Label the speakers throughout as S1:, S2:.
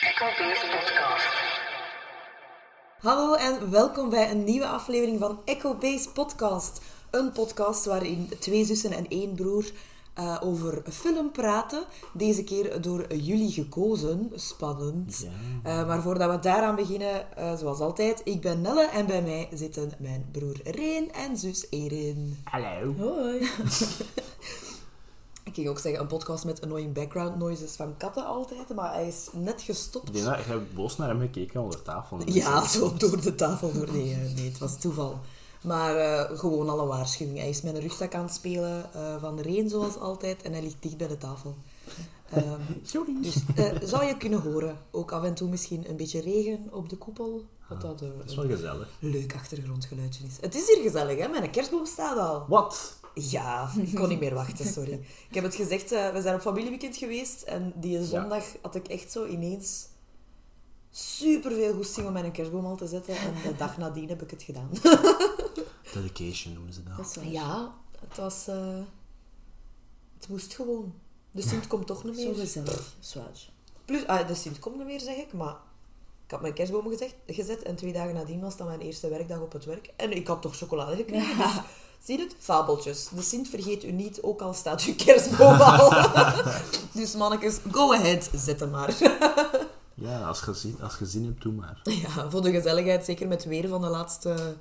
S1: Critical Base Podcast.
S2: Hallo en welkom bij een nieuwe aflevering van Echo Base Podcast. Een podcast waarin twee zussen en één broer eh, over film praten. Deze keer door jullie gekozen. Spannend. Eh, maar voordat we daaraan beginnen, eh, zoals altijd, ik ben Nelle en bij mij zitten mijn broer Reen en zus Erin.
S3: Hallo.
S2: Hoi. ik ging ook zeggen, een podcast met annoying background noises van katten altijd, maar hij is net gestopt.
S3: Ik denk dat je boos naar hem gekeken onder tafel.
S2: Ja, zo door de tafel door. Nee, eh, nee het was toeval. Maar eh, gewoon alle waarschuwing. Hij is met een rugzak aan het spelen eh, van de Reen, zoals altijd. En hij ligt dicht bij de tafel. Ehm,
S3: Sorry.
S2: dus eh, zou je kunnen horen. Ook af en toe misschien een beetje regen op de koepel. Wat dat eh,
S3: Dat is wel gezellig.
S2: een leuk achtergrondgeluidje is. Het is hier gezellig, hè? Mijn kerstboom staat al.
S3: Wat?
S2: Ja, ik kon niet meer wachten, sorry. Ik heb het gezegd, eh, we zijn op familieweekend geweest en die zondag had ik echt zo ineens superveel goesting om mijn kerstboom al te zetten. En de dag nadien heb ik het gedaan.
S3: Dedication noemen ze dat.
S2: Ja, het was... eh, het moest gewoon. De Sint komt toch niet meer.
S4: gezellig, zwaar.
S2: Plus, ah, de Sint komt niet meer, zeg ik, maar... Ik had mijn kerstboom gezegd, gezet en twee dagen nadien was dat mijn eerste werkdag op het werk. En ik had toch chocolade gekregen, dus... Zie je het? Fabeltjes. De Sint vergeet u niet, ook al staat uw kerstboom al. dus mannetjes, go ahead, zet hem maar.
S3: Ja, als je zin, als je zin hebt, doe maar.
S2: ja, voor de gezelligheid, zeker met het weer van de laatste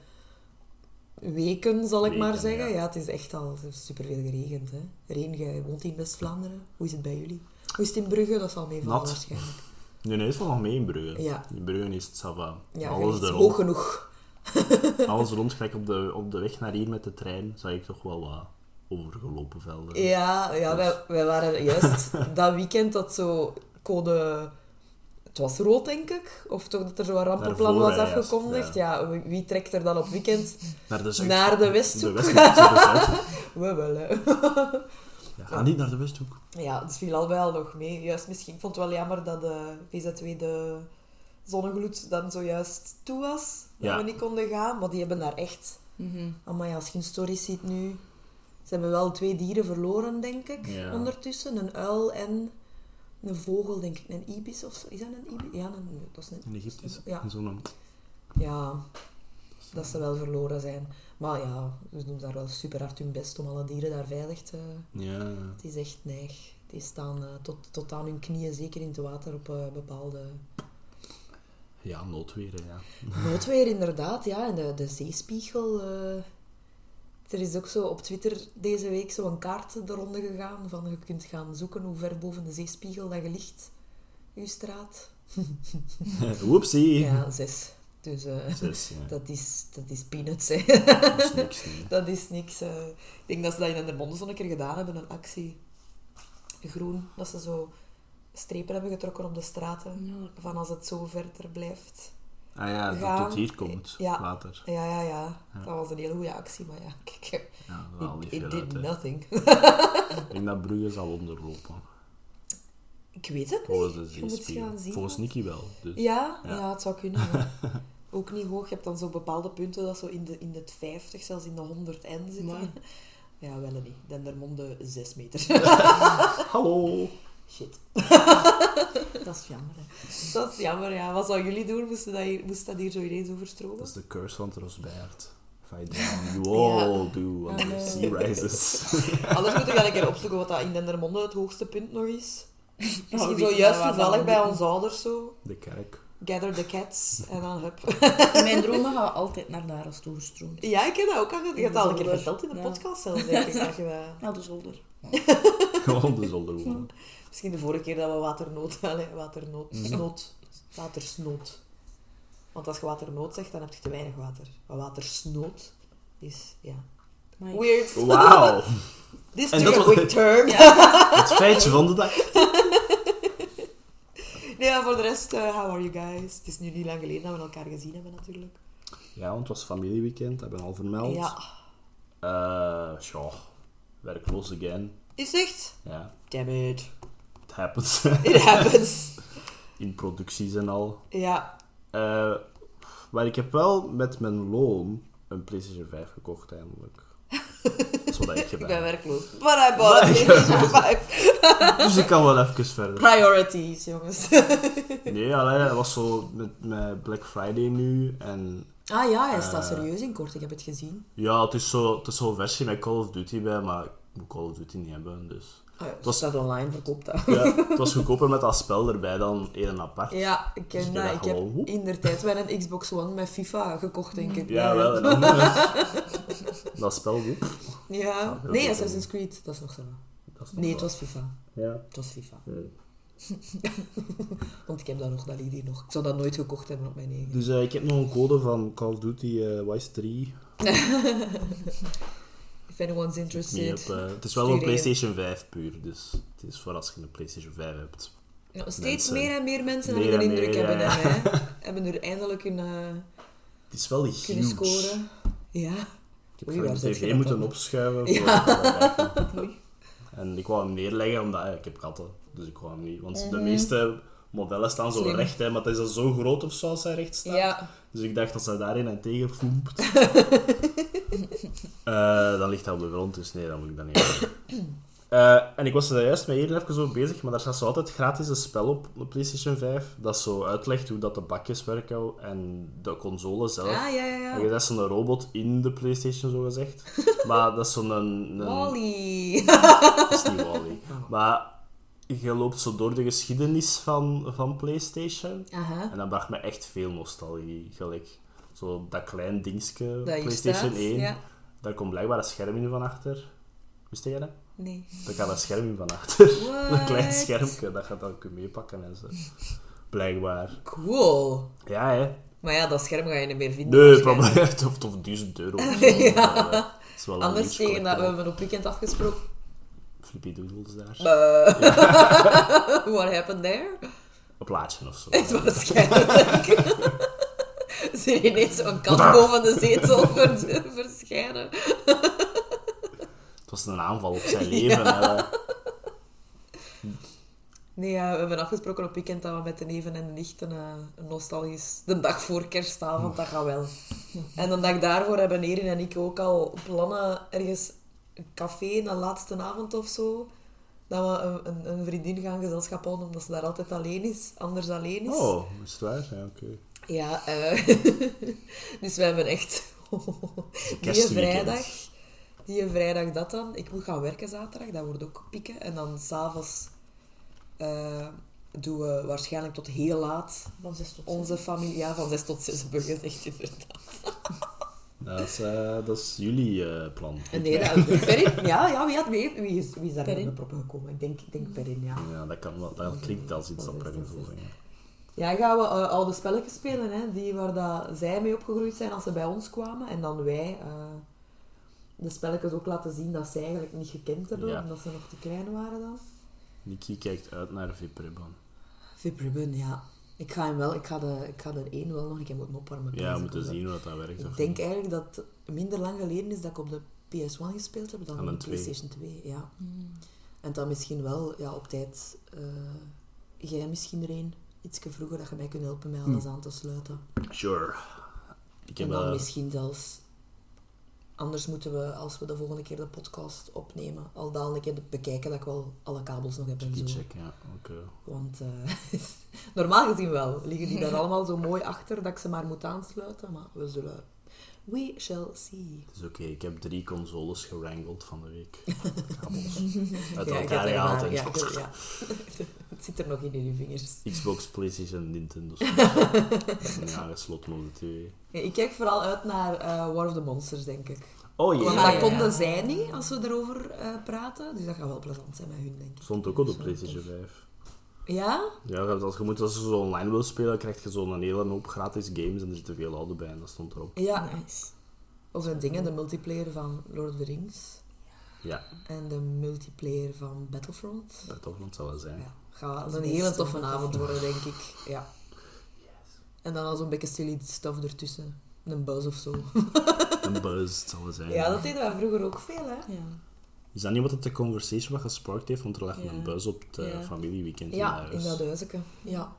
S2: weken, zal ik
S3: Weken,
S2: maar zeggen.
S3: ja.
S2: Ja. het is echt al superveel geregend. Hè. Reen, jij woont in West-Vlaanderen. Hoe is het bij jullie? Hoe is het in Brugge? Dat zal meevallen
S3: Nat.
S2: waarschijnlijk.
S3: Nee, nee, het valt nog mee in Brugge.
S2: Ja.
S3: In Brugge is het sava.
S2: Ja, je
S3: alles,
S2: ligt
S3: er
S2: hoog
S3: rond,
S2: genoeg.
S3: alles rond, gelijk op de, op de weg naar hier met de trein, zag ik toch wel wat overgelopen velden.
S2: Ja, ja
S3: Dus-
S2: wij, wij waren juist dat weekend dat zo code... Het was rood, denk ik. Of toch dat er zo'n rampenplan
S3: Daarvoor,
S2: was
S3: hè, juist,
S2: afgekondigd. Ja, wie, wie trekt er dan op weekend?
S3: Naar de Zuid.
S2: Naar de Westhoek.
S3: De Westhoek. de Zuid.
S2: We wel, hè.
S3: Ja, ga niet naar de Westhoek.
S2: Ja, het viel al wel nog mee. Juist misschien, ik vond het wel jammer dat eh, de VZ2 de zonnegloed dan zojuist toe was. Dat
S3: Ja.
S2: we niet konden gaan. Maar die hebben daar echt...
S4: Mhm.
S2: Amai, als je hun stories ziet nu... Ze hebben wel twee dieren verloren, denk ik,
S3: Ja.
S2: ondertussen. Een uil en een vogel, denk ik. Een ibis of zo. Is dat een ibis? Ja, een, nee, dat is
S3: In
S2: een...
S3: Egypte is
S2: Ja.
S3: zo'n...
S2: Ja, dat ze wel verloren zijn. Maar ja, ze doen daar wel super hard hun best om alle dieren daar veilig te...
S3: Ja.
S2: Het is echt neig. Die staan eh, tot, tot aan hun knieën, zeker in het water, op eh, bepaalde
S3: Ja, noodweer, hè, ja.
S2: noodweer, inderdaad. Ja, en de, de zeespiegel. eh. Er is ook zo op Twitter deze week zo'n kaart de ronde gegaan van je kunt gaan zoeken hoe ver boven de zeespiegel dat je ligt, uw straat.
S3: Woepsie.
S2: Ja, zes. Dus eh,
S3: Zes, ja.
S2: dat, is, dat is peanuts, hè.
S3: Dat is niks, nee.
S2: Dat is niks. eh. Ik denk dat ze dat in Dendermonde zo'n keer gedaan hebben, een actie. Groen, dat ze zo strepen hebben getrokken op de straten. Van als het zo verder blijft.
S3: Ah ja, dat
S2: gaan.
S3: tot hier komt,
S2: Ja.
S3: later.
S2: Ja, ja, ja. Dat was een hele goede actie, maar ja, kijk.
S3: Ja, dat haal
S2: It,
S3: niet
S2: it
S3: veel
S2: did
S3: uit, hè.
S2: nothing.
S3: Ik denk dat Brugge zal onderlopen.
S2: Ik weet het niet.
S3: Volgens de
S2: Je moet
S3: zeespiegel.
S2: gaan zien.
S3: Volgens Nicky wel. Dus.
S2: Ja, ja.
S3: Ja.
S2: het zou kunnen. ja. Ook niet hoog. Je hebt dan zo bepaalde punten dat zo in de, in het 50, zelfs in de 100 en zitten.
S4: Amai.
S2: Ja, wel en niet. Dendermonde 6 meter.
S3: Hallo!
S2: Shit.
S4: Dat is jammer.
S2: Dat is jammer, ja. Wat zouden jullie doen? Moest dat hier, moest dat hier zo ineens
S3: Dat
S2: overstromen?
S3: is de curse van Trosbert. If I drown, you all do. And the sea rises.
S2: Anders moet ik wel een keer opzoeken wat dat in Dendermonde het hoogste punt nog is. Misschien
S4: weet
S2: zo
S4: je
S2: juist
S4: wel waar
S2: toevallig
S4: dat
S2: bij
S4: moet.
S2: ons ouders zo.
S3: De kerk.
S2: Gather the cats en dan hup.
S4: In mijn dromen gaan we altijd naar daar als toegestroomd.
S2: Ja, ik heb dat ook al gedaan. Je hebt dat al een keer
S4: Zonder.
S2: verteld in de
S4: Ja.
S2: podcast zelf, denk ik. dat je dat-
S4: Naar de zolder.
S3: Gewoon de zolder wonen.
S2: Misschien de vorige keer dat we waternood... Allee, waternood...
S3: Mhm.
S2: Snood. Watersnood. Want als je waternood zegt, dan heb je te weinig water. Maar watersnood is... Ja.
S4: Maar ik-
S2: Weird.
S3: Wauw!
S2: This
S3: Oh. En
S2: took
S3: dat
S2: a
S3: was-
S2: quick turn.
S3: Het feitje van de dag.
S2: Nee, maar voor de rest, eh, how are you guys? Het is nu niet lang geleden dat we elkaar gezien hebben, natuurlijk.
S3: Ja, want het was familieweekend, hebben we al vermeld.
S2: Ja.
S3: Eh, tja, werkloos again.
S2: Is echt?
S3: Ja,
S2: Damn it.
S3: it happens.
S2: It happens.
S3: In producties en al.
S2: ja.
S3: Eh, maar ik heb wel met mijn loon een PlayStation 5 gekocht eindelijk. Dat is wat ik
S2: Ik ben
S3: gedaan heb.
S2: werkloos. But I bought a PlayStation 5.
S3: Dus ik kan wel even verder.
S2: Priorities, jongens.
S3: Nee, allee, dat was zo met, met Black Friday nu. En
S2: Ah ja, hij staat
S3: Eh.
S2: serieus in kort. Ik heb het gezien.
S3: ja, het is zo- het is zo'n versie met Call of Duty bij, maar ik moet Call of Duty niet hebben. Dus.
S2: Ah, ja.
S4: Dat staat online verkoopt. dat.
S3: Ja, het was goedkoper met dat spel erbij dan één apart.
S2: Ja, ik ken
S3: Dus ik
S2: dat.
S3: dacht
S2: Ik heb
S3: gewoon, woep.
S2: in der tijd wel een Xbox One met FIFA gekocht, denk ik.
S3: Ja, wel. En dan, dat spel goed.
S2: Ja.
S3: dat
S2: Nee,
S3: is
S2: Assassin's Creed, dat is nog zo.
S3: Dat is
S2: Nee,
S3: toch
S2: het was FIFA.
S3: wel- Ja. eh.
S2: Het was FIFA.
S3: Nee.
S2: Want ik heb dat nog, dat ligt hier nog. Ik zou dat nooit gekocht hebben op mijn eigen.
S3: Dus eh, ik heb nog een code van Call of Duty eh, Wise 3.
S2: If anyone's
S3: Nee,
S2: interested.
S3: op, eh, het is wel
S2: Stuur
S3: een
S2: je.
S3: PlayStation 5 puur, dus het is voor als je een PlayStation 5 hebt.
S2: Nou, steeds
S3: mensen.
S2: meer en meer mensen
S3: Meer
S2: hebben de
S3: en meer,
S2: indruk
S3: ja,
S2: hebben,
S3: ja.
S2: hè, hè. hebben er eindelijk een, eh,
S3: Het is wel
S2: kunnen
S3: huge.
S2: scoren. Ja.
S3: Ik heb
S2: Oei,
S3: gewoon
S2: waar
S3: de
S2: zet je
S3: tv
S2: dat
S3: moeten
S2: dan?
S3: opschuiven.
S2: Ja.
S3: Voor het eh,
S4: Oei.
S3: en ik wou hem neerleggen, omdat eh, ik heb katten, dus ik wou hem niet. Want de meeste modellen staan zo
S2: Mhm. Slim.
S3: recht, hè, maar het is al zo groot of zo als hij recht staat.
S2: Ja.
S3: Dus ik dacht, als zij daarin en tegenvoemt, eh, dan ligt hij op de grond, dus nee, dat moet ik dan niet doen. Eh, en ik was er juist met Eden even zo bezig, maar daar staat zo altijd gratis een spel op, op PlayStation 5, dat zo uitlegt hoe dat de bakjes werken en de console zelf.
S2: Ah, ja, ja,
S3: En je
S2: ja.
S3: zet zo'n robot in de PlayStation, zo gezegd. Maar dat is zo'n... Een, een-
S2: Wally.
S3: dat is niet Wally. Maar je loopt zo door de geschiedenis van, van PlayStation.
S2: Aha.
S3: En dat bracht me echt veel nostalgie. Gelijk, zo dat klein dingetje,
S2: Dat hier
S3: PlayStation
S2: staat,
S3: 1.
S2: ja.
S3: Daar komt blijkbaar een scherm in van achter. Wist jij dat?
S2: Nee.
S3: Daar gaat een scherm in van achter. Een klein
S2: What?
S3: schermpje, dat gaat dan kunnen meepakken en zo. Blijkbaar.
S2: Cool.
S3: Ja, hè.
S2: Maar ja, dat scherm ga je niet meer vinden. Dus
S3: Nee,
S2: waarschijnlijk.
S3: probleem. Of, of 1000 euro. Of zo. ja. Dat is wel een
S2: Anders
S3: huge
S2: tegen dat we
S3: collector.
S2: hebben op weekend afgesproken.
S3: Flippy Doodles daar.
S2: Eh, What happened there?
S3: Een plaatje of zo.
S2: Het was waarschijnlijk. Ze er ineens zo'n kat boven de zetel ver- verschijnen.
S3: Het was een aanval op zijn leven. hè.
S2: Nee, ja, we hebben afgesproken op weekend dat we met de neven en de nichten eh, een nostalgisch... De dag voor kerstavond, dat gaat wel. En de dag daarvoor hebben Erin en ik ook al plannen ergens een café, een laatste avond of zo. Dat we een, een, een vriendin gaan gezelschap houden, omdat ze daar altijd alleen is. Anders alleen is.
S3: Oh, is het waar? Ja, oké.
S2: Ja, eh, dus we hebben echt... die
S3: kerstweekend.
S2: vrijdag... Die vrijdag dat dan. Ik moet gaan werken zaterdag, dat wordt ook pieken. En dan s'avonds eh doen we waarschijnlijk tot heel laat
S4: Van 6 tot 6.
S2: onze familie... Ja, van 6 tot 6 hebben we gezegd, inderdaad.
S3: Dat, is, eh, dat is jullie eh, plan.
S2: En nee, dat, Perrin, ja, ja, wie, had, wie, heeft- wie, is, wie is daar
S4: Perrin.
S2: in de proppen gekomen? Ik denk, ik denk Perrin, ja.
S3: Ja, dat, kan wel, dat klinkt als iets dat Previn wil zeggen.
S2: Ja, gaan we eh, oude spelletjes spelen, hè, die waar dat zij mee opgegroeid zijn als ze bij ons kwamen. En dan wij eh, de spelletjes ook laten zien dat zij eigenlijk niet gekend hebben,
S3: Ja.
S2: omdat ze nog te klein waren dan.
S3: Nikki kijkt uit naar Vipribban.
S2: Vibrubben, ja. Ik ga hem wel, ik ga, de, ik ga er één wel nog een keer moeten opwarmen.
S3: Ja, we
S2: Deze
S3: moeten
S2: komt
S3: zien hoe dat, dat werkt.
S2: wel. Ik
S3: of
S2: denk
S3: niet.
S2: eigenlijk dat het minder lang geleden is dat ik op de PS1 gespeeld heb dan
S3: Aan
S2: op de
S3: een twee.
S2: PlayStation 2. Ja.
S4: Mm.
S2: En dan misschien wel ja, op tijd, eh, jij misschien er een, iets vroeger, dat je mij kunt helpen
S3: Hm.
S2: mij alles aan te sluiten.
S3: Sure. Ik heb,
S2: en dan
S3: eh,
S2: misschien zelfs... Anders moeten we, als we de volgende keer de podcast opnemen, al dan een keer bekijken dat ik wel alle kabels nog heb en
S3: die
S2: zo.
S3: check, ja. Oké.
S2: Want eh, normaal gezien wel. Liggen die daar allemaal zo mooi achter dat ik ze maar moet aansluiten. Maar we zullen... We shall see.
S3: Het is oké. Ik heb drie consoles gerangeld van de week. Kabels. Uit
S2: Ja, ik heb
S3: elkaar
S2: er
S3: gehaald.
S2: maar-
S3: en-
S2: ja, ik heb- ja. Het zit er nog in in uw vingers.
S3: Xbox, PlayStation, Nintendo. ja, aangesloten op de tv.
S2: Ja, ik kijk vooral uit naar eh, War of the Monsters, denk ik.
S3: Oh
S2: Want
S3: jee.
S2: dat
S4: ja, ja.
S2: konden zij niet als we erover eh, praten. Dus dat gaat wel plezant zijn met hun, denk ik.
S3: Stond ook op de PlayStation 5.
S2: Ja?
S3: Ja, als je, moet, als je zo online wil spelen, krijg je zo'n hele hoop gratis games en er zitten veel oude bij en dat stond erop.
S2: Ja.
S4: Nice.
S2: Of zijn dingen, de multiplayer van Lord of the Rings
S3: Ja,
S2: en de multiplayer van Battlefront.
S3: Battlefront zou wel zijn.
S2: Ja, gaat
S4: is
S2: een
S4: best
S2: hele toffe
S4: een
S2: avond worden, denk ik. Ja. En dan al zo'n beetje silly stuff ertussen. Een buzz of zo.
S3: Een buzz, het zou wel zijn.
S2: Ja, dat deden wij vroeger ook veel, hè?
S4: Ja.
S3: Is dat niet wat het de conversation wat gesparkt heeft? Want er lag
S4: Ja.
S3: een buzz op het eh,
S4: Ja.
S3: familieweekend in
S2: Ja,
S3: huis.
S2: in dat huizenke. Ja.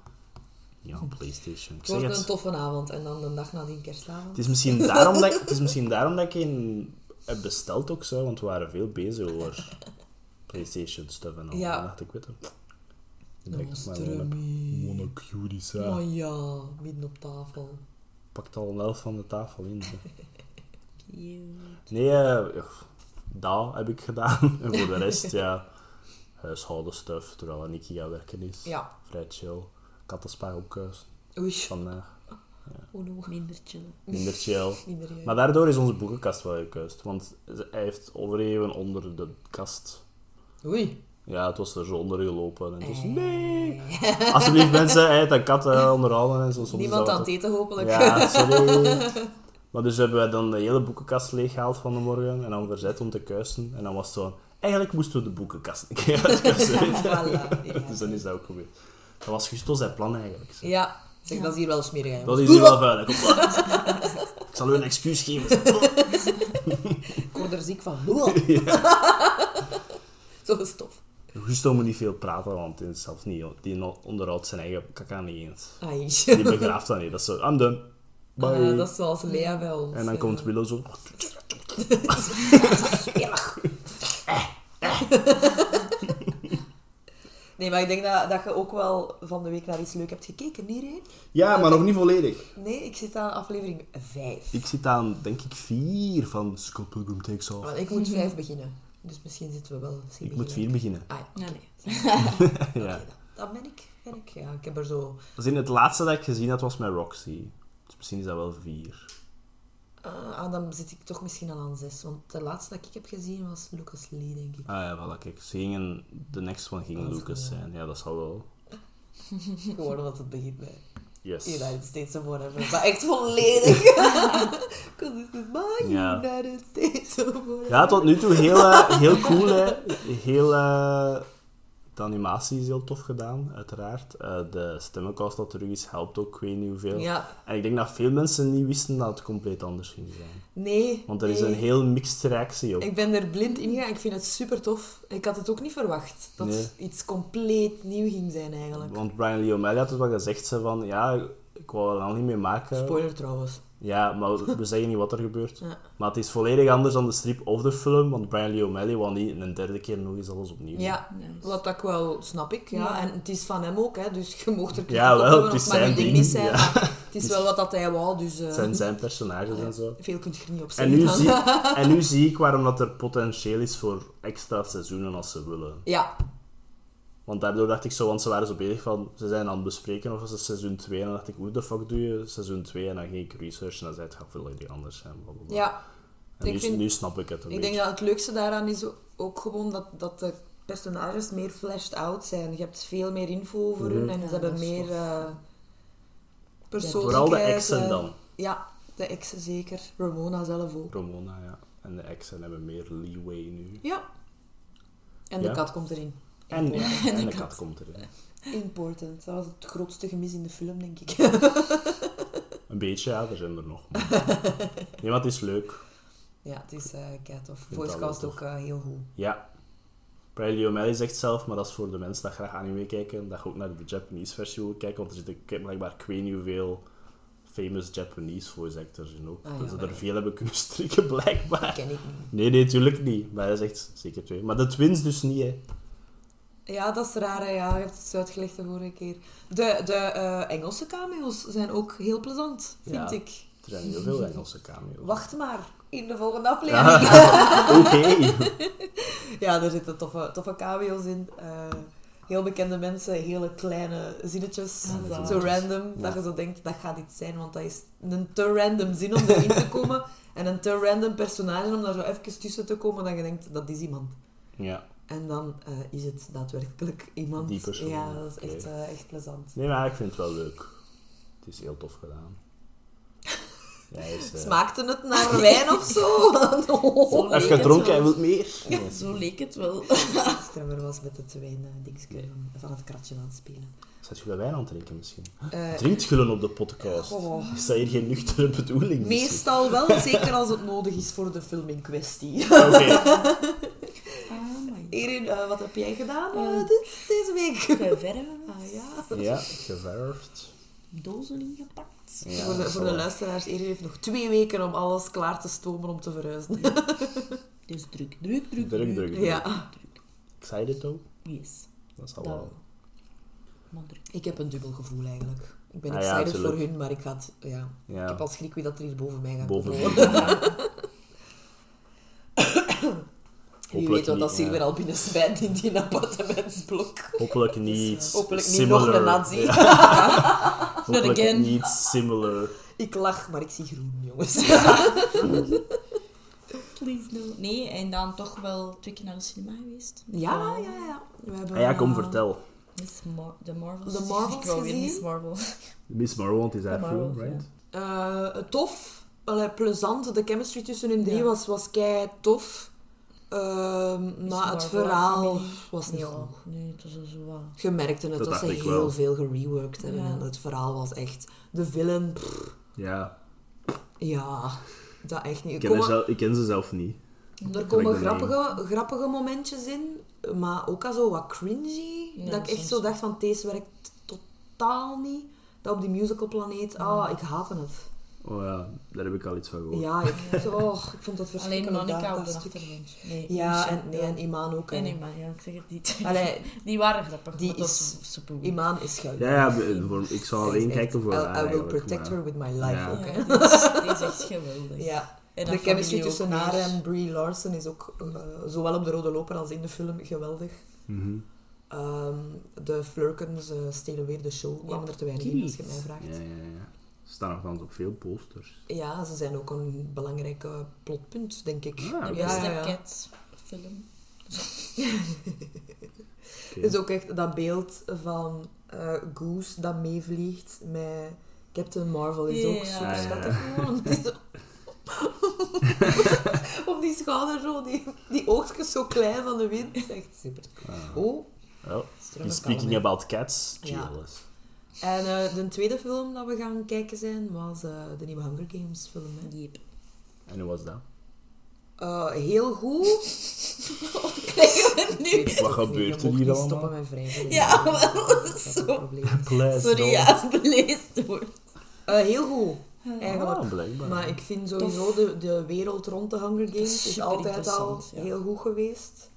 S3: Ja, op Playstation. Ik
S2: Het
S3: zeg
S2: wordt een
S3: het.
S2: toffe avond en dan de dag nadien kerstavond.
S3: Het is, misschien daarom dat, ik- het is misschien daarom dat ik in heb besteld ook zo, want we waren veel bezig over PlayStation stuff en al.
S2: Ja.
S3: En dan dacht ik, weet je,
S2: Dat
S3: direct
S2: was
S3: maar
S2: drummy.
S3: Mono cutie, zo.
S2: Maar Oh ja, midden op tafel.
S3: Pakt al een elf van de tafel in. zo.
S4: Cute.
S3: Nee, eh, dat heb ik gedaan. En voor de rest, ja, huishouden stuff, terwijl Aniki aan werken is.
S2: Ja.
S3: Vrij chill. Kattenspa ook eh,
S2: Oei,
S3: vandaag.
S2: oh no.
S4: Minder chillen.
S3: Minder chill.
S2: Minder juist.
S3: Maar daardoor is onze boekenkast wel gekuist. Want ze- hij heeft overeven onder de kast.
S2: Oei.
S3: Ja, het was er zo onder gelopen. En het was, nee. Alsjeblieft mensen, hij heeft een kat eh, onderhouden en zo. Soms is
S2: Niemand
S3: dat
S2: aan het eten, hopelijk.
S3: Ja, sorry. maar dus hebben wij dan de hele boekenkast leeggehaald van de morgen. En dan verzet om te kuisen. En dan was het zo... Eigenlijk moesten we de boekenkast een keer uitkuisen. weet je.
S2: Voilà, ja.
S3: Dus dan is dat ook gebeurd. Dat was Gusto zijn plan eigenlijk. zo.
S2: Ja, zeg, dat is hier wel smerig. hè,
S3: Dat is
S2: jongens.
S3: hier wel vuil. hè. Kom maar. Ik zal u een excuus geven.
S2: Ik word er ziek van. Oeh. Zo is tof.
S3: Gusto moet niet veel praten, want hij is zelf niet... Die onderhoudt zijn eigen kaka niet eens.
S2: Ai.
S3: Die begraaft dan niet. Dat is zo... I'm done. Bye.
S2: Eh, dat is zoals Lea bij ons.
S3: En dan
S2: eh.
S3: komt Willow zo...
S2: Nee, maar ik denk dat, dat je ook wel van de week naar iets leuk hebt gekeken, hierheen.
S3: Ja, maar nog niet volledig.
S2: Nee, ik zit aan aflevering 5.
S3: Ik zit aan, denk ik, vier van Scott Pilgrim Takes Off.
S2: Want ik moet 5 beginnen. Dus misschien zitten we wel.
S3: Ik moet vier beginnen.
S2: Ah, ja.
S4: Ja, nee.
S3: Ja.
S2: Oké, dan- dan ben ik, ben ik. Ja, ik heb er zo...
S3: Dat is in het laatste dat ik gezien had, was met Roxy. Dus misschien is dat wel vier.
S2: eh, ah, dan zit ik toch misschien al aan 6. Want de laatste dat ik heb gezien was Lucas Lee, denk ik.
S3: Ah ja, voilà, kijk. Ze gingen, de next one ging
S2: Dat is
S3: Lucas
S2: goed, ja.
S3: zijn. Ja, dat zal wel.
S2: Gewoon omdat het begint bij
S3: Yes.
S2: United States of whatever. Maar echt volledig. Because this is my
S3: Ja.
S2: United States of whatever.
S3: Ja, tot nu toe heel, eh, heel cool, hè. Heel... eh, de animatie is heel tof gedaan, uiteraard. Eh, de stemmenkast dat terug is, helpt ook, ik weet niet hoeveel.
S2: Ja.
S3: En ik denk dat veel mensen niet wisten dat het compleet anders ging zijn.
S2: Nee.
S3: Want er is
S2: nee.
S3: een heel mixed reactie op.
S2: Ik ben er blind in gegaan. Ik vind het super tof. Ik had het ook niet verwacht. Dat
S3: Nee.
S2: iets compleet nieuw ging zijn eigenlijk.
S3: Want Brian Lee O'Malley had het wel gezegd, ze van, ja, ik wou er al niet mee maken.
S2: Spoiler trouwens.
S3: Ja, maar we zeggen niet wat er gebeurt.
S2: Ja.
S3: Maar het is volledig anders dan de strip of de film, want Brian Lee O'Malley wou niet een derde keer nog eens alles opnieuw. doen.
S2: Ja,
S4: Nice.
S2: wat ik wel snap ik. Ja.
S4: Ja.
S2: En het is van hem ook, hè, dus je mocht er kritiek
S3: Ja,
S2: op
S3: wel,
S2: hebben,
S3: het
S2: of
S3: is
S2: mag
S3: zijn
S2: je ding
S3: ding,
S2: niet zijn.
S3: ja.
S2: maar het is wel wat dat hij wou, dus eh,
S3: Het zijn zijn personages en zo.
S2: veel kun je er niet op
S3: En
S2: zeggen.
S3: nu,
S2: dan.
S3: zie, en nu zie ik waarom dat er potentieel is voor extra seizoenen als ze willen.
S2: Ja,
S3: Want daardoor dacht ik zo, want ze waren zo bezig van, ze zijn aan het bespreken of ze seizoen 2. En dan dacht ik, hoe de fuck doe je seizoen 2? En dan ging ik researchen en dan zei het gaat volledig anders zijn. blablabla.
S2: ja.
S3: En
S2: ik
S3: nu,
S2: vind-
S3: nu snap ik het een
S2: ik
S3: beetje.
S2: denk dat het leukste daaraan is ook gewoon dat, dat de personages meer flashed out zijn. Je hebt veel meer info over hun en
S4: Ja,
S2: ze hebben
S4: dat is
S2: meer
S4: tof.
S2: eh persoonlijkheid.
S3: Vooral Mhm. de exen
S2: eh,
S3: dan.
S2: Ja, de exen zeker. Ramona zelf ook.
S3: Ramona, ja. En de exen hebben meer leeway nu.
S2: Ja. En
S3: Ja.
S2: de kat komt erin.
S3: En,
S2: Important.
S3: en de kat komt erin.
S2: Important. Dat was het grootste gemis in de film, denk ik.
S3: Een beetje, ja, er zijn er nog. maar- Nee, maar het is leuk.
S2: Ja, het is eh cat of
S3: vind dat
S2: voicecast
S3: wel
S2: ook eh, heel goed.
S3: Ja. Bradley O'Malley zegt zelf, maar dat is voor de mensen die graag anime kijken, dat je ook naar de Japanese versie wil kijken, want er zitten ik heb blijkbaar ik weet niet hoeveel famous Japanese voice actors in ook. Dus
S2: Ah,
S3: dat ze
S2: ja.
S3: er veel hebben kunnen strikken, blijkbaar.
S2: Ken ik niet.
S3: Nee, nee, tuurlijk niet. Maar hij zegt zeker twee. Maar de twins dus niet, hè.
S2: Ja, dat is raar. Hè? Ja, je hebt het zo uitgelegd de vorige keer. De, de eh, Engelse cameo's zijn ook heel plezant, vind
S3: Ja.
S2: ik.
S3: Er zijn heel veel Engelse cameo's.
S2: Wacht maar, in de volgende aflevering. Ja,
S3: Ja, Ah, Oké.
S2: er zitten toffe, toffe cameo's in. Eh, heel bekende mensen, hele kleine zinnetjes.
S4: Ja,
S2: zo
S3: zaadjes.
S2: random,
S3: Ja.
S2: dat je zo denkt, dat gaat iets zijn, want dat is een te random zin om erin te komen. En een te random personage om daar zo even tussen te komen, dat je denkt, dat is iemand.
S3: Ja.
S2: En dan eh, is het daadwerkelijk iemand.
S3: Die persoon,
S2: Ja, dat is
S3: oké.
S2: echt, eh, echt plezant.
S3: Nee, maar ik vind het wel leuk. Het is heel tof gedaan. Ja, hij is, eh,
S2: Smaakte het naar wijn of zo?
S4: Zo
S2: Oh.
S3: Hij
S4: leek
S3: heeft
S4: het
S3: gedronken, hij
S4: wel.
S3: wil meer. Nee.
S4: Zo leek het wel.
S2: Strummer was met het wijn-dingetje
S3: Nee.
S2: van het kratje aan het spelen.
S3: Zet je wijn aan het drinken misschien?
S2: Eh,
S3: Drinkt Gullen op de podcast?
S2: Goh.
S3: Oh. Is dat hier geen nuchtere bedoeling? misschien?
S2: meestal wel, zeker als het nodig is voor de film in kwestie.
S3: Oké.
S4: Ah, my god.
S2: Erin, eh, wat heb jij gedaan eh,
S4: Eh.
S2: dit- deze week?
S4: Geverven,
S2: Ah ja.
S3: Ja, geverfd.
S4: dozen ingepakt. maand.
S3: Ja,
S2: voor, de, voor
S3: dat zal
S2: de
S3: wel.
S2: luisteraars, Erin heeft nog twee weken om alles klaar te stomen om te verhuizen.
S4: Dus druk, druk, druk, druk.
S3: Druk, druk, druk.
S2: Ja.
S3: Excited ook?
S4: Yes,
S3: Dat zal
S4: dat
S2: Nou,
S3: wel.
S4: wel. Maar druk.
S2: Ik heb een dubbel gevoel eigenlijk. Ik ben
S3: Ah ja,
S2: excited voor
S3: tuurlijk.
S2: hun, maar ik, ga het, ja. ik heb
S3: Ja,
S2: al schrik wie dat er hier boven mij gaat
S3: boven
S2: komen.
S3: vier. Ja.
S2: Wie weet
S3: Hopelijk
S2: wat
S3: niet,
S2: dat
S3: ja.
S2: Silver al binnen zwijt in die appartementsblok.
S3: Hopelijk niet
S2: Hopelijk niet
S3: similar.
S2: nog een nazi.
S3: Ja, hopelijk
S4: again.
S3: niet similar.
S2: Ik lach, maar ik zie groen, jongens.
S4: Please no. Nee, en dan toch wel twee keer naar de cinema geweest.
S2: Ja, ja, ja. We hebben,
S3: Ah ja, kom
S2: eh,
S3: vertel.
S4: Miss Mar- de Marvels.
S2: De Marvels
S4: Ik wou weer
S2: gezien?
S4: Miss Marvel.
S3: Miss Marvel, want die is
S4: De
S3: haar film,
S4: Marvel,
S3: right?
S2: eh, tof. Allee, plezant. De chemistry tussen hun drie
S4: Ja.
S2: was, was kei tof. Ehm, maar het
S4: Marvel
S2: verhaal
S4: familie.
S2: was niet goed.
S4: Nee, het was al zo wat.
S2: Je merkte het
S3: Dat
S2: dat, ze
S3: dacht ik
S2: heel
S3: wel.
S2: veel gereworked hebben.
S4: Ja.
S2: En het verhaal was echt... De villain... pff,
S3: Ja,
S2: ja, dat echt niet.
S3: ik
S2: Er
S3: ken, haar
S2: komen,
S3: zelf- ik ken ze zelf niet.
S2: er komen
S3: ik ben
S2: grappige, grappige momentjes in. Maar ook al zo wat cringy.
S4: Ja,
S2: dat ik echt
S4: soms
S2: zo dacht van... Deze werkt totaal niet. Dat op die musicalplaneet... Ah, ik haatte het.
S3: Oh ja, daar heb ik al iets van gehoord.
S2: Ja, ik, oh, ik vond dat
S4: Alleen
S2: verschrikkelijk.
S4: Monica
S2: daar,
S4: op
S2: dat
S4: de
S2: stuk.
S4: achtergrond. Nee,
S2: Ja,
S4: Michelle,
S2: en, nee, en Iman ook. hè.
S4: En Iman, ja, ik zeg het niet.
S2: Allee,
S4: die waren grappig.
S2: Die
S4: maar dat
S2: is-
S4: was super goed.
S2: Iman is goud.
S3: Ja, ja, b- voor- ik zou
S2: Zij is
S3: alleen
S2: echt-
S3: kijken voor
S2: I,
S3: haar
S2: I will
S3: eigenlijk,
S2: protect
S3: maar-
S2: her with my life
S3: Ja.
S2: ook.
S4: Ja,
S2: Hè.
S4: die is, die is echt geweldig.
S2: Ja.
S4: En
S2: De
S4: haar
S2: chemistry
S4: familie ook
S2: tussen haar
S4: weer.
S2: en Brie Larson is ook, eh, zowel op de rode loper als in de film, geweldig.
S3: Mhm.
S2: Ehm, de Flurkens eh, stelen weer de show. Die
S4: Ja,
S2: hebben er te weinig in, als je
S4: kies.
S2: mij vraagt.
S3: Ja, ja, ja. Er staan althans op veel posters.
S2: Ja, ze zijn ook een belangrijk eh, plotpunt, denk ik.
S3: Ah, oké.
S4: De
S2: ja,
S4: beste
S2: ja, ja.
S4: cat film.
S3: Oké.
S2: Het is Dus ook echt dat beeld van eh, Goose dat meevliegt met Captain Marvel Oh, is
S4: Ja,
S2: ook
S4: ja,
S2: super
S3: ja.
S2: schattig. gewoon. Het is zo- Op die schouder zo, die, die oogjes zo klein van de wind. Het is Echt super.
S3: Ah.
S2: Oh,
S3: Well,
S2: stramme
S3: speaking
S2: kalm, hè.
S3: about cats,
S2: Ja.
S3: jealous.
S2: En eh, de tweede film dat we gaan kijken zijn, was eh, de nieuwe Hunger Games film. hè.
S4: Yep.
S3: En hoe was dat?
S2: Eh, heel goed.
S4: Krijgen we nu?
S2: Ik weet
S3: Wat
S2: het niet,
S3: gebeurt
S2: je
S3: er
S2: mocht
S3: hier
S2: niet
S3: allemaal?
S2: stoppen met vrijheid.
S4: Ja,
S2: dat
S4: is
S2: is een
S4: zo.
S2: probleem.
S4: Sorry, ja, het beleefd wordt.
S2: Eh, heel goed, eigenlijk.
S3: Ah, blijkbaar.
S2: Maar ik vind sowieso de, de wereld rond de Hunger Games is
S4: Super
S2: altijd al
S4: interessant, ja.
S2: heel goed geweest.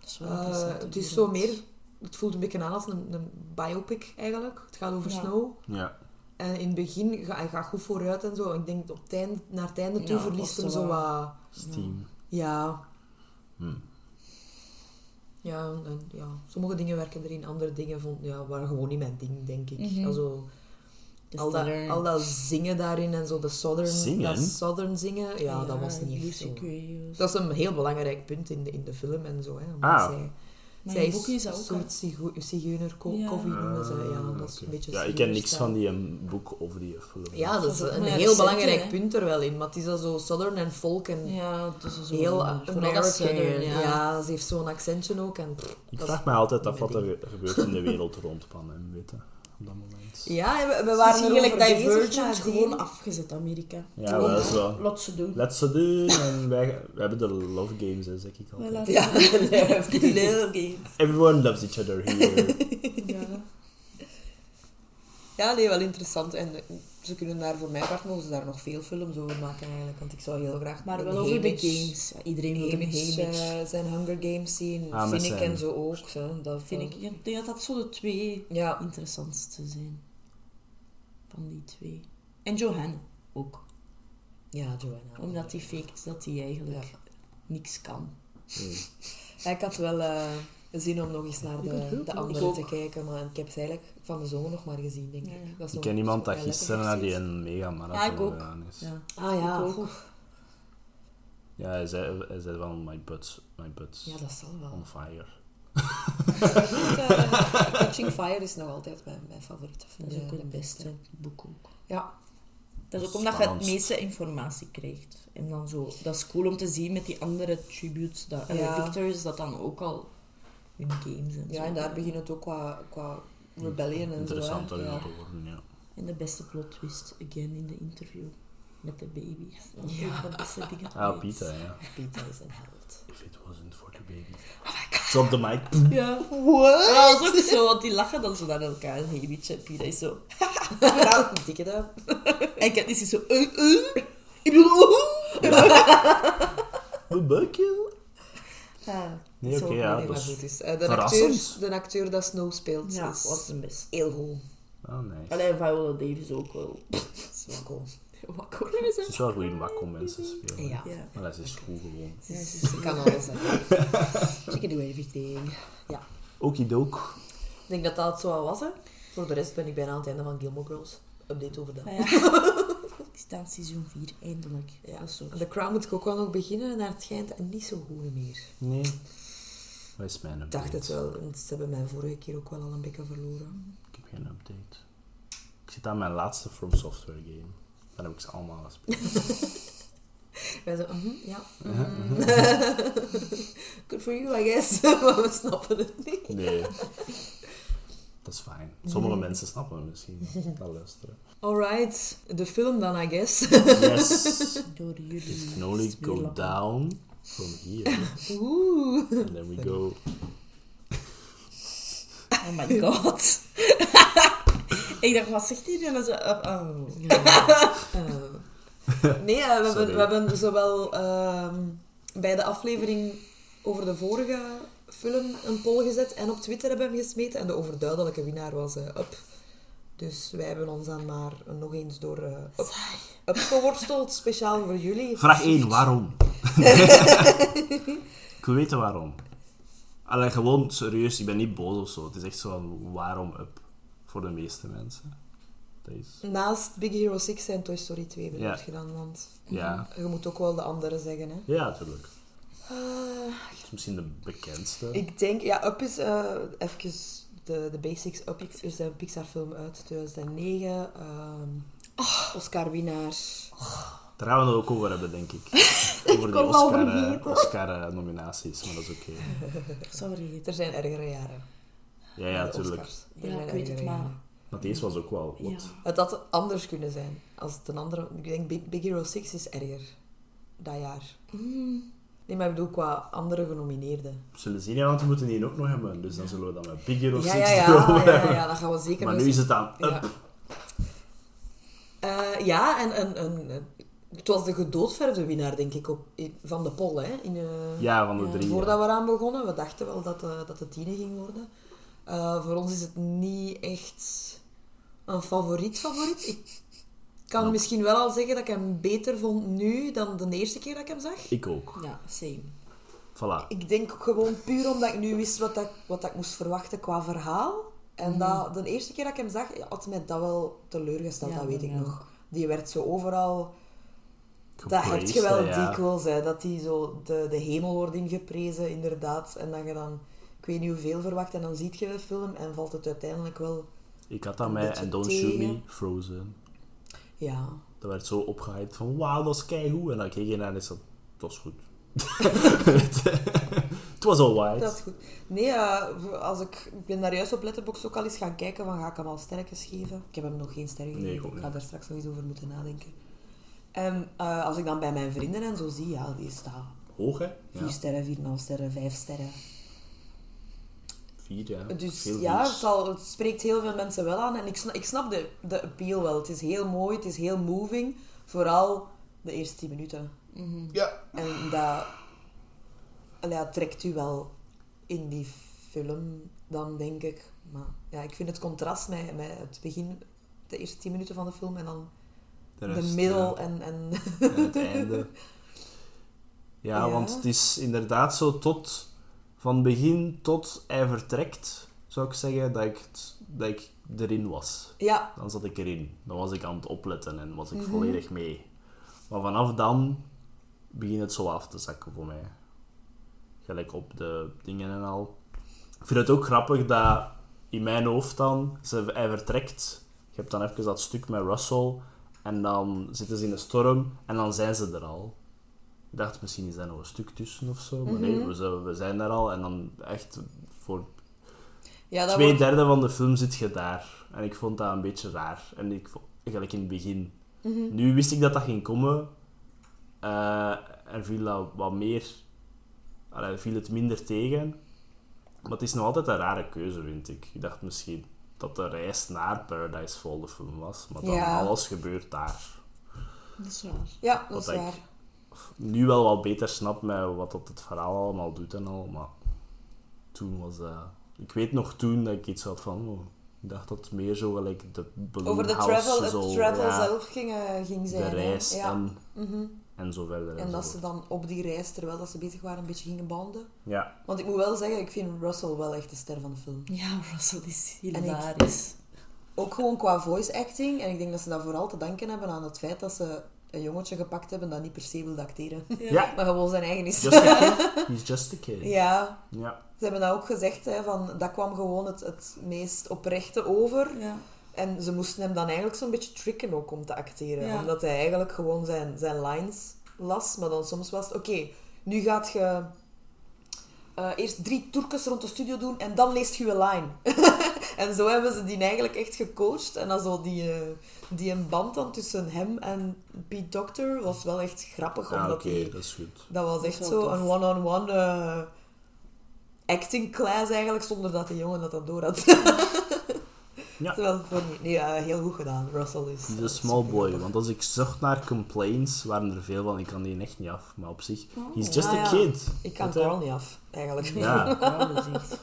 S4: Dat is wel
S2: Eh,
S4: interessant,
S2: het
S4: de
S2: is zo
S4: wereld.
S2: meer... Het voelt een beetje aan als een, een biopic eigenlijk. Het gaat over
S4: Ja.
S2: Snow.
S3: Ja,
S2: En in het begin ga- hij gaat goed vooruit en zo. Ik denk op het einde, naar het einde toe
S4: Ja,
S2: verliest
S4: kost
S2: hem
S4: wel.
S2: zo wat...
S3: Steam.
S2: Ja.
S3: Hm.
S2: Ja, en, ja, sommige dingen werken erin, andere dingen vond, ja, waren gewoon niet mijn ding, denk ik.
S4: Mhm.
S2: Also,
S4: De
S2: al, Dus dat,
S4: Southern-
S2: al dat zingen daarin en zo, de southern,
S3: Zingen?
S2: dat southern zingen, ja, dat was niet echt zo.
S4: music videos.
S2: Dat is een heel belangrijk punt in de, in de film en zo. Hè, omdat
S3: Ah.
S2: zij,
S4: Maar
S2: zij
S4: in boeken is dat
S2: een
S4: ook
S2: soort zigu- zigeunerkoffie
S4: Ja.
S2: noemen ze. Ja,
S3: Ah,
S2: dat is een
S3: oké.
S2: beetje
S3: Ja, ik ken niks
S2: zigeunerstijl.
S3: van die eh, boek of die film.
S2: Ja, dat is
S4: Dat is ook
S2: een
S4: maar
S2: heel
S4: recent,
S2: belangrijk
S4: hè.
S2: punt er wel in. Maar het is al zo southern en folk en
S4: al- Ja, het is zo...
S2: eh, heel
S4: vooral dat
S2: American.
S4: Southern,
S2: Ja. ze heeft zo'n accentje ook. En, pff,
S3: Ik
S2: dat
S3: vraag
S2: is-
S3: me altijd af
S2: mijn
S3: wat er gebeurt in de wereld rond Pan en Witte op dat moment.
S2: Ja, we, we
S4: We
S2: waren er
S4: eigenlijk
S2: eigenlijk
S4: Divergent
S2: Divergent
S4: gewoon afgezet, Amerika.
S3: Ja, wel, dat is wel.
S4: Laat ze doen.
S3: Let's ze doen en wij we hebben de love games, hè, zeg ik altijd.
S2: Ja,
S4: Little games.
S3: Everyone loves each other here.
S4: Ja.
S2: ja, nee, wel interessant. En eh, ze kunnen daar, voor mijn part, mogen ze daar nog veel films over maken eigenlijk. Want ik zou heel graag
S4: Maar
S2: een
S4: wel over de
S2: Haymitch-
S4: games. Ja, iedereen wil een
S2: Haymitch,
S4: Haymitch.
S2: eh, zijn Hunger Games zien.
S3: Ah, met
S2: Finnick
S3: zijn-
S2: en zo ook. Zo, dat
S4: Vind ik, ik denk dat dat zo de twee
S2: Ja,
S4: interessantste zijn. Van die twee. En Johanna ook.
S2: ja, Joanna.
S4: Omdat die fake is dat hij eigenlijk niks kan.
S3: Hmm.
S2: Ja, Ik had wel eh, zin om nog eens naar de, de
S4: Ik
S2: andere
S4: ook.
S2: te kijken. Maar ik heb ze eigenlijk van de zomer nog maar gezien, denk ik.
S4: Ja, ja.
S2: Dat is
S3: Ik
S2: nog-
S3: ken iemand
S2: nog
S3: dat
S2: wel
S3: gisteren naar
S2: lekker
S3: die
S2: gezien.
S3: een mega
S4: Ja, ik
S3: marathon
S4: ook.
S3: gegaan is.
S4: Ja.
S2: Ah ja,
S4: Ik ook.
S3: Ja, hij zei, hij zei van my butt's, my butt's
S2: ja, dat zal wel.
S3: on fire.
S2: vind, eh, Catching Fire is nog altijd mijn, mijn favoriete film. eh,
S4: Dat is ook
S2: de
S4: het beste boek ook.
S2: Ja.
S4: Dat is ook omdat je het
S3: Spannendst.
S4: meeste informatie krijgt. En dan zo, dat is cool om te zien met die andere tributes, dat, en
S2: Ja.
S4: de victors, dat dan ook al hun games en
S2: Ja,
S4: zo.
S2: en daar begint het ook qua, qua rebellion en zo. hè.
S3: Interessanter in
S2: Ja.
S3: te worden, ja.
S4: En de beste plot twist, again in de interview, met de baby. Dat is
S2: Ja.
S4: ook de beste dingen.
S3: Ah, Pieter, ja.
S2: Peter is een held.
S3: If it wasn't for the baby.
S2: Oh
S3: Drop the mic.
S4: Ja.
S2: What?
S4: Maar dat was ook zo, want die lachen dan zo naar elkaar. En hey, bitch, en Pieter is zo...
S2: Ja, dikke duim.
S4: En Katniss is zo... eh, eh. Ik bedoel... eh.
S3: Een buikje?
S2: Ah,
S3: Nee,
S2: zo,
S3: oké, ja,
S2: nee,
S3: dat
S2: maar
S3: is
S2: goed is. Eh, de,
S3: verrassend.
S2: acteur, de acteur dat Snow speelt
S4: Ja,
S2: is
S4: was zijn best.
S2: heel goed.
S3: Ah, nee.
S4: Alleen Viola Davis ook wel.
S2: Is wel goed.
S4: Wakker is
S3: Het is wel goed in wat kon mensen spelen.
S2: Ja.
S4: Ja.
S3: Maar dat is goed gewoon.
S2: Ja, ze ze kan alles. hè. She can do everything. Ja.
S3: Okidook.
S2: Ik denk dat dat het zo al was. Hè. Voor de rest ben ik bijna aan het einde van Gilmore Girls. Update over dat.
S4: Maar ja. Ik sta aan seizoen 4, eindelijk.
S2: Ja.
S4: Dat is zo.
S2: The Crown moet ik ook wel nog beginnen en naar het schijnt niet zo goed meer.
S3: Nee. Wat is mijn
S2: Ik
S3: update?
S2: dacht het wel, want ze hebben mij vorige keer ook wel al een beetje verloren.
S3: Ik heb geen update. Ik zit aan mijn laatste From Software game. Dan heb ik ze allemaal gespeeld.
S2: Wij zo, mhm, ja. mhm. Good for you, I guess. maar we snappen het niet.
S3: Nee. Dat is fijn. Sommige mensen snappen het misschien. Dat luisteren.
S2: Alright, de film dan, I guess.
S3: Yes.
S4: Door jullie.
S3: It can only go down from here.
S2: Oeh.
S3: And then we go...
S4: Oh my god. ik dacht, wat zegt hij? En dan zo... eh, oh.
S2: Eh, nee, eh, we hebben,
S3: Sorry.
S2: we hebben zowel ehm, bij de aflevering over de vorige film een poll gezet en op Twitter hebben we hem gesmeten. En de overduidelijke winnaar was eh, Up. Dus wij hebben ons dan maar nog eens door eh, Up, Up geworsteld, speciaal voor jullie.
S3: Vraag 1. Waarom? ik wil weten waarom. Allee, gewoon serieus. Ik ben niet boos of zo. Het is echt zo van waarom up. Voor de meeste mensen. Dat is...
S2: Naast Big Hero 6 en Toy Story 2 bedoeld
S3: Ja.
S2: gedaan, want
S3: Ja.
S2: je moet ook wel de anderen zeggen. Hè.
S3: Ja, natuurlijk.
S4: Ah.
S2: Eh,
S3: Het is misschien de bekendste.
S2: Ik denk, ja, Up is eh even de, de basics. Up is dus een Pixar-film uit 2009. ehm,
S4: Ah.
S2: Oscar-winnaar.
S3: Daar gaan we het ook over hebben, denk ik. Over die
S4: kon al
S3: Oscar, eh,
S4: vergeten.
S3: Oscar, eh, nominaties, maar dat is oké.
S4: Sorry.
S2: Er zijn ergere jaren.
S3: Ja, ja,
S2: de
S3: tuurlijk.
S2: Oscars. Er
S4: Ja,
S2: zijn
S4: ik weet
S2: ergere
S4: het, maar-
S2: jaren.
S3: Want deze was ook wel wat.
S4: Ja.
S2: Het had anders kunnen zijn. Als het een andere... Ik denk, Big, Big Hero 6 is erger. Dat jaar.
S4: Mm.
S2: Nee, maar ik bedoel qua andere genomineerden.
S3: We zullen zien, ja, want we moeten die ook nog hebben. Dus dan zullen we dan met Big Hero 6
S2: Ja, ja, ja,
S3: erover
S2: ja, ja,
S3: hebben.
S2: ja, dat gaan we zeker
S3: Maar
S2: nog
S3: nu is het aan up.
S2: Ja. Eh, ja, en, en, en, en het was de gedoodverfde winnaar, denk ik, op, in- van de poll. Hè, in, eh,
S3: Ja, van de drie. ja.
S2: Voordat we eraan begonnen, we dachten wel dat, eh, dat het tiende ging worden. Eh, voor ons is het niet echt een favoriet favoriet. Ik kan
S3: Nope.
S2: misschien wel al zeggen dat ik hem beter vond nu dan de eerste keer dat ik hem zag.
S3: Ik ook.
S4: Ja, same.
S3: Voilà.
S2: Ik denk gewoon puur omdat ik nu wist wat, dat, wat dat ik moest verwachten qua verhaal.
S4: Mhm.
S2: En dat, de eerste keer dat ik hem zag, had mij dat wel teleurgesteld,
S4: Ja,
S2: dat weet ik
S4: mij
S2: nog.
S4: ook.
S2: Die werd zo overal Dat
S3: Geplaced,
S2: heb je wel
S3: hè, ja.
S2: dikwijls, hè, dat die zo de, de hemel wordt ingeprezen, inderdaad. En dat je dan, ik weet niet hoeveel verwacht, en dan ziet je de film en valt het uiteindelijk wel...
S3: Ik had dat
S2: Een
S3: met
S2: beetje
S3: en Don't Shoot Me,
S2: tegen.
S3: Frozen.
S2: Ja.
S3: Dat werd zo opgehyped van wauw, dat is keigoed. En dan keek je naar en is dat, dat is goed. Het was alright.
S2: Dat is goed. Nee, eh, als ik, ik ben daar juist op Letterboxd ook al eens gaan kijken van ga ik hem al sterretjes geven. Ik heb hem nog geen sterren
S3: Nee,
S2: gegeven.
S3: ik ook
S2: ik
S3: niet.
S2: ga daar straks nog eens over moeten nadenken. En eh, als ik dan bij mijn vrienden en zo zie, ja, die staat
S3: Hoog, hè?
S2: vier sterren, vier en een half sterren, vijf sterren.
S3: Vier, ja.
S2: Dus
S3: Veel
S2: ja, het,
S3: views.
S2: zal, het spreekt heel veel mensen wel aan. En ik snap, ik snap de, de appeal wel. Het is heel mooi, het is heel moving. Vooral de eerste 10 minuten.
S4: Mhm.
S3: Ja.
S2: En dat allee, ja, trekt u wel in die film, dan denk ik. Maar ja, ik vind het contrast met, met het begin, de eerste 10 minuten van de film en dan
S3: De,
S2: de,
S3: rest,
S2: middel
S3: ja.
S2: en, en
S3: En het einde. Ja,
S2: Ja.
S3: want het is inderdaad zo tot... Van begin tot hij vertrekt, zou ik zeggen, dat ik, het- dat ik erin was.
S2: ja,
S3: Dan zat ik erin. Dan was ik aan het opletten en was ik volledig mee. Maar vanaf dan begint het zo af te zakken voor mij. Gelijk op de dingen en al. Ik vind het ook grappig dat in mijn hoofd dan, ze, hij vertrekt. Je hebt dan even dat stuk met Russell. En dan zitten ze in de storm en dan zijn ze er al. Ik dacht, misschien is daar nog een stuk tussen of zo. Maar nee, we zijn, we zijn daar al. En dan echt voor
S2: ja, dat
S3: Twee
S2: wordt-
S3: derde van de film zit je daar. En ik vond dat een beetje raar. En ik vond, gelijk in het begin.
S2: Mhm.
S3: Nu wist ik dat dat ging komen. eh, en viel dat wat meer... allee, viel het minder tegen. Maar het is nog altijd een rare keuze, vind ik. Ik dacht misschien... dat de reis naar Paradise Fall de film was. Maar dan
S2: Ja.
S3: alles gebeurt daar.
S4: Dat is waar.
S2: Ja, dat
S3: Wat
S2: is
S3: ik
S2: waar.
S3: nu wel wat beter snap met wat dat het verhaal allemaal doet en al, maar toen was dat... Ik weet nog toen dat ik iets had van... oh, ik dacht dat het meer zo gelijk de balloon
S2: Over de
S3: house
S2: travel, het
S3: zo,
S2: travel
S3: ja,
S2: zelf ging, eh, ging zijn.
S3: De
S2: hè.
S3: reis
S2: Ja. Mhm.
S3: en, en zo verder.
S2: En dat
S3: zo
S2: ze
S3: voort.
S2: dan op die reis, terwijl dat ze bezig waren, een beetje gingen banden.
S3: Ja,
S2: Want ik moet wel zeggen, ik vind Russell wel echt de ster van de film.
S4: Ja, Russell is hilarisch.
S2: Ook gewoon qua voice acting. En ik denk dat ze dat vooral te danken hebben aan het feit dat ze een jongetje gepakt hebben dat niet per se wil acteren.
S3: Ja.
S2: maar gewoon zijn eigen is.
S3: just a kid. He's just a kid.
S2: Ja,
S3: Ja.
S2: ze hebben dat ook gezegd, hè, van, dat kwam gewoon het, het meest oprechte over.
S4: Ja.
S2: En ze moesten hem dan eigenlijk zo'n beetje tricken ook om te acteren.
S4: Ja.
S2: Omdat hij eigenlijk gewoon zijn, zijn lines las. Maar dan soms was het, oké, nu gaat je eh, eerst drie toerkes rond de studio doen en dan leest je je line. en zo hebben ze die eigenlijk echt gecoacht. En dan zo die, eh, die een band dan tussen hem en Pete Doctor was wel echt grappig.
S3: Ja, Ah, oké,
S2: omdat hij
S3: dat is goed.
S2: dat was
S4: Dat
S2: echt
S4: is wel
S2: zo
S4: tof.
S2: een one-on-one eh, acting class eigenlijk, zonder dat de jongen dat dan door had.
S3: Ja.
S2: Terwijl het gewoon niet- nee, eh, heel goed gedaan. Russell is... eh,
S3: He's a small boy, want als ik zocht naar complaints, waren er veel van. Ik kan die echt niet af, maar op zich... He's just
S2: Ah,
S3: a
S2: ja.
S3: kid.
S2: Ik kan
S3: Weet je?
S2: Carl niet af, eigenlijk.
S3: Ja.
S4: Carl is echt...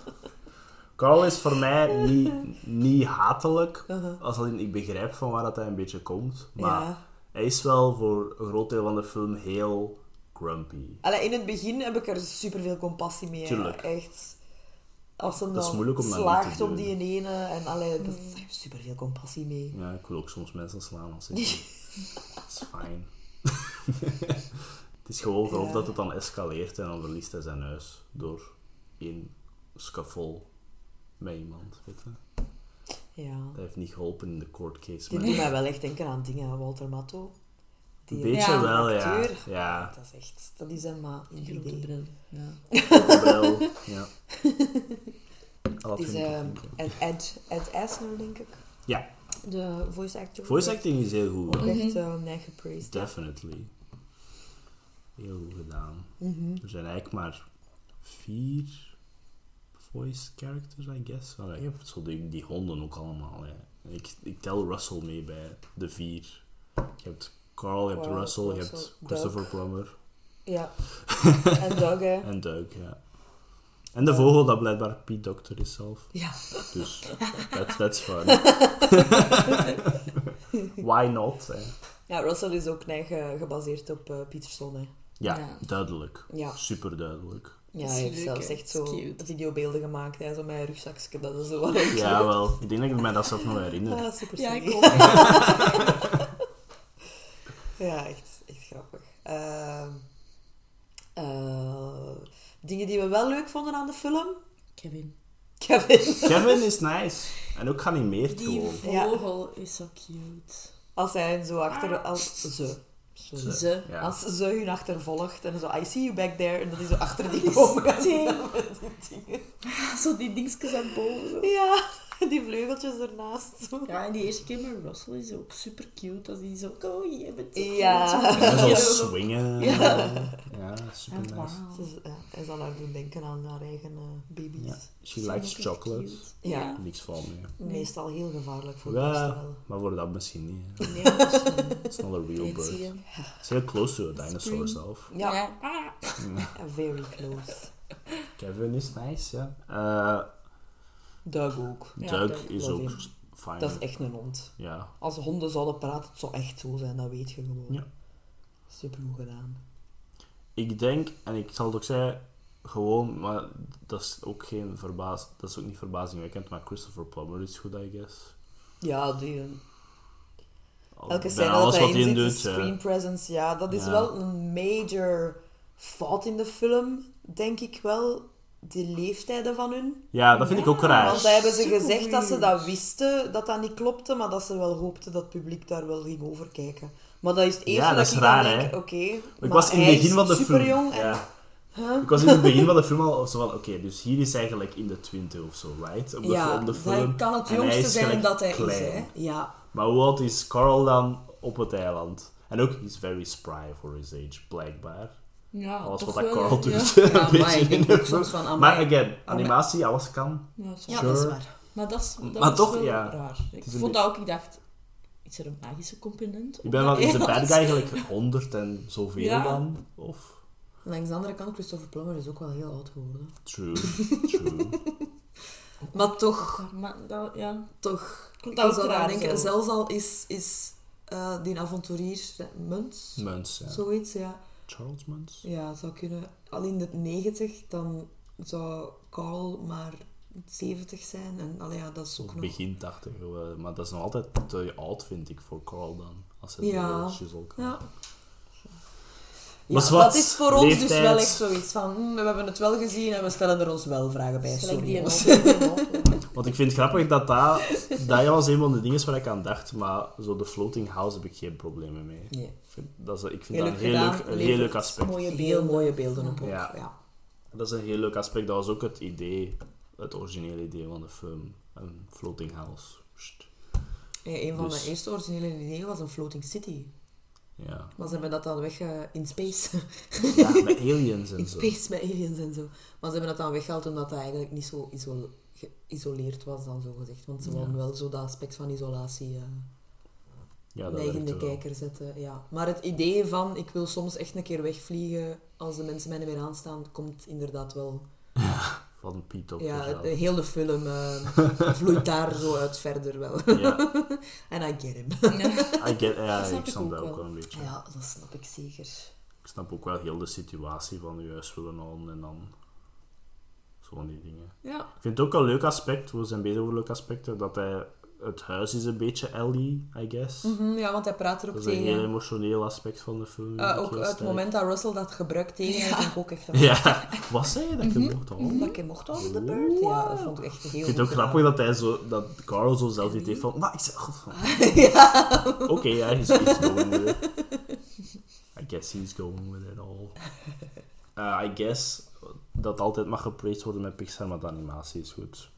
S3: Carl is voor mij niet, niet hatelijk. Als alleen ik begrijp van waar dat hij een beetje komt. Maar
S2: Uh-huh. Ja.
S3: hij is wel voor een groot deel van de film heel grumpy.
S2: Allee, in het begin heb ik er superveel compassie mee. hè.
S3: Tuurlijk.
S2: Echt. Als ze
S3: is
S2: dan
S3: moeilijk om dat niet
S2: slaagt
S3: te
S2: op
S3: doen.
S2: die ene. En
S4: Mm.
S2: allee, dat, daar heb ik superveel compassie mee.
S3: Ja, ik wil ook soms mensen slaan als ik. Dat is fijn. het is gewoon vooral
S2: Ja.
S3: dat het dan escaleert en dan verliest hij zijn huis door één scaffold met iemand. Weet je?
S2: Ja.
S3: Dat heeft niet geholpen in de court case.
S2: Die
S3: maar-
S2: doet mij wel echt denken aan dingen. hè. Walter Matto.
S3: Een
S2: Die
S3: beetje
S4: Ja.
S3: wel, ja.
S2: acteur.
S3: Ja,
S2: Dat is echt... Dat is hem maar in
S4: Die grote bril. Ja.
S3: wel. Ja. Al
S2: Het is
S3: vind ik
S2: eh,
S3: ook goed.
S2: Ed, Ed, Ed Asner, denk ik.
S3: Ja.
S2: De voice actor.
S3: Voice acting is heel goed.
S2: Ook
S3: hoor.
S2: echt
S4: Mhm.
S2: uh, gepraised.
S3: Definitely. Heel goed gedaan.
S2: Mhm.
S3: Er zijn eigenlijk maar vier voice characters, I guess. Allee, je hebt zo die, die honden ook allemaal. Hè. En Ik, ik tel Russell mee bij de vier. Je hebt Carl, je hebt
S2: Carl,
S3: Russell, je
S2: Russell,
S3: hebt Christopher Plummer
S2: Ja. en eh, Doug, hè.
S3: en Doug, ja. En de vogel dat blijkbaar Pete Doctor is zelf.
S2: Ja.
S3: Dus that's, that's fun. Why not? Hè?
S2: Ja, Russell is ook neig eh, gebaseerd op eh, Peterson, hè.
S3: Ja,
S4: Ja.
S3: duidelijk.
S2: Ja.
S3: Super duidelijk.
S2: Ja,
S4: Dat is
S2: hij heeft
S4: leuk,
S2: zelfs
S4: hè.
S2: echt
S4: Dat
S2: zo
S4: is cute.
S2: videobeelden gemaakt, hè. Zo met een rugzakje, dat is zo wel leuk.
S3: Ja, wel. Ik denk dat ik mij dat zelf nog herinner.
S2: Ah, super
S4: Ja,
S2: silly.
S4: ik ook.
S2: Ja, echt, echt grappig. Ehm, eh, dingen die we wel leuk vonden aan de film?
S4: Kevin.
S2: Kevin.
S3: Kevin is nice. En ook geanimeerd
S4: Die
S3: gewoon.
S4: vogel is zo cute.
S2: Als hij zo achter... Als ze. Sorry.
S4: Ze.
S3: Ja.
S2: Als ze hun achtervolgt en zo, I see you back there, en dat is zo achter die boom gaat
S4: Steen.
S2: staan met die dingen.
S4: Zo die dingetjes aan boven. zo.
S2: Ja, die vleugeltjes ernaast. zo.
S4: Ja, en die eerste keer met Russell is ook super cute. Als die zo, oh, je bent zo
S2: Ja.
S4: cute.
S3: En zo
S4: Ja.
S3: swingen. Ja, super
S4: En
S3: nice.
S4: wauw.
S2: Ze is- ja, hij zal haar doen denken aan haar eigen eh, baby's.
S3: Ja. She
S4: Zijn
S3: likes
S4: ook echt
S3: chocolate.
S4: cute.
S2: Ja.
S4: Ja.
S3: Niks van meer.
S2: Meestal heel gevaarlijk voor de
S3: Ja,
S2: herstel.
S3: maar voor dat misschien niet. hè.
S4: Nee, dat is niet.
S3: It's not a real
S4: Weet
S3: bird.
S4: je
S3: It's
S4: hem?
S3: heel close to a dinosaur zelf.
S2: Ja,
S4: Ah.
S2: very close.
S3: Kevin is nice, ja. Eh,
S2: Doug ook.
S4: Ja,
S3: Doug
S4: Doug,
S3: is
S2: love
S3: ook
S2: him.
S3: fijn.
S2: Dat is echt een hond.
S3: Ja.
S2: Als honden zouden praten, het zou echt zo zijn, dat weet je gewoon.
S3: Ja.
S2: Super goed gedaan.
S3: Ik denk, en ik zal het ook zeggen, gewoon, maar dat is ook geen verbaas, dat is ook niet verbazingwekkend, maar Christopher Plummer is goed, I guess.
S2: Ja, die,
S3: Al-
S2: elke scène
S3: bijna
S2: dat hij in zit, de
S3: ja.
S2: screen presence, ja, dat is
S3: Ja.
S2: wel een major fout in de film, denk ik wel. De leeftijden van hun.
S3: Ja, dat vind ik ook raar.
S2: Want daar hebben ze
S4: super
S2: gezegd dat ze
S4: weird.
S2: dat wisten, dat dat niet klopte, maar dat ze wel hoopten dat het publiek daar wel ging overkijken. Maar dat is het eerste
S3: Ja, dat
S2: dat,
S3: is
S2: ik
S3: raar,
S2: dan
S3: hè?
S2: denk, oké.
S3: Ik
S2: maar
S3: was in het
S2: hij
S3: begin
S2: is
S3: van de film.
S2: superjong en-
S3: ja. Ik was in het begin van de film al zo van, oké, dus hier is hij eigenlijk in de twintig of zo, right? Om de,
S2: Ja,
S3: om de
S2: hij
S3: film.
S2: kan het
S3: En hij
S2: jongste
S3: is
S2: zijn
S3: gelijk
S2: dat hij is,
S3: klein.
S2: hè. Ja.
S3: Maar hoe oud is Carl dan op het eiland? En ook, he's very spry for his age, blijkbaar.
S4: Ja,
S2: Ah,
S3: Alles
S4: toch
S3: wat dat
S4: wel,
S3: Carl
S4: ja.
S3: doet,
S4: Ja,
S3: een
S4: maar
S3: beetje
S4: ik
S3: in
S4: denk
S3: de
S4: ook
S3: film.
S2: Oh,
S4: soms van, amai.
S3: Maar again, animatie, alles kan.
S4: Ja, zo.
S2: Ja,
S3: Sure.
S2: dat is waar.
S4: Maar dat is dat
S3: Maar
S4: is
S3: toch,
S4: wel
S3: ja.
S4: raar. Ik
S3: is een
S4: vond dat ook, ik dacht, is er een magische component?
S3: Ik ben wel, is de bad guy eigenlijk 100 en zoveel
S4: Ja.
S3: dan? Of?
S2: Langs de andere kant, Christopher Plummer is ook wel heel oud geworden.
S3: True, true.
S2: Maar toch,
S4: Maar dat, ja.
S2: toch.
S4: Komt
S2: ik
S4: dat
S2: zou
S4: ook
S2: eraan
S4: raar
S2: denken.
S4: zo?
S2: Zelfs al is, is eh, die avonturier Muns,
S3: Muns, ja.
S2: zoiets, ja.
S3: Charles Muns?
S2: Ja, zou kunnen. Al in de 90, dan zou Carl maar 70 zijn. En allee, ja, dat is ook
S3: Of
S2: nog...
S3: begin 80, eh, maar dat is nog altijd te oud, vind ik, voor Carl dan. Als hij
S2: Ja.
S3: zo shizzle kan.
S2: Ja.
S3: Maar
S2: Ja,
S3: zwart,
S2: dat is voor ons dus
S3: leeftijd.
S2: wel echt zoiets van, hm, we hebben het wel gezien en we stellen er ons wel vragen bij.
S4: Gelijk
S2: Sorry,
S4: die
S2: jongens.
S4: auto.
S3: Want ik vind het grappig dat dat, dat was een van de dingen waar ik aan dacht, maar zo de floating house heb ik geen problemen mee.
S2: Nee.
S3: Ik vind dat, is, ik vind
S2: Heel
S3: dat een
S2: leuk
S3: heel leuk,
S2: gedaan,
S3: een heel leuk
S2: levert
S3: aspect.
S4: Mooie
S2: Heel
S4: beelden.
S2: mooie beelden op ook,
S3: Ja.
S2: ja.
S3: Dat is een heel leuk aspect. Dat was ook het idee, het originele idee van de film. Een floating house. Sst.
S2: Ja, een van
S3: Dus-
S2: mijn eerste originele ideeën was een floating city.
S3: Ja.
S2: Maar ze hebben dat dan weg... eh, in space.
S3: ja, met aliens en
S2: in
S3: zo.
S2: space met aliens en zo. Maar ze hebben dat dan weggehaald omdat dat eigenlijk niet zo iso- geïsoleerd was dan, zo gezegd. Want ze wilden wel zo dat aspect van isolatie... eh,
S3: Ja, dat
S2: neigende
S3: werkte wel.
S2: kijker zetten. Ja. Maar het idee van ik wil soms echt een keer wegvliegen als de mensen mij niet meer aanstaan, komt inderdaad wel.
S3: Van Piet op
S2: ja,
S3: ja,
S2: het- heel de film eh, vloeit daar zo uit verder wel.
S3: ja,
S2: En I get him.
S3: I get, ja,
S4: Dat snap
S3: ik
S4: ik
S3: snap
S4: ook
S3: dat ook
S4: wel.
S3: wel een beetje.
S2: Ja, dat snap ik zeker.
S3: Ik snap ook wel heel de situatie van je huis willen halen en dan zo van die dingen.
S2: Ja.
S3: Ik vind het ook een leuk aspect, we zijn bezig over leuke aspecten, dat hij, het huis is een beetje Ellie, I guess.
S2: Mhm, ja, want hij praat er ook
S3: Dat is een heel
S2: tegen.
S3: emotioneel aspect van de film. vind
S2: Eh,
S3: ik
S2: ook
S3: heel
S2: het
S3: sterk.
S2: moment dat Russell dat gebruikt tegen hem, vond ik ook echt een
S3: Ja, was hij dat
S2: Mhm.
S3: je mocht halen?
S2: dat ik hem mocht over de beurt. Ja, dat vond ik echt heel
S3: Ik vind het ook
S2: goed
S3: grappig dat hij zo, dat Carl zo zelf niet heeft van, maar ik zeg, god van,
S2: gedaan. ja.
S3: oké, ja, he's, he's going with it. I guess he's going with it all. Eh, I guess dat altijd mag gepraised worden met Pixar, maar de animatie is goed.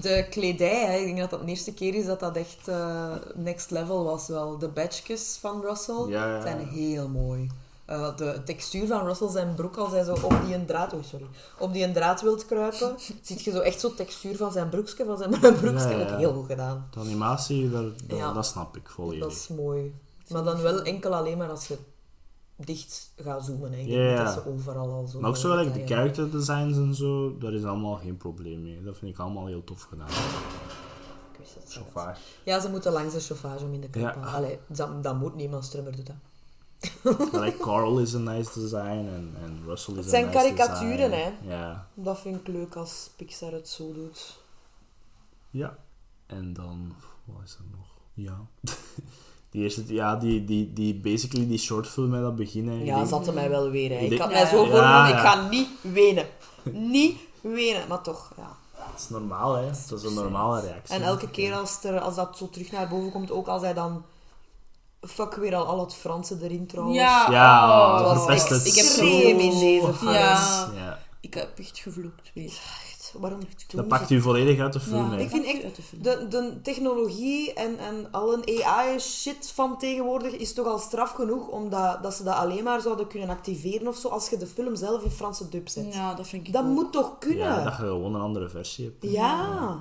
S2: De kledij, hè, ik denk dat dat de eerste keer is dat dat echt eh, next level was wel. De badges van Russell
S3: Ja, ja, ja.
S2: zijn heel mooi. Eh, de textuur van Russell zijn broek, als hij zo op die een draad, oh, sorry, op die een draad wilt kruipen, ziet je zo echt zo textuur van zijn broekje, van zijn broekje.
S3: Ja, ja, ja.
S2: Ook heel goed gedaan.
S3: De animatie, daar, daar-
S2: Ja.
S3: dat snap ik
S2: Dat
S3: volledig.
S2: is mooi. Maar dan wel enkel alleen maar als je dicht gaat zoomen. Hè. Ik denk
S3: Ja,
S2: niet
S3: ja.
S2: dat ze overal al zo...
S3: Maar ook zo gelijk de
S2: detail-
S3: character designs en zo, daar is allemaal geen probleem mee. Dat vind ik allemaal heel tof gedaan.
S2: Ik wist het zelf.
S3: Chauffage.
S2: Ja, ze moeten langs de chauffage om in de krap.
S3: Ja.
S2: Allee, dat, dat moet niet, maar Strummer doet dat.
S3: Gelijk Carl is een nice design en, en Russell is
S2: Het
S3: een nice
S2: zijn
S3: design.
S2: karikaturen, hè.
S3: Ja.
S2: Dat vind ik leuk als Pixar het zo doet.
S3: Ja. En dan, wat is er nog? Ja. die eerste, ja, die, die, die, basically die shortfilm met dat begin. Hè.
S2: Ja,
S3: Die-
S2: zatte mij wel weer. Hè.
S3: Ik
S2: Ik
S3: denk-
S2: had mij zo
S3: Ja,
S2: voor
S3: ja.
S2: ik ga niet wenen. Niet wenen, maar toch, ja.
S3: Dat is normaal, hè. Dat is een normale reactie.
S2: En elke keer als, er, als dat zo terug naar boven komt, ook als hij dan... Fuck, weer al, al het Franse erin trouwens.
S4: Ja,
S3: Ja,
S4: oh.
S2: Dat
S3: verpest
S2: was
S3: het
S2: extreem
S3: zo
S2: in deze film.
S4: Ja.
S3: Ja.
S4: Ik heb echt gevloekt weer.
S2: Echt, Waarom
S3: Dat
S2: doen ze
S3: pakt u volledig uit de film,
S4: Ja,
S3: hè.
S2: Ik vind
S4: Pakt u
S2: echt,
S4: uit de film.
S2: de, de technologie en, en alle AI-shit van tegenwoordig is toch al straf genoeg, omdat dat ze dat alleen maar zouden kunnen activeren of zo, als je de film zelf in Franse dub zet.
S4: Ja, dat vind ik
S2: Dat
S4: ook.
S2: moet toch kunnen?
S3: Ja, dat
S2: Ja.
S3: je gewoon een andere versie hebt. hè.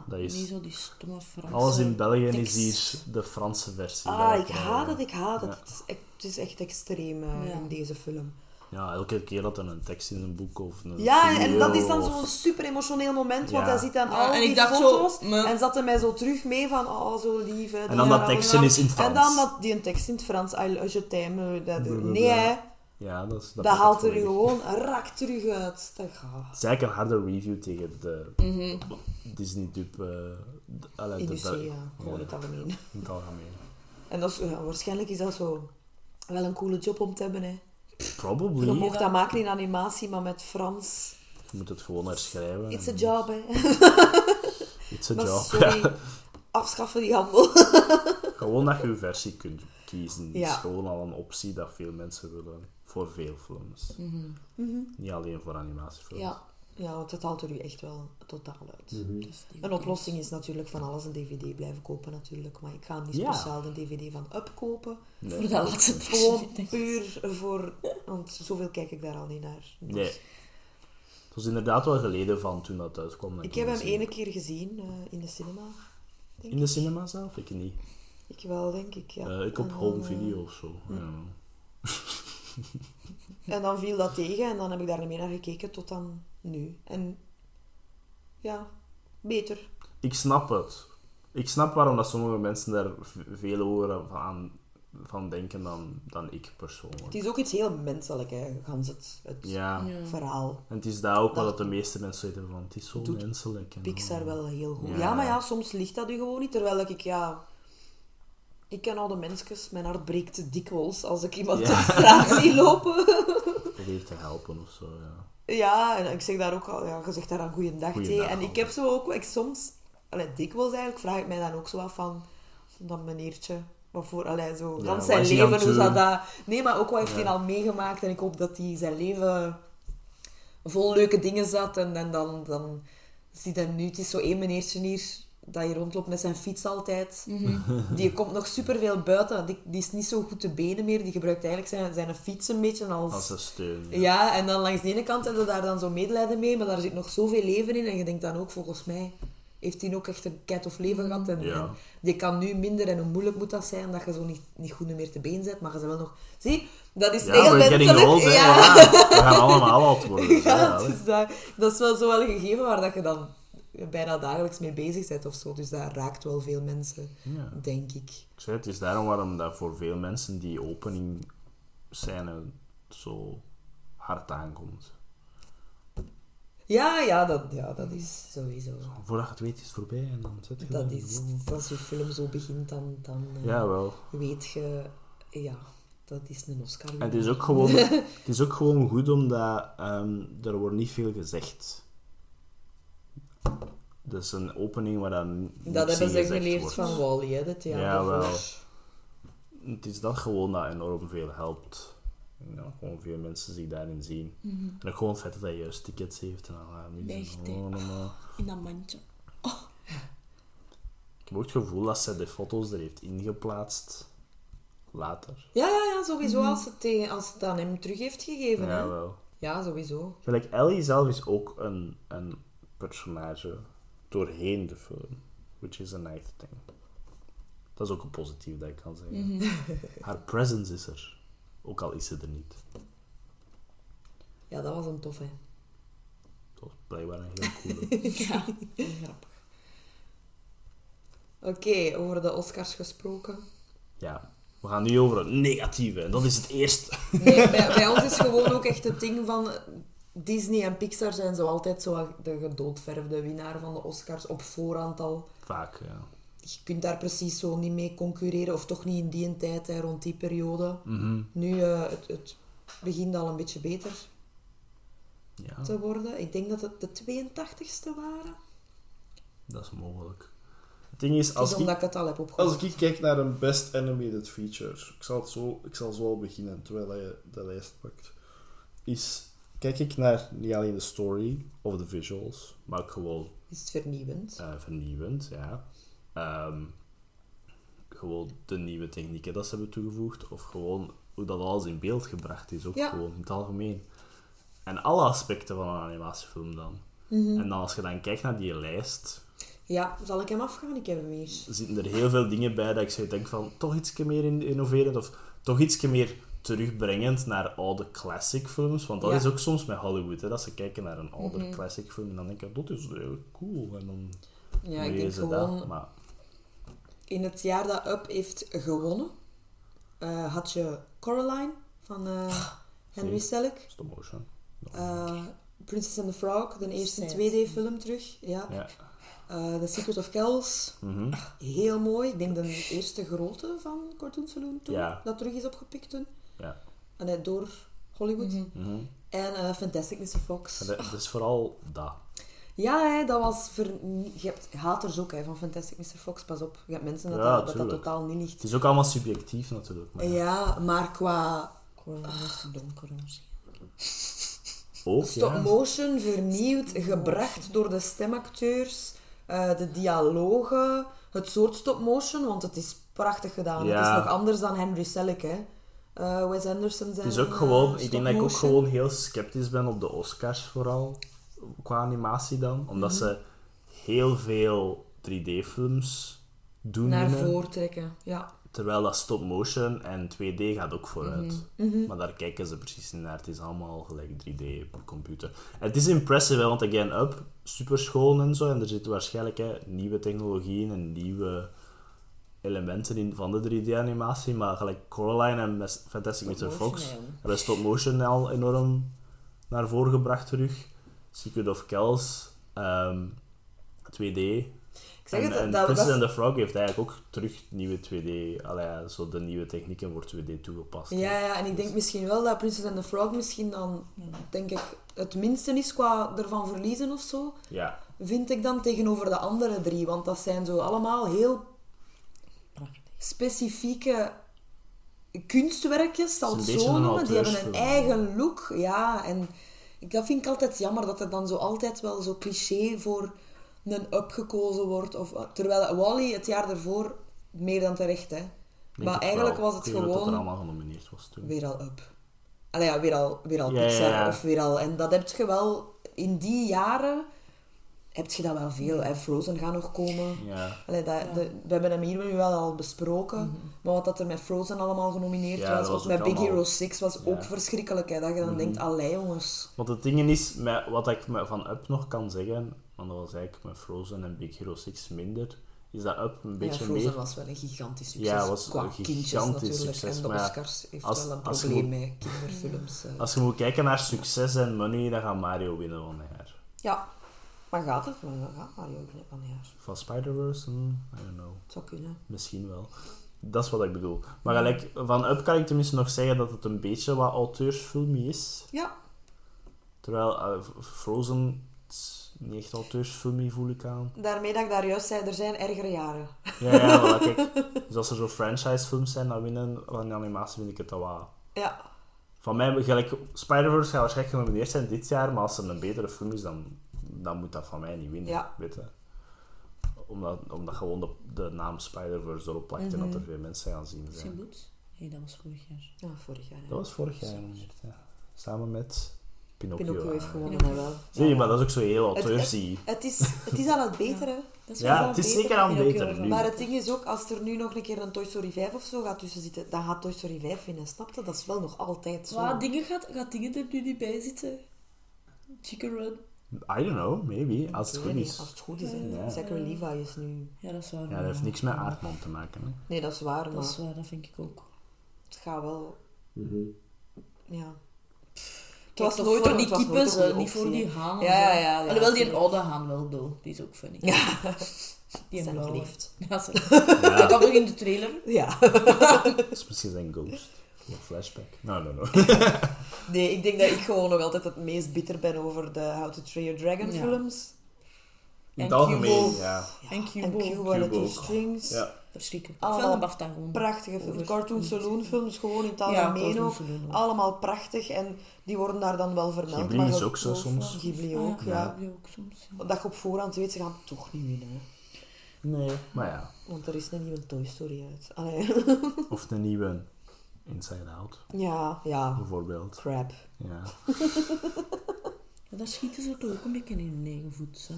S3: Dat
S4: Niet
S3: is...
S4: zo die stomme Fransen.
S3: Alles in België is
S4: tekst.
S3: hier de Franse versie.
S2: Ah,
S3: Dat-
S2: ik haat het, ik haat het.
S3: Ja.
S2: Het is echt, het is echt extreem eh,
S4: Ja.
S2: in deze film.
S3: Ja, elke keer dat er een tekst in een boek of een
S2: Ja, en
S3: video
S2: dat is dan
S3: of-
S2: zo'n super emotioneel moment, want
S3: Ja.
S2: hij ziet dan
S4: Ja,
S2: al
S4: Ah, en
S2: die
S4: ik dacht zo,
S2: foto's
S4: me-
S2: en zat hij mij zo terug mee van, oh, zo lief. hè, die
S3: En dan dat
S2: haar-
S3: tekstje is in het
S2: En
S3: Frans.
S2: dan dat, die een tekst in het Frans, I, je t'aime, dat,
S3: Blablabla.
S2: nee hè,
S3: Ja, dat is...
S2: dat,
S3: pakt
S2: haalt er
S3: volledig.
S2: gewoon rak terug uit. Dat gaat.
S3: Het is eigenlijk een harde review tegen de
S4: Mhm.
S3: Disney-dub. Uh,
S2: In de zee, ja, gewoon in het algemeen.
S3: in het algemeen.
S2: En dat is, ja, waarschijnlijk is dat zo wel een coole job om te hebben hè.
S3: Probably.
S2: Je
S3: Je
S2: mocht dat maken in animatie, maar met Frans.
S3: moet het gewoon herschrijven.
S2: Eh, It's a
S3: en-
S2: job, hè.
S3: It's a
S2: Maar
S3: job.
S2: sorry, afschaffen die handel.
S3: Gewoon dat je je versie kunt kiezen. is
S2: Ja.
S3: gewoon al een optie dat veel mensen willen. Voor veel films. Niet alleen voor
S2: Mhm.
S3: animatiefilms.
S2: Ja. ja, want het haalt er u echt wel totaal uit.
S4: Dat is die-
S2: Een oplossing is natuurlijk van alles een dvd blijven kopen natuurlijk, maar ik ga niet
S3: Ja.
S2: speciaal de dvd van Up kopen.
S4: Voor dat laatste tekst.
S2: Gewoon puur voor... Want zoveel kijk ik daar al niet naar. Dus
S3: Nee. Het is inderdaad wel geleden van toen dat uitkwam. dat
S2: Ik heb hem
S3: gezien
S2: ene keer gezien eh, in de cinema.
S3: In de cinema zelf? Ik niet.
S2: Ik wel, denk ik. Ja.
S3: Eh, ik op
S2: En dan,
S3: home
S2: eh,
S3: video of zo. Ja.
S2: En dan viel dat tegen en dan heb ik daar niet meer naar gekeken tot dan nu. En ja, beter.
S3: Ik snap het. Ik snap waarom dat sommige mensen daar v- veel horen van, aan- van denken dan, dan ik
S2: Het
S3: persoonlijk.
S2: is ook iets heel menselijk, hè, gans het, het
S3: Ja.
S4: Ja.
S2: verhaal.
S3: En het is daar ook
S2: Dat-
S3: wat dat de meeste mensen weten van, het is zo
S2: Doet
S3: menselijk. En
S2: Pixar wel heel goed. Ja.
S3: Ja.
S2: maar ja, soms ligt dat u gewoon niet. Terwijl ik, ja... Ik ken al de mensjes, mijn hart breekt dikwijls als ik iemand
S3: Ja.
S2: op straat zie lopen.
S3: Probeer te helpen of zo, ja.
S2: Ja, en ik zeg daar ook al, ja, je zegt daar een goeiedag tegen.
S3: Goeiedag,
S2: En ik
S3: altijd.
S2: heb zo ook, ik soms, allee, dikwijls eigenlijk, vraag ik mij dan ook zo af van, dat meneertje, wat voor, allee, zo,
S3: Ja,
S2: gans
S3: wat
S2: zijn
S3: is hij aan
S2: leven, hoe
S3: het
S2: zat
S3: doen?
S2: dat... Nee, maar ook wat heeft
S3: Ja.
S2: hij al meegemaakt en ik hoop dat hij zijn leven vol leuke dingen zat. En, en dan, dan zie je nu, het is zo één meneertje hier, dat hier rondloopt met zijn fiets altijd.
S4: Mhm.
S2: Die komt nog superveel buiten, want die, die is niet zo goed te benen meer. Die gebruikt eigenlijk zijn, zijn fiets een beetje
S3: Als een steun. ja.
S2: ja, en dan langs de ene kant hebben we daar dan zo medelijden mee, maar daar zit nog zoveel leven in. En je denkt dan ook, volgens mij heeft hij ook echt een ket of leven gehad. En,
S3: Mm, Ja.
S2: en die kan nu minder en hoe moeilijk moet dat zijn dat je zo niet, niet goed meer te been zet, maar je bent wel nog... Zie, dat is
S3: Ja,
S2: heel
S3: we're getting
S2: menselijk.
S3: old, hè.
S2: ja.
S3: Ja. We gaan allemaal oud worden. dus
S2: Ja,
S3: ja,
S2: dus dat, dat is wel zo wel een gegeven waar dat je dan bijna dagelijks mee bezig bent of zo. Dus dat raakt wel veel mensen,
S3: Ja.
S2: denk ik.
S3: Ik zei, het is daarom waarom dat voor veel mensen die opening scène zo hard aankomt.
S2: Ja, ja, dat, ja, dat is sowieso...
S3: Voordat je het weet is het voorbij en dan zit je
S2: Dat
S3: daar.
S2: is, als je film zo begint, dan... dan eh,
S3: Ja, wel.
S2: weet je, ja, dat is een Oscar.
S3: En het is ook gewoon, het is ook gewoon goed omdat ehm, er wordt niet veel gezegd. Dat is een opening waar dan
S2: dat
S3: niks
S2: hebben
S3: in
S2: ze
S3: gezegd
S2: geleerd
S3: wordt.
S2: van Wally, hè, de
S3: Jawel.
S2: theatervoors.
S3: Het is dat gewoon dat enorm veel helpt. En dat gewoon veel mensen zich daarin zien.
S4: Mhm.
S3: En ook gewoon het feit dat hij juist tickets heeft en alarm.
S4: Echt, hè. In dat mandje.
S3: Ik heb ook het gevoel dat zij de foto's er heeft ingeplaatst. Later.
S2: Ja, ja, ja, sowieso als het, tegen, als het aan hem terug heeft gegeven. Ja, hè.
S3: Jawel.
S2: ja sowieso.
S3: Gelijk, Ellie zelf is ook een, een personage doorheen de film. Which is a nice thing. Dat is ook een positief dat ik kan zeggen.
S2: Mm.
S4: Mhm.
S3: Haar presence is er. Ook al is ze er niet.
S2: Ja, dat was een toffe.
S3: Dat was blijkbaar een heel coole.
S4: Ja, grappig.
S2: Oké, over de Oscars gesproken.
S3: ja. We gaan nu over het negatieve. En dat is het eerste.
S2: Nee, bij, bij ons is gewoon ook echt het ding van... eh, Disney en Pixar zijn zo altijd zo de gedoodverfde winnaar van de Oscars op voorhand al.
S3: Vaak, eh, ja.
S2: je kunt daar precies zo niet mee concurreren, of toch niet in die tijd, hè, rond die periode. Nu, eh, het, het begint al een beetje beter
S3: Ja,
S2: te worden. Ik denk dat het de 82ste waren.
S3: dat is mogelijk. Het ding is,
S2: Het is
S3: als
S2: omdat
S3: ik,
S2: ik het al heb opgehoord.
S1: Als ik kijk naar een best animated feature, ik zal, het zo, ik zal zo al beginnen terwijl hij de lijst pakt, is kijk ik naar niet alleen de story of de visuals,
S3: maar ook gewoon
S2: Is het vernieuwend?
S3: eh, vernieuwend, ja. Ehm, gewoon de nieuwe technieken dat ze hebben toegevoegd, of gewoon hoe dat alles in beeld gebracht is, ook
S2: Ja.
S3: gewoon in het algemeen. En alle aspecten van een animatiefilm dan. En dan als je dan kijkt naar die lijst,
S2: Ja, zal ik hem afgaan? Ik heb hem hier.
S3: zitten er heel veel dingen bij dat ik zo denk van toch iets meer in- innoverend of toch iets meer terugbrengend naar oude classic films. Want dat
S2: Ja. Mhm.
S3: is ook soms met Hollywood, hè, dat ze kijken naar een oude classic film en dan denken dat is heel cool. En dan
S2: Ja, ik
S3: lezen
S2: denk gewoon
S3: dat. Maar
S2: in het jaar dat Up heeft gewonnen, eh, had je Coraline van eh, Henry
S3: Zie.
S2: Selick.
S3: stop motion.
S2: Eh, Princess and the Frog, de eerste
S4: Sad.
S2: 2D-film terug. Ja.
S3: Ja.
S2: Eh, The Secret of Kells.
S3: Mhm.
S2: Heel mooi. Ik denk de eerste grote van Cartoon Saloon toen.
S3: Ja.
S2: Dat terug is opgepikt toen.
S3: Ja.
S2: En eh, door Hollywood.
S3: Mhm.
S2: En eh, Fantastic Mr. Fox.
S3: Maar dat- dat is vooral dat.
S2: Ja, hè, dat was... vernie- Je hebt haters ook hè, van Fantastic Mr. Fox. Pas op. Je hebt mensen dat
S3: Ja,
S2: dat, dat, dat
S3: tuurlijk.
S2: totaal niet ligt.
S3: Het is ook allemaal subjectief natuurlijk. Maar
S2: Ja, maar qua Ah.
S4: Coraline is donker ons.
S3: ook, ja.
S2: stop-motion, vernieuwd, gebracht door de stemacteurs, eh, de dialogen, het soort stop-motion, want het is prachtig gedaan. Het
S3: Ja.
S2: is nog anders dan Henry Selick, hè. Eh, Wes Anderson zijn
S3: Het is ook
S2: eh,
S3: gewoon, ik denk dat ik ook
S2: stop-motion.
S3: gewoon heel sceptisch ben op de Oscars vooral. qua animatie dan.
S2: Mhm.
S3: Omdat ze heel veel 3D-films doen.
S2: Naar
S3: binnen.
S2: voren trekken. Ja.
S3: Terwijl dat stop motion en 2D gaat ook vooruit.
S2: Mhm.
S3: Maar daar kijken ze precies niet naar. Het is allemaal gelijk 3D op een computer. En het is impressive, hè, want again, up, super schoon en zo. En er zitten waarschijnlijk hè, nieuwe technologieën en nieuwe elementen in van de 3D-animatie. Maar gelijk Coraline en Mes- Fantastic Mr.
S4: motion,
S3: Fox
S4: hè, jongen.
S3: hebben stop motion al enorm naar voren gebracht terug. Secret of Kells, ehm, 2D,
S2: Ik zeg
S3: en,
S2: het,
S3: en
S2: dat, dat,
S3: Princess and the Frog heeft eigenlijk ook terug nieuwe 2D, allee, ja, zo de nieuwe technieken voor 2D toegepast.
S2: Ja, ja, en ik denk misschien wel dat Princess and the Frog misschien dan, denk ik, het minste is qua ervan verliezen of zo.
S3: Ja.
S2: Vind ik dan tegenover de andere drie. Want dat zijn zo allemaal heel
S4: Prachtig.
S2: specifieke kunstwerkjes, zal
S3: Het
S2: het
S3: is een
S2: zo
S3: beetje een
S2: noemen. Die hebben een
S3: auteursfilm,
S2: eigen look, ja. En ik- dat vind ik altijd jammer, dat er dan zo altijd wel zo cliché voor een up gekozen wordt. Of, terwijl Wally het jaar daarvoor meer dan terecht, hè.
S3: Ik denk
S2: maar
S3: het
S2: eigenlijk
S3: wel.
S2: was het
S3: Ik weet dat er
S2: gewoon
S3: allemaal genomineerd was toen.
S2: weer al up. Allee, ja, weer al, weer al
S3: Ja, ja,
S2: Pixar
S3: ja.
S2: of weer al... En dat heb je wel... In die jaren heb je dat wel veel. Hè? Frozen gaat nog komen.
S3: Ja.
S2: Allee, dat, de- we hebben hem hier nu wel al besproken. Maar wat dat er met Frozen allemaal genomineerd
S3: Ja,
S2: was,
S3: dat was
S2: of met
S3: ook
S2: Big
S3: allemaal- Mhm.
S2: Hero 6, was ook verschrikkelijk. Hè? Dat je dan denkt, allee jongens.
S3: Want het ding is, met, wat ik me van Up nog kan zeggen, want dat was eigenlijk met Frozen en Big Hero 6 minder, is dat Up een
S2: Ja,
S3: beetje
S2: Frozen
S3: meer...
S2: was wel een gigantisch succes.
S3: Ja, was
S2: qua
S3: een
S2: kindjes
S3: gigantisch
S2: natuurlijk.
S3: succes,
S2: en de
S3: maar ja,
S2: Oscars heeft
S3: als-
S2: wel een
S3: als je
S2: probleem
S3: moet-
S2: met kinderfilms. eh.
S3: Als je moet kijken naar succes en money, dan gaat Mario winnen van jaar.
S2: Ja, maar gaat het? Maar gaat Mario ook niet van jaar.
S3: Van Spider-Verse? Hmm, I don't know.
S2: Het zou kunnen.
S3: Misschien wel. Dat is wat ik bedoel. Maar gelijk, van Up kan ik tenminste nog zeggen dat het een beetje wat auteursfilmie is.
S2: Ja,
S3: Terwijl eh, F- Frozen is niet echt auteursfilmie voel ik aan.
S2: daarmee dat ik daar juist zei, er zijn ergere jaren.
S3: Ja, ja, voilà, kijk. Dus als er zo franchisefilms zijn dat winnen van de animatie, vind ik het dat wel.
S2: Ja,
S3: Van mij, gelijk, Spider-Verse gaat waarschijnlijk genomineerd zijn dit jaar, maar als er een betere film is, dan, dan moet dat van mij niet winnen.
S2: Ja.
S3: Weet je. Omdat, omdat gewoon de, de naam Spider-Verse erop plakt en
S2: Mhm.
S3: dat er veel mensen gaan zien zijn.
S4: Zijn boots? Hé, dat was vorig jaar.
S2: ja vorig jaar. hè.
S3: Dat was vorig jaar genomineerd, ja. Samen met Pinocchio.
S2: Pinocchio heeft
S3: Ah.
S2: gewonnen, hè, wel.
S3: Zie je, maar dat is ook zo heel
S2: het,
S3: auteursy.
S2: het, is, het is aan het beteren.
S4: Dat is
S3: Ja,
S4: wel
S3: het is
S4: beter
S3: zeker
S4: dan
S3: aan
S4: Pinocchio
S3: beter
S4: was.
S3: nu.
S2: Maar het ding is ook, als er nu nog een keer een Toy Story 5 of zo gaat tussen zitten, dan gaat Toy Story 5 winnen. Snap je? Dat is wel nog altijd zo.
S4: Wat dingen gaat, gaat dingen er nu niet bij zitten? Chicken Run.
S3: I don't know, maybe. Als het
S2: Nee,
S3: goed
S2: nee,
S3: is.
S2: Als het goed is. hè.
S3: Ja.
S2: Zachary Levi is nu...
S4: Ja, dat is waar.
S3: Ja, dat heeft niks met aardman te maken. Hè.
S2: Nee, dat is waar, maar
S4: Dat is waar, dat vind ik ook.
S2: het gaat wel...
S3: Mhm.
S2: Ja. Het
S4: Kijk, toch
S2: nooit
S4: voor
S2: een-
S4: die
S2: het was
S4: kippen,
S2: nooit een
S4: ze,
S2: goede
S4: niet voor
S2: optie,
S4: die
S2: hè.
S4: haan. eh.
S2: Ja, ja, ja, ja.
S4: Alhoewel, die oude haan wel, though. Die is ook funny.
S2: Ja,
S4: die
S2: zijn nog
S4: blauwe.
S2: liefd.
S4: Ja, ze- Dat kwam ook in de trailer.
S2: Ja.
S3: Dat is misschien zijn ghost. Of flashback. No, no, no.
S2: Nee, ik denk dat ik gewoon nog altijd het meest bitter ben over de How to Train Your Dragon
S4: Ja.
S2: films.
S3: In het
S4: En
S3: algemeen,
S4: Cubo.
S3: ja.
S4: En Cubo.
S2: En Cubo en The Two
S3: Cubo.
S2: Strings.
S3: Ja.
S4: Verschrikkelijk.
S2: Allemaal
S4: Veel een BAFTA gewoon.
S2: Prachtige films.
S4: Over-
S2: Cartoon Saloon films, gewoon in het
S4: Ja,
S2: algemeen
S4: Cartoon
S2: ook.
S4: Saloon ook.
S2: Allemaal prachtig en die worden daar dan wel vermeld.
S3: Ghibli
S2: maar
S3: is
S2: je-
S3: ook zo soms.
S2: Ghibli
S4: Ah,
S2: ook, ja.
S4: die ook soms. ja.
S2: Dat je op voorhand weet, ze gaan het toch niet winnen. hè.
S3: Nee. Maar ja.
S2: Want er is een nieuwe Toy Story uit. Allee.
S3: Of de nieuwe Inside Out,
S2: Ja, ja.
S3: bijvoorbeeld.
S2: Crap.
S3: Ja.
S4: Ja, daar schieten ze toch ook een beetje in hun eigen voet, hè?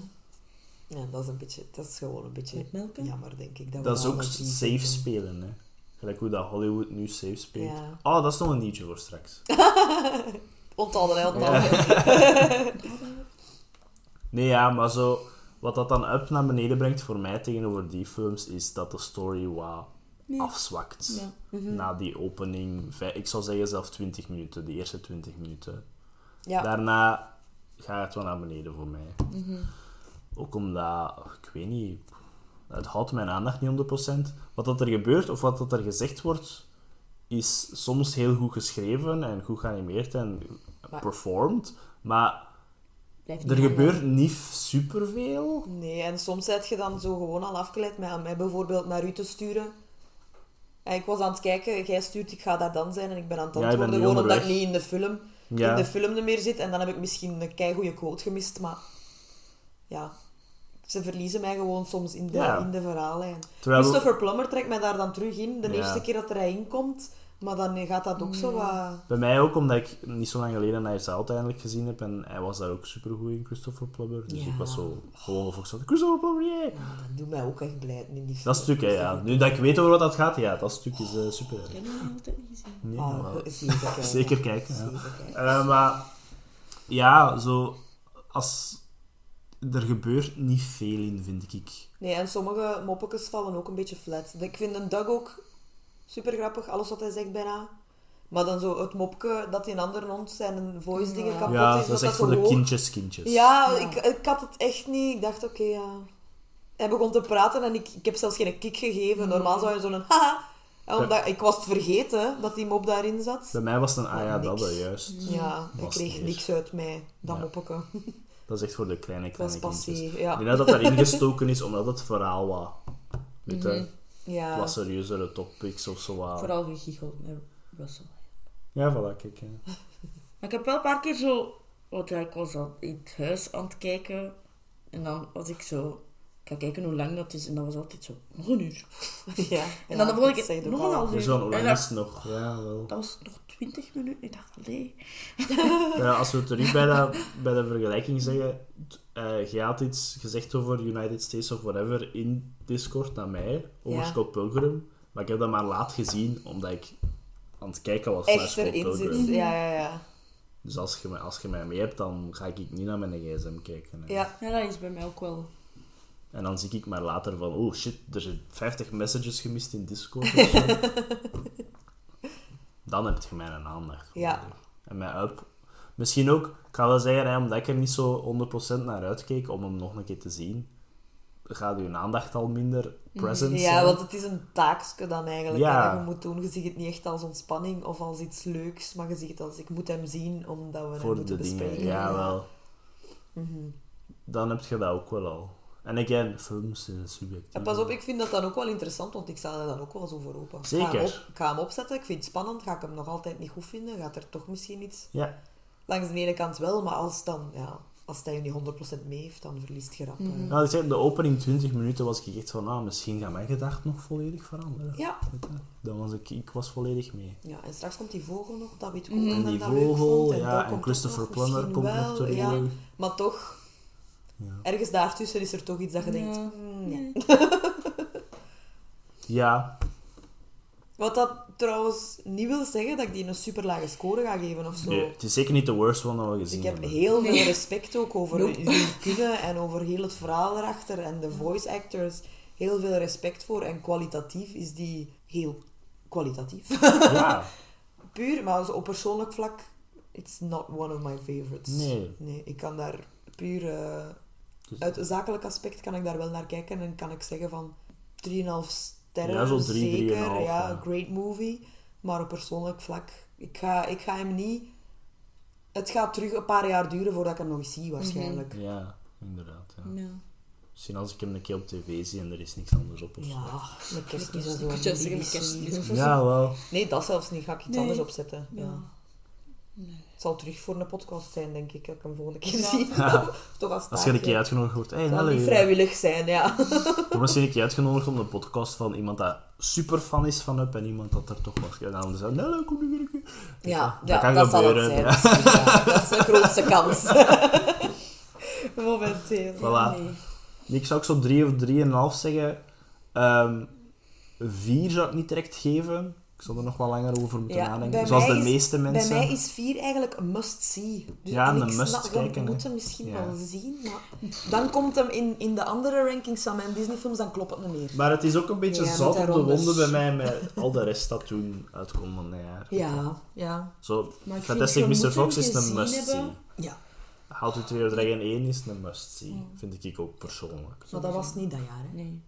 S2: Ja, dat is, een beetje, dat is gewoon een beetje
S4: Met melken?
S2: jammer, denk ik. we
S3: Dat is
S2: daar
S3: ook
S2: nog niet
S3: safe
S2: zitten.
S3: spelen, hè. Gelijk hoe dat Hollywood nu safe speelt.
S2: Ja.
S3: Oh, dat is nog een nieuwtje voor straks.
S2: Onthouden, hè, onthouden.
S3: Nee, ja, maar zo... Wat dat dan up naar beneden brengt voor mij tegenover die films, is dat de story wat afzwakt.
S4: Ja.
S2: Mhm.
S3: Na die opening, vij- ik zou zeggen zelf 20 minuten, de eerste 20 minuten.
S2: Ja.
S3: Daarna gaat het wel naar beneden voor mij.
S2: Mhm.
S3: Ook omdat, oh, ik weet niet, het houdt mijn aandacht niet 100%. Wat dat er gebeurt of wat dat er gezegd wordt, is soms heel goed geschreven en goed geanimeerd en
S2: Maar-
S3: performed. Maar
S4: Blijft
S3: er
S4: niet
S3: gebeurt niet superveel.
S2: Nee, en soms zet je dan zo gewoon al afgeleid met aan mij bijvoorbeeld naar u te sturen. En ik was aan het kijken, jij stuurt, ik ga daar dan zijn en ik ben aan het
S3: Ja, je bent
S2: antwoorden,
S3: nu
S2: gewoon omdat ik niet
S3: onderweg.
S2: in de film,
S3: Ja.
S2: in de film er meer zit. En dan heb ik misschien een keigoede quote gemist, maar ja, ze verliezen mij gewoon soms in de,
S3: Ja.
S2: in de verhaallijn.
S3: Terwijl-
S2: Christopher Plummer trekt mij daar dan terug in, de
S3: Ja.
S2: eerste keer dat er hij inkomt. Maar dan gaat dat ook zo wat...
S3: Bij mij ook, omdat ik niet zo lang geleden Nijzaal eindelijk gezien heb. En hij was daar ook supergoed in, Christopher Plummer. Dus
S2: Ja.
S3: ik was zo gewoon volgens Christopher Plummer, yeah!
S2: Ja, dat doet mij ook echt blij in die
S3: Dat stuk, hè, ja. Nu dat ik weet over wat dat gaat, ja, dat stuk is eh, super erg.
S4: heb hem nog altijd niet gezien.
S3: Nee, maar-
S2: Ah, zeker kijken.
S3: Zeker kijken, ja.
S2: Zeker kijken.
S3: Eh, maar ja, zo als er gebeurt niet veel in, vind ik.
S2: Nee, en sommige moppetjes vallen ook een beetje flat. Ik vind een Doug ook super grappig, alles wat hij zegt bijna. Maar dan zo het mopje dat die een ander hond zijn voice dingen
S4: Ja.
S2: kapot
S3: Ja,
S2: is.
S3: dat is
S2: dat
S3: echt voor de
S2: hoog-
S3: kindjes, kindjes.
S2: Ja,
S4: Ja.
S2: Ik, ik had het echt niet. Ik dacht, oké, ja. Hij begon te praten en ik, ik heb zelfs geen kick gegeven. Normaal zou je zo'n haha. En Omdat, ik was het vergeten dat die mop daarin zat.
S3: Bij mij was het een ah ja,
S2: Oh, Niks.
S3: dat eh, juist.
S2: Ja, ik
S3: Was
S2: kreeg
S3: niet.
S2: niks uit mij, dat
S3: Ja.
S2: moppetje.
S3: Dat is echt voor de kleine,
S2: Dat
S3: kleine
S2: was
S3: kindjes.
S2: passé,
S3: Ik
S2: ja.
S3: denk dat dat daarin gestoken is, omdat het verhaal wat... Met de
S2: Mhm. ja.
S3: wat serieuzere topics of zo. wat-
S4: Vooral gegicheld met Russell.
S3: Ja, voilà, kijk. hè.
S4: Maar ik heb wel een paar keer zo... Want ja, ik was al in het huis aan het kijken. En dan was ik zo... Ik ga kijken hoe lang dat is. En dat was altijd zo... Nog een uur.
S2: ja.
S4: En dan de volgende
S2: dat
S4: keer
S2: zei je
S4: nog
S2: ook
S4: een
S2: al.
S4: half uur.
S3: Dus dan, hoe
S4: En
S3: lang
S4: dat-
S3: is het nog? Ja, wel.
S4: Dat was nog 20 minuten. Ik dacht, allee.
S3: Ja, als we het terug bij, dat, bij de vergelijking zeggen, t- eh, je had iets gezegd over United States of whatever in Discord naar mij, over
S2: Ja.
S3: Scott Pilgrim, maar ik heb dat maar laat gezien, omdat ik aan het kijken was naar
S2: Echt
S3: Scott
S2: erin
S3: Pilgrim.
S2: zit. Ja, ja, ja.
S3: Dus als je, mij- als je mij mee hebt, dan ga ik niet naar mijn gsm kijken. hè.
S2: Ja,
S4: Ja, dat is bij mij ook wel.
S3: En dan zie ik maar later van, oh shit, er zijn 50 messages gemist in Discord of zo. dan heb je mijn aandacht.
S2: Ja.
S3: nodig. En mijn up. Misschien ook, ik ga wel zeggen, hè, omdat ik er niet zo 100% naar uitkeek om hem nog een keer te zien, gaat je aandacht al minder present
S2: Mm, ja
S3: zijn.
S2: want het is een taakje dan eigenlijk
S3: Ja.
S2: hè, dat je moet doen. Je ziet het niet echt als ontspanning of als iets leuks, maar je ziet het als ik moet hem zien omdat we hem
S3: voor de
S2: moeten
S3: dingen.
S2: bespreken. Mhm.
S3: Ja, wel. Dan heb je dat ook wel al. En again, films zijn subjectief.
S2: En pas op, ik vind dat dan ook wel interessant, want ik sta er dan ook wel zo voor open. Ik ga,
S3: Zeker.
S2: hem op- ik ga hem opzetten, ik vind het spannend, ga ik hem nog altijd niet goed vinden, gaat er toch misschien iets...
S3: Ja,
S2: Langs de ene kant wel, maar als, dan, ja, als hij je niet 100% mee heeft, dan verliest je rap. hè.
S3: Nou, ik zei, de opening 20 minuten was ik echt van, ah, misschien gaat mijn gedachten nog volledig veranderen.
S2: Ja.
S3: Dan was ik, ik was volledig mee.
S2: Ja, en straks komt die vogel nog, dat weet ik ook nog
S3: Mm. En
S2: dat
S3: die
S2: ik dat leuk
S3: vogel,
S2: vond, dat
S3: ja, en
S2: komt
S3: Christopher
S2: ook nog,
S3: Plummer
S2: misschien
S3: komt nog
S2: wel,
S3: terug.
S2: ja. Maar toch,
S3: Ja.
S2: ergens daartussen is er toch iets dat je denkt...
S4: Ja.
S2: hmm, nee.
S3: Ja,
S2: Wat dat trouwens niet wil zeggen dat ik die een super lage score ga geven of zo.
S3: nee, het is zeker niet de worst one dat we
S2: Dus
S3: gezien
S2: ik heb
S3: hebben.
S2: heel
S4: Nee.
S2: veel respect ook over
S4: Nope.
S2: jullie kunnen en over heel het verhaal erachter en de voice actors. Heel veel respect voor en kwalitatief is die heel kwalitatief.
S3: Ja,
S2: Puur, maar zo op persoonlijk vlak, it's not one of my favorites.
S3: Nee.
S2: ik kan daar puur... eh,
S3: Dus-
S2: uit een zakelijk aspect kan ik daar wel naar kijken en kan ik zeggen van 3,5 sterren.
S3: Ja, zo drie,
S2: zeker. ja,
S3: 3,5, ja.
S2: great movie. Maar op persoonlijk vlak, ik ga, ik ga hem niet... Het gaat terug een paar jaar duren voordat ik hem nog eens zie, waarschijnlijk.
S3: ja, inderdaad. Ja.
S4: Ja.
S3: Misschien als ik hem een keer op tv zie en er is niks anders op of zo.
S2: Ja, met kerstmis en zo.
S4: Ik zou zeggen, met kerstmis of zo.
S3: Ja, wel.
S2: Nee, dat zelfs niet. Ga ik iets
S4: Nee.
S2: anders opzetten. Ja.
S4: Ja.
S2: Het zal terug voor een podcast zijn, denk ik, dat ik hem volgende keer
S4: Ja.
S2: zie. Toch als
S3: Als je een
S2: taakje.
S3: keer uitgenodigd wordt, hey,
S2: Het zal niet
S3: hallo.
S2: vrijwillig zijn, ja.
S3: Of misschien een keer uitgenodigd om de podcast van iemand dat super fan is van Up en iemand dat er toch was. En dan zei, nee, kom nu weer een keer.
S2: Ja,
S3: Dat
S2: ja,
S3: kan
S2: dat zal het
S3: gebeuren,
S2: zijn.
S3: ja.
S2: misschien, ja. Dat is de grootste kans. Momenteel.
S3: Voilà.
S4: Nee.
S3: Ik zou ook zo 3 of 3,5 zeggen. Ehm 4 zou ik niet direct geven. Ik zal er nog wel langer over moeten
S2: Ja, bij
S3: nadenken. Zoals de
S2: mij is-
S3: meeste mensen.
S2: Bij mij is 4 eigenlijk een must-see. Dus
S3: Ja,
S2: en
S3: een
S2: ik
S3: must
S2: snap- We
S3: kijken, hè.
S2: moeten hem misschien
S3: Ja.
S2: wel zien, maar dan komt hem in, in de andere rankings van mijn Disney-films, dan klopt het niet meer.
S3: Maar het is ook een beetje
S2: Ja, met
S3: zout op de
S2: daaronder.
S3: wonden bij mij met al de rest dat toen uitkomt van het jaar.
S2: Ja, ja,
S3: Zo,
S4: Maar ik
S3: Fantastic
S4: vind, je
S3: Mr.
S4: moet
S3: Fox
S4: hem
S3: is een
S4: gezien
S3: must-see.
S4: hebben.
S2: ja.
S3: How to Train Your Dragon 1 is een must-see. Vind ik ook persoonlijk.
S2: Maar dat was niet dat jaar, hè.
S4: Nee.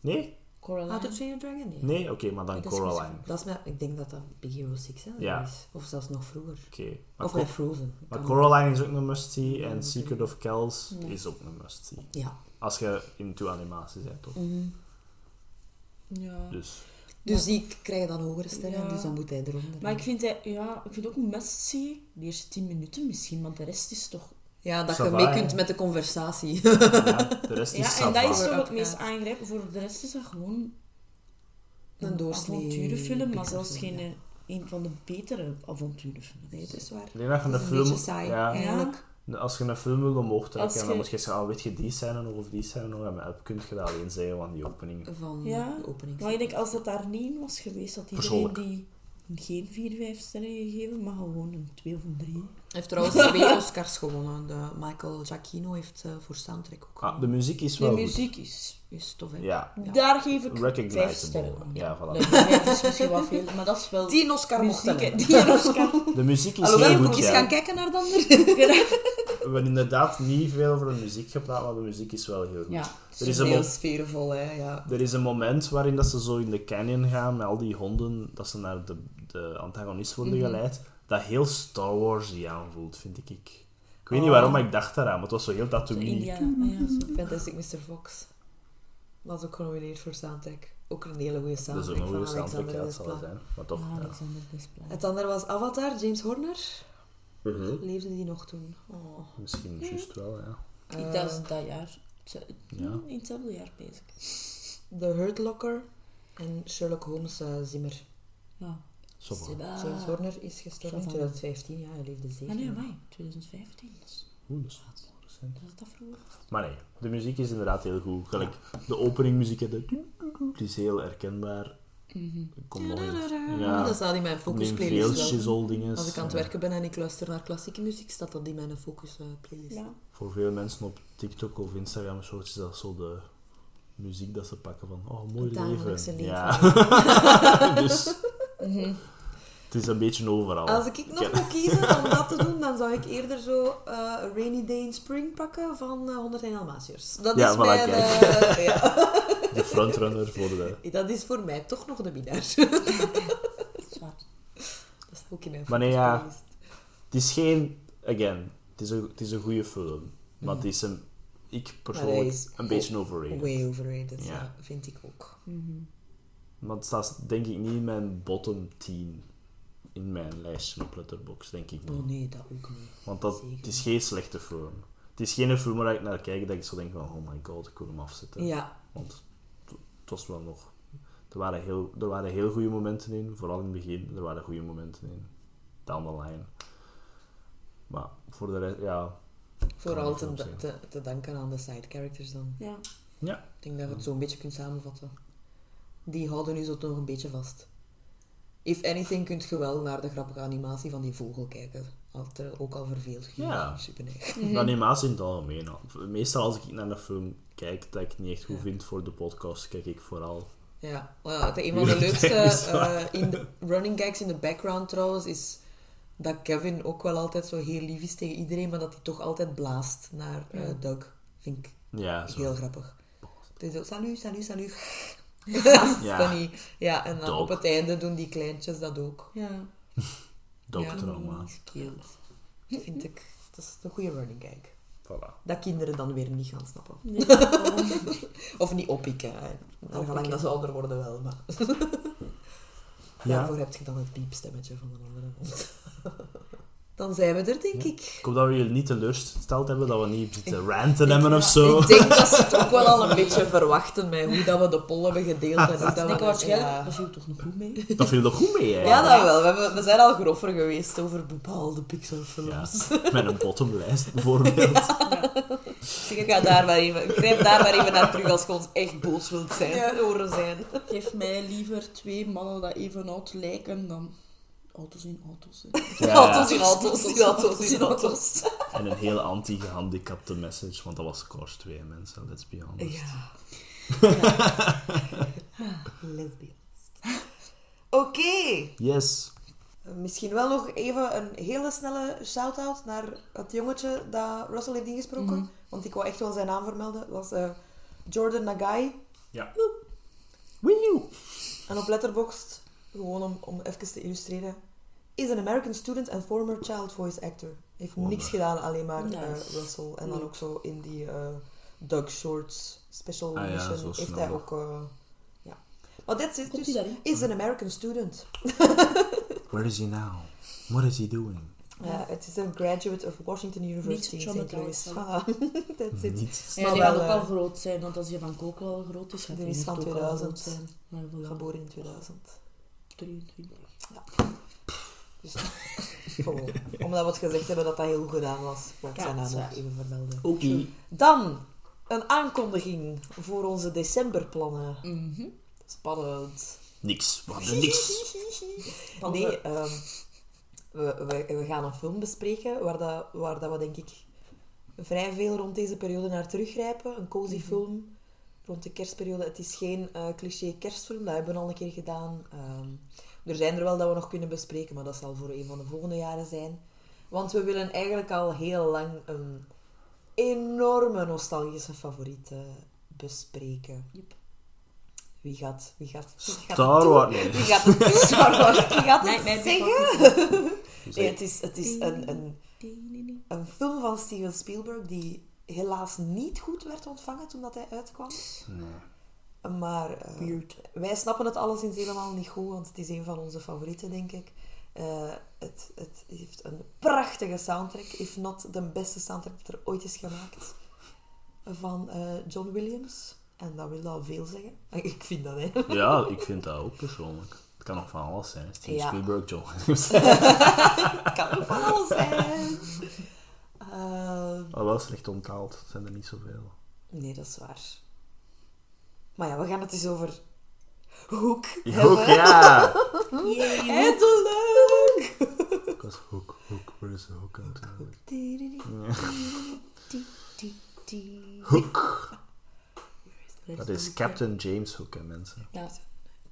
S3: Nee?
S4: Coraline.
S2: How to Train Your Dragon? Nee.
S3: Nee? Oké, maar dan
S4: Dat is
S3: Coraline.
S2: Dat is met, ik denk dat dat Big Hero 6 hè, dat
S3: Ja.
S2: is. Of zelfs nog vroeger.
S3: Oké. Maar,
S2: Of
S3: Cor-
S2: bij Frozen. Ik
S3: maar
S2: kan-
S3: Coraline is ook een must-see. En Secret of Kells is ook een must-see.
S2: Ja.
S3: Als je into animatie bent, toch?
S4: Ja.
S3: Dus...
S2: Dus die krijgen dan hogere sterren,
S4: Ja.
S2: dus dan moet hij eronder.
S4: Maar ik vind, hij, ja, ik vind ook must-see de eerste 10 minuten misschien, want de rest is toch...
S2: Ja, dat
S3: Ça
S2: je
S3: va,
S2: mee
S3: hè.
S2: kunt met de conversatie.
S3: Ja, de rest is
S4: Ja, en dat
S3: sava.
S4: is toch het
S2: Uiteraard.
S4: meest aangrijpend. Voor de rest is dat gewoon
S2: Een doorsnee.
S4: avonturenfilm, maar zelfs
S2: pixelfilm,
S4: geen
S2: ja.
S4: eh, een van de betere avonturenfilms. dus-
S2: Nee, dat is waar.
S3: Ik denk dat je
S2: Dat
S3: een
S2: is een
S3: film...
S2: beetje saai,
S3: ja,
S2: eigenlijk.
S3: Als je een film wil omhoog trekken,
S4: Als je-
S3: dan moet je zeggen, ah, weet je die scène nog of die scène nog? En dan kun je dat alleen zeggen van die opening.
S2: Van
S4: Ja.
S2: de opening.
S4: Maar ik denk, als dat daar niet in was geweest, had iedereen
S3: Persoonlijk.
S4: die geen 4, 5 sterren gegeven, maar gewoon een 2 of een 3.
S2: Hij heeft trouwens twee Oscars gewonnen. De Michael Giacchino heeft eh, voor soundtrack ook
S3: Ah,
S2: gewonnen.
S3: de muziek is
S4: De
S3: wel goed.
S4: muziek is...
S2: Is tof, hè?
S3: Ja.
S2: Ja.
S4: Daar geef ik 5
S3: Recognizable.
S4: sterren aan.
S3: Ja, voilà.
S4: Nee, vijf is misschien wel veel, maar dat is wel...
S2: Die een Oscar mocht
S4: muziek, hè.
S2: hebben.
S4: Die een Oscar.
S3: De muziek is
S2: Alhoewel,
S3: heel
S2: ik
S3: goed,
S2: moet eens
S3: ja.
S2: gaan kijken naar de ander.
S3: We hebben inderdaad niet veel over de muziek gepraat, maar de muziek is wel heel goed.
S2: Ja,
S3: Er is
S2: heel
S3: een mo-
S2: sfeervol, hè. Ja.
S3: Er is een moment waarin dat ze zo in de canyon gaan met al die honden, dat ze naar de, de antagonist worden geleid, dat heel Star Wars die aanvoelt, vind ik. Ik weet niet
S4: Oh.
S3: waarom, maar ik dacht daaraan, maar het was zo heel
S4: Zo
S3: Tatooine.
S4: Indiana. Ja, zo.
S2: Fantastic Mr. Fox. Was ook genomineerd voor soundtrack. Ook een hele goede
S3: Dat is
S2: soundtrack
S3: ook Dus een goede
S2: van
S3: soundtrack,
S2: Alexander
S3: ja, het zal wel
S2: Desplat.
S3: zijn. Maar toch,
S4: Ja,
S3: ja.
S4: Alexander Desplat.
S2: Het andere was Avatar, James Horner.
S3: Mhm.
S2: Leefde die nog toen? Oh. Eh,
S3: Misschien juist wel, ja.
S4: Ik dat is dat jaar. Ze-
S3: Ja.
S4: In hetzelfde jaar bezig.
S2: The Hurt Locker en Sherlock Holmes eh, Zimmer.
S4: Ja.
S3: Zo
S4: Ze
S3: van.
S4: waren-
S2: James Horner is gestorven in
S4: Zo van-
S2: 2015, ja, hij leefde zeven.
S4: Ah nee,
S2: jaar.
S4: amai. 2015. Dat is,
S3: Oeh, dat is wel recent.
S4: dat is dat vroeger.
S3: Maar nee, de muziek is inderdaad heel goed. Gelijk, de openingmuziek, hè, de- die is heel herkenbaar. Ik kom nog in. Ja,
S2: Oh, Dat staat in mijn focus
S3: neem veel
S2: playlist. wel.
S3: shizzle dinges.
S2: Als ik aan het werken ben en ik luister naar klassieke muziek, staat dat in mijn focus eh, playlist.
S4: Ja.
S3: Voor veel mensen op TikTok of Instagram shorts is dat zo de muziek dat ze pakken van oh mooi
S2: Het dagelijkse
S3: leven.
S2: leven.
S3: Ja. dus
S2: Mhm.
S3: het is een beetje overal.
S2: Als ik nog moet kiezen om dat te doen, dan zou ik eerder zo eh, Rainy Day in Spring pakken van eh, 101 Dalmatiërs. Dat
S3: Ja,
S2: is
S3: voilà,
S2: mijn...
S3: kijk.
S2: eh, ja.
S3: De frontrunner voor de.
S2: Dat is voor mij toch nog de winnaar. dat
S4: Dat is waar.
S2: is ook in mijn
S3: Maar nee,
S2: focus
S3: ja.
S2: playlist.
S3: Het is geen again. Het is een, het is een goede film, maar het is een ik persoonlijk
S2: is
S3: een beetje overrated.
S2: Way overrated,
S3: Ja.
S2: ja, vind ik ook.
S4: Mhm.
S3: Maar het staat denk ik niet in mijn bottom 10 in mijn lijstje op Letterboxd, denk ik
S2: Oh
S3: niet.
S2: nee, dat ook niet.
S3: Want dat,
S2: zeker
S3: het is geen slechte film. Het is geen film waar ik naar kijk dat ik zo denk van oh my god, ik wil hem afzetten.
S2: Ja,
S3: Want het- het was wel nog... Er waren, heel, er waren heel goede momenten in. Vooral in het begin, er waren goede momenten in. Down the line. Maar voor de rest, ja...
S2: vooral
S3: Kan ik
S2: te,
S3: ook
S2: te, te danken aan de side characters dan.
S4: Ja.
S3: Ja.
S2: Ik denk dat je het zo een beetje kunt samenvatten. Die houden nu zo nog een beetje vast. If anything, kunt je wel naar de grappige animatie van die vogel kijken. Had er ook al verveeld.
S3: Ja.
S2: Super
S3: De animatie in het algemeen. al. Meestal als ik naar een film kijk dat ik niet echt goed vind voor de podcast, kijk ik vooral...
S2: Ja, wel ja, het- een van de
S3: Ja,
S2: leukste
S3: dat is
S2: eh, in de running gags in de background trouwens is dat Kevin ook wel altijd zo heel lief is tegen iedereen, maar dat hij toch altijd blaast naar eh, Doug. Vind ik
S3: Ja, zo.
S2: heel grappig. Het is zo, salut, salut, salut.
S3: Ja.
S2: Funny. Ja, en dan
S3: Doug.
S2: op het einde doen die kleintjes dat ook.
S4: Ja.
S3: Dogtrauma.
S4: Die is cute.
S2: Vind ik, dat is een goede running gag.
S3: Voilà.
S2: Dat kinderen dan weer niet gaan snappen.
S4: Nee, daarom.
S2: Of niet oppikken. hè. Naar gelang dat ze ouder worden wel, maar... Daarvoor heb je dan het piepstemmetje van een andere hond. Dan zijn we er, denk ik.
S3: Ik hoop dat we jullie niet teleurgesteld hebben, dat we niet zitten ranten hebben of zo.
S2: Ik denk dat ze het ook wel al een beetje verwachten met hoe dat we de poll hebben gedeeld. En hoe dat
S4: Ik
S2: we
S4: denk waarschijnlijk,
S2: Ja.
S4: dat viel toch nog goed mee.
S3: Dat viel toch goed mee, hè?
S2: Ja, dat wel. We, hebben- we zijn al groffer geweest over bepaalde Pixar-films.
S3: Ja. Met een bottomlijst, bijvoorbeeld.
S2: Ik ga daar maar even, grijp daar maar even naar terug als je ons echt boos wilt zijn. Horen zijn.
S4: Geef mij liever twee mannen dat even oud lijken dan auto's in auto's. hè.
S3: Ja,
S2: Auto's
S3: ja.
S2: in auto's, in auto's, in auto's.
S3: En een heel anti-gehandicapte message, want dat was Cars 2, mensen. Let's be honest.
S2: Ja. Lesbians. Oké.
S3: Yes.
S2: Misschien wel nog even een hele snelle shout-out naar het jongetje dat Russell heeft ingesproken. Want ik wou echt wel zijn naam vermelden. Dat was eh, Jordan Nagai.
S3: Ja.
S2: En op Letterboxd, gewoon om, om even te illustreren, is een American student and former child voice actor. Heeft niks gedaan, alleen maar eh,
S4: Nice. Mm.
S2: Russell. En dan ook zo in die eh Doug Shorts special
S3: Ah ja,
S2: edition
S3: zo
S2: heeft
S3: snel
S2: hij
S3: nog.
S2: ook... eh, ja. Maar dat is
S4: Komt hij
S2: dus,
S4: daarin?
S2: is an American student.
S3: Where is he now? What is he doing?
S2: Ja, Eh, het is een graduate of Washington University in
S4: Niet
S2: St. Louis. Ah,
S4: traumatized,
S2: Voilà, that's it.
S3: Niet.
S4: Ja,
S2: Maar
S4: die
S2: wel,
S4: gaan ook
S2: eh,
S4: wel groot zijn, want als die van Coco al groot is, gaat
S2: die
S4: die
S2: is
S4: niet
S2: van
S4: ook al
S2: 2000.
S4: groot zijn. Maar voilà.
S2: Geboren in 2000.
S4: 23.
S2: Dus, gewoon, omdat we het gezegd hebben dat dat heel goed gedaan was. Wat
S4: Ja, dat
S2: zijn naam
S4: is
S2: nog
S4: waar.
S2: even vermelden.
S3: Oké.
S2: Dan een aankondiging voor onze decemberplannen.
S4: Mhm.
S2: Spannend.
S3: Niks. We hadden niks.
S2: Nee, ehm, we, we, we gaan een film bespreken waar, dat, waar dat we denk ik vrij veel rond deze periode naar teruggrijpen. Een cozy film rond de kerstperiode. Het is geen eh, cliché kerstfilm, dat hebben we al een keer gedaan. Ehm, er zijn er wel dat we nog kunnen bespreken, maar dat zal voor een van de volgende jaren zijn. Want we willen eigenlijk al heel lang een enorme nostalgische favoriet eh, bespreken.
S4: Yep.
S2: Wie gaat, wie gaat, wie gaat het
S3: Star
S2: doen?
S3: Wars. Nee.
S2: Wie gaat het doen? Star Wars. Wie gaat het
S4: Nightmare
S2: zeggen?
S4: Before
S2: Nee, het is, het is een, een,
S4: Christmas.
S2: een film van Steven Spielberg die helaas niet goed werd ontvangen toen dat hij uitkwam. Maar eh, wij snappen het alleszins helemaal niet goed, want het is een van onze favorieten, denk ik. Eh, het, het heeft een prachtige soundtrack, if not de beste soundtrack dat er ooit is gemaakt, van eh, John Williams. En dat wil al veel zeggen. Ik vind dat, hè.
S3: Ja, ik vind dat ook persoonlijk. Het kan nog van alles zijn. Steven
S2: Ja.
S3: Spielberg, John Williams.
S2: Het kan ook van alles zijn. Eh,
S3: Al wel slecht ontaald. Het zijn er niet zoveel.
S2: Nee, dat is waar. Maar ja, we gaan het eens over Hoek
S3: Hoek,
S2: hebben.
S3: ja!
S2: Eindelijk!
S3: Ik was hoek, hoek. Waar is de hoek aan het doen? Hoek. Dat is Captain James Hook, hè, mensen.
S4: Ja.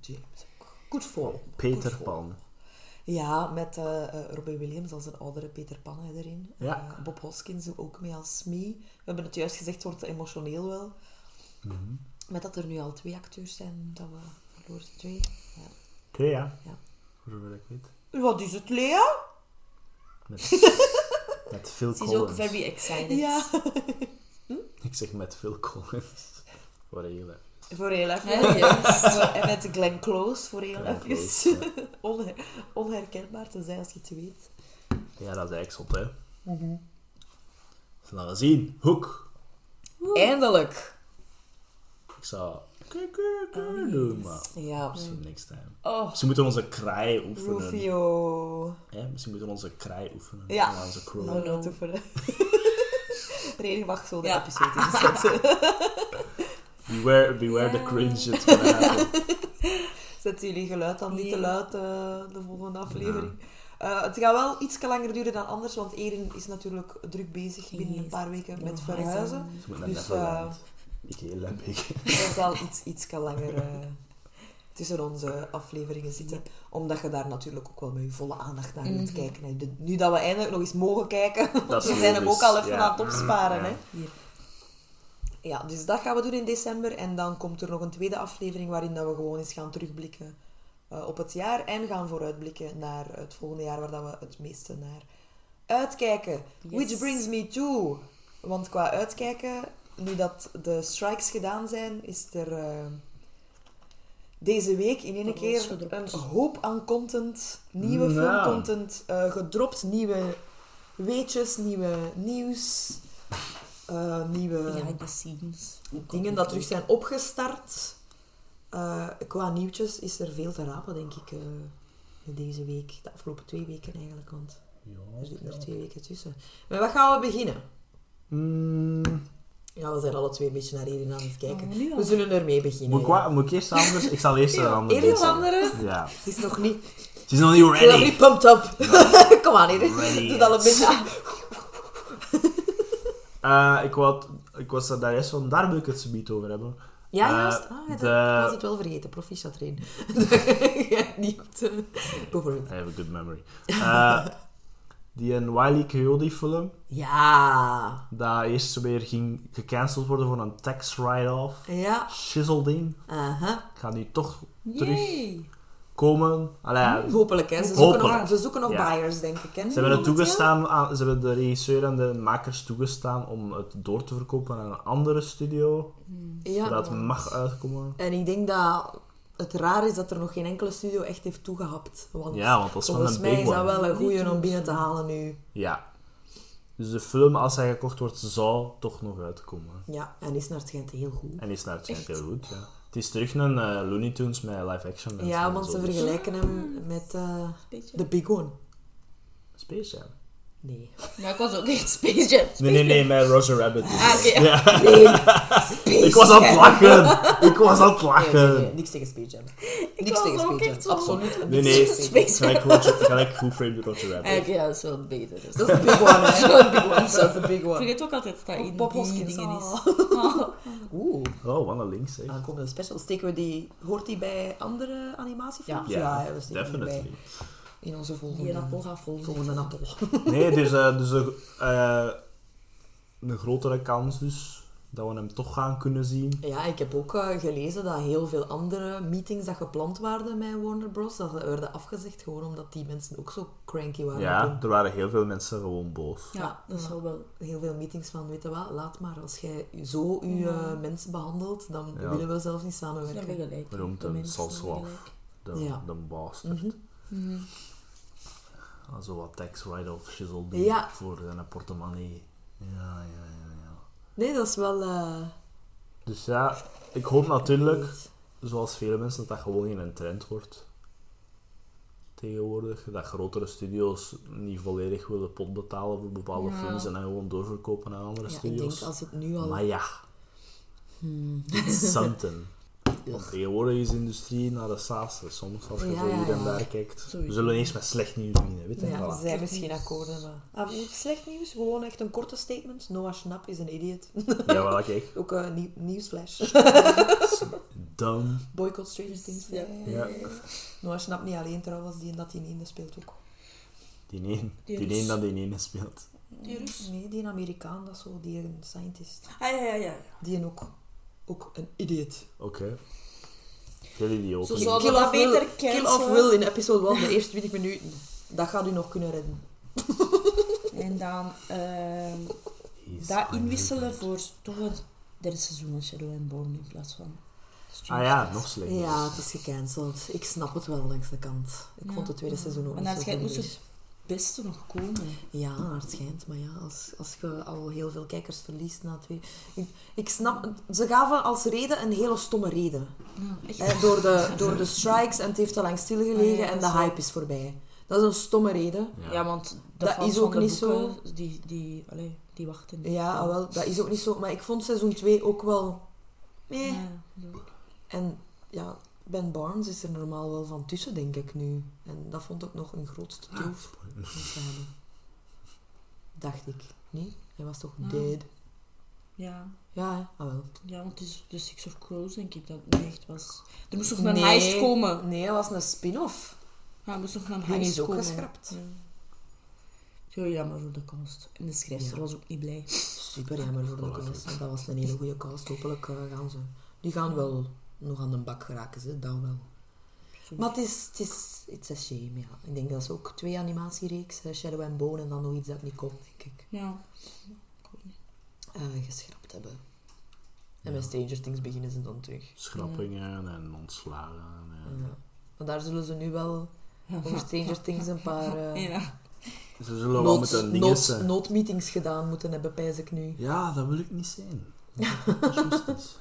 S2: James Hook. Goed vol.
S3: Peter Pan.
S2: Ja, met eh, eh, Robin Williams als een oudere Peter Pan hè, erin.
S3: Ja.
S2: Eh, Bob Hoskins doet ook mee als Smee. We hebben het juist gezegd, het wordt emotioneel wel.
S3: Mhm.
S2: Met dat er nu al twee acteurs zijn, dat we verloren twee. Ja.
S3: Twee, ja.
S2: Ja.
S3: Voor zover ik weet.
S2: Wat is het, Lea?
S3: Met, met Phil
S4: Ze is ook
S3: Collins.
S4: very excited.
S3: Ik zeg met Phil Collins. Wat heel erg.
S2: Voor heel even.
S4: Hè, yes.
S2: en met Glenn Close voor heel
S3: Glenn
S2: even.
S3: Close,
S2: Onher- onherkenbaar te zijn als je het weet.
S3: Ja, dat is eigenlijk zot, hè. Dus laten we zien. Hoek.
S2: Eindelijk.
S3: Ik zou... Kijk, kijk, kijk, doen, maar...
S2: Ja.
S3: Misschien next time.
S4: Oh,
S3: Misschien moeten we onze kraai oefenen.
S2: Rufio.
S3: Hè? Misschien moeten we onze kraai oefenen.
S2: Ja.
S3: En Onze crow.
S2: Nou,
S4: no.
S2: dat oefenen. Reden mag zo de
S4: Ja.
S2: episode inzetten.
S3: Beware, beware the cringe. It's gonna happen.
S2: Zetten jullie geluid dan niet
S4: Ja.
S2: te luid eh, de volgende aflevering. Eh, het gaat wel iets langer duren dan anders, want Erin is natuurlijk druk bezig binnen een
S4: Yes.
S2: paar weken met
S4: Verhuizen.
S2: verhuizen.
S3: Ze moeten naar
S2: Dus
S3: Neverland.
S2: eh
S3: Ik heel heb ik.
S2: er zal iets, iets langer eh, tussen onze afleveringen zitten. Omdat je daar natuurlijk ook wel met je volle aandacht naar wilt kijken. hè. De- nu dat we eindelijk nog eens mogen kijken,
S3: Dat is
S2: we zijn hem
S3: logisch,
S2: ook al even
S3: ja.
S2: aan het opsparen. Hè.
S4: hier.
S2: Ja, dus dat gaan we doen in december. En dan komt er nog een tweede aflevering waarin dat we gewoon eens gaan terugblikken eh, op het jaar. En gaan vooruitblikken naar het volgende jaar waar dat we het meeste naar uitkijken.
S4: Yes.
S2: Which brings me to. Want qua uitkijken, nu dat de strikes gedaan zijn, is er eh, deze week in één
S4: Van
S2: keer
S4: alles gedropt.
S2: een hoop aan content, nieuwe
S3: Nou.
S2: filmcontent eh, gedropt. Nieuwe weetjes, nieuwe nieuws, eh, nieuwe
S4: Behind the scenes.
S2: dingen dat terug zijn opgestart. Eh, qua nieuwtjes is er veel te rapen, denk ik, eh, deze week. De afgelopen twee weken eigenlijk, want er zitten er twee weken tussen. Maar wat gaan we beginnen?
S3: Mm,
S2: Ja, we zijn alle twee een beetje naar iedereen aan het kijken.
S4: Oh, nu al.
S2: we zullen ermee beginnen.
S3: moet, ik eh, wa- moet ik eerst anders? Ik zal eerst een ander
S2: Eerst
S3: doen.
S2: andere.
S3: Ja.
S2: Het is nog niet...
S3: Ze is nog niet
S2: Ik ben nog
S3: ready.
S2: niet pumped up. Kom aan, Erin.
S3: Ready
S2: Doe dat al een
S3: yet.
S2: beetje...
S3: Eh, ik, wou, het- ik was er daar juist van, daar wil ik het zo niet over hebben.
S2: Ja,
S3: Eh,
S2: juist. Ah, ja, dat-
S3: de-
S2: Ik was het wel vergeten. Proficiat, Erin. ja, niet... eh, Go for it.
S3: I have a good memory. Eh, die een Wiley Coyote film,
S2: Ja.
S3: dat eerst weer ging gecanceld worden voor een tax write-off.
S2: Ja.
S3: Shizzelding.
S2: Aha.
S3: Gaat nu toch
S4: Yay.
S3: terugkomen. Allee,
S2: Hopelijk, hè. Ze zoeken,
S3: Hopelijk.
S2: nog, ze zoeken nog
S3: Ja.
S2: buyers, denk ik. Hè?
S3: Ze hebben, het toegestaan aan, ze hebben de regisseur en de makers toegestaan om het door te verkopen aan een andere studio.
S2: Ja.
S3: zodat het mag uitkomen.
S2: En ik denk dat het raar is dat er nog geen enkele studio echt heeft toegehapt. Want
S3: Ja, want dat is wel
S2: volgens
S3: een
S2: mij
S3: big
S2: is dat
S3: one.
S2: wel een goeie om binnen te halen nu.
S3: Ja. Dus de film, als hij gekocht wordt, zal toch nog uitkomen.
S2: Ja, en is naar het schijnt heel goed.
S3: En is naar het schijnt heel goed, ja. Het is terug een eh, Looney Tunes met live-action mensen.
S2: Ja,
S3: en
S2: want
S3: zo,
S2: ze
S3: dus-
S2: vergelijken hem met eh, de Big One.
S3: Space Jam.
S2: Nee.
S4: Ja, ik was ook echt Space Jam.
S3: Nee, nee, nee, met Roger Rabbit. dus.
S4: Ah, oké.
S2: Nee,
S3: Ik was aan het lachen. Ik was aan het
S2: Nee, nee, nee,
S3: lachen.
S2: niks tegen Space Jam. niks
S4: was
S2: tegen
S4: ook
S2: Space Jam.
S4: echt zo-
S2: Absoluut.
S3: eh. Nee,
S2: niks
S3: nee.
S2: tegen Space Jam. Ah,
S4: Space Jam.
S3: Gelijk Roger- Gelijk Who Framed Roger Rabbit.
S4: Eigenlijk, ja, dat is wel beter. Dus.
S2: Dat is de big one, hè. Dat is de big one. Dat is de big
S4: Ik
S2: one.
S4: vergeet ook altijd dat dat
S2: Ook
S4: in
S2: Bob
S4: die
S2: Hoskins,
S4: dingen is.
S2: ah.
S4: Ah.
S2: Oeh.
S3: Oh, wat een links, hè.
S2: Aankomende special. Steken we die... Hoort die bij andere animatiefilms?
S3: Ja,
S2: hè, we steken die
S3: definitely.
S2: bij in onze
S4: Die
S2: volgende...
S4: appel gaat vol.
S2: Volgende appel.
S3: Nee, dus, eh, dus een, eh, een grotere kans dus dat we hem toch gaan kunnen zien.
S2: Ja, ik heb ook eh, gelezen dat heel veel andere meetings dat gepland waren met Warner Bros. Dat werden afgezegd gewoon omdat die mensen ook zo cranky waren. op
S3: Ja,
S2: hun-
S3: er waren heel veel mensen gewoon boos.
S4: Ja, dat zal wel.
S2: Heel veel meetings van, weet je wat, laat maar. Als jij zo je eh, mensen behandelt, dan
S3: Ja.
S2: willen we zelf niet
S4: Ze hebben
S2: samenwerken.
S4: gelijk.
S3: Roemt
S4: De
S3: een
S4: mensen
S3: Salslav,
S4: hebben
S3: de,
S2: Ja. Mhm.
S3: de bastard. Ah, Zo wat tax write-off shizzle doen
S2: Ja.
S3: voor zijn portemonnee. Ja, ja, ja, ja.
S2: Nee, dat is wel... eh,
S3: Dus ja, ik hoop natuurlijk, zoals vele mensen, dat dat gewoon in een trend wordt. Tegenwoordig. Dat grotere studios niet volledig willen pot betalen voor bepaalde
S4: Ja.
S3: films en dan gewoon doorverkopen aan andere
S2: Ja, ik
S3: studios.
S2: denk als het nu al...
S3: Maar ja. It's something. Want tegenwoordig is de industrie naar de saas. Soms, als je
S2: Ja,
S3: zo hier
S2: ja,
S3: en
S2: ja.
S3: daar kijkt. We
S4: Sowieso.
S3: zullen eens met slecht nieuws beginnen. Weet je?
S2: Ja,
S3: Voilà.
S2: ze zijn misschien akkoorden. Maar... Ah, slecht nieuws, gewoon echt een korte statement. Noah Schnapp is een idiot.
S3: Ja, voilà, kijk.
S2: Ook een nieuwsflash.
S3: Dumb.
S2: Boycott Stranger Things.
S4: Ja.
S3: Ja.
S2: Noah Schnapp niet alleen trouwens, die en dat die in speelt ook.
S3: Die een, die
S4: Rus.
S3: een dat die ene speelt.
S4: Die Rus.
S2: Nee, die een Amerikaan, dat is zo, die een scientist.
S4: Ah, ja, ja, ja.
S2: Die en ook, ook een idiot.
S3: Oké. Jullie die
S4: Zo
S3: open.
S4: zou-
S2: Kill
S4: dat
S2: of,
S4: beter
S2: will,
S4: cancelen.
S2: kill of Will in episode 1, de eerste 20 minuten. Dat gaat u nog kunnen redden.
S4: En dan ehm,
S3: He's
S4: dat
S3: unreal.
S4: inwisselen voor toch het derde seizoen van Shadow and Bone in plaats van.
S3: Ah
S4: Stranger
S3: ja,
S4: Things.
S3: nog slechter.
S4: Dus-
S2: Ja, het is gecanceld. Ik snap het wel langs de kant. Ik
S4: Ja.
S2: vond het tweede seizoen ook
S4: Maar
S2: niet
S4: naar
S2: zo
S4: het schijnt
S2: goed
S4: moest
S2: meer.
S4: het beste nog komen.
S2: Ja, naar het schijnt. Maar ja, als, als je al heel veel kijkers verliest na twee... Ik, ik snap... Ze gaven als reden een hele stomme reden.
S4: Eh,
S2: Hè, door, de, door de strikes en het heeft te lang stilgelegen
S4: Ah, ja,
S2: en de
S4: dat is
S2: hype is voorbij. Dat is een stomme reden.
S3: Ja.
S4: Ja, want de
S2: Dat
S4: fans
S2: is ook
S4: van de
S2: niet zo.
S4: boeken, Die, die, allee, die wachten. niet.
S2: Ja, ah, wel, dat is ook niet zo. Maar ik vond seizoen 2 ook wel... Eh, Meh.
S4: Ja, zo.
S2: En ja, Ben Barnes is er normaal wel van tussen, denk ik nu. En dat vond ik nog een grootste troef. om te hebben. Dacht ik. Nee? Hij was toch
S4: Ja.
S2: dead?
S4: ja.
S2: Ja, hè? ah wel.
S4: Ja, want het is de Six of Crows, denk ik, dat het niet echt was. Er moest nog een
S2: Nee.
S4: heist komen.
S2: Nee, hij was een spin-off.
S4: Ja, er moest nog een
S2: Die
S4: heist
S2: is ook
S4: komen.
S2: geschrapt.
S4: Ja. Heel jammer voor de cast. En de schrijfster
S2: Ja.
S4: was ook niet blij.
S2: Super jammer voor de cast. want Dat was een hele goede cast. Hopelijk eh, gaan ze. Die gaan wel nog aan de bak geraken, ze, dat wel. Maar het is, het is it's a shame, ja. Ik denk dat ze ook twee animatiereeks, eh, Shadow and Bone en dan nog iets dat niet kon, denk ik,
S4: Ja.
S2: eh, geschrapt hebben. En met Stranger Things beginnen ze dan terug.
S3: Schrappingen en ontslagen. En...
S2: Ja. Want daar zullen ze nu wel
S4: Ja.
S2: over Stranger Things een paar eh
S4: Ja.
S3: Ze zullen wel met
S2: nood,
S3: een
S2: nood-
S3: dingetje...
S2: noodmeetings gedaan moeten hebben, pijs ik nu.
S3: Ja, dat wil ik niet zijn. Dat is juist iets.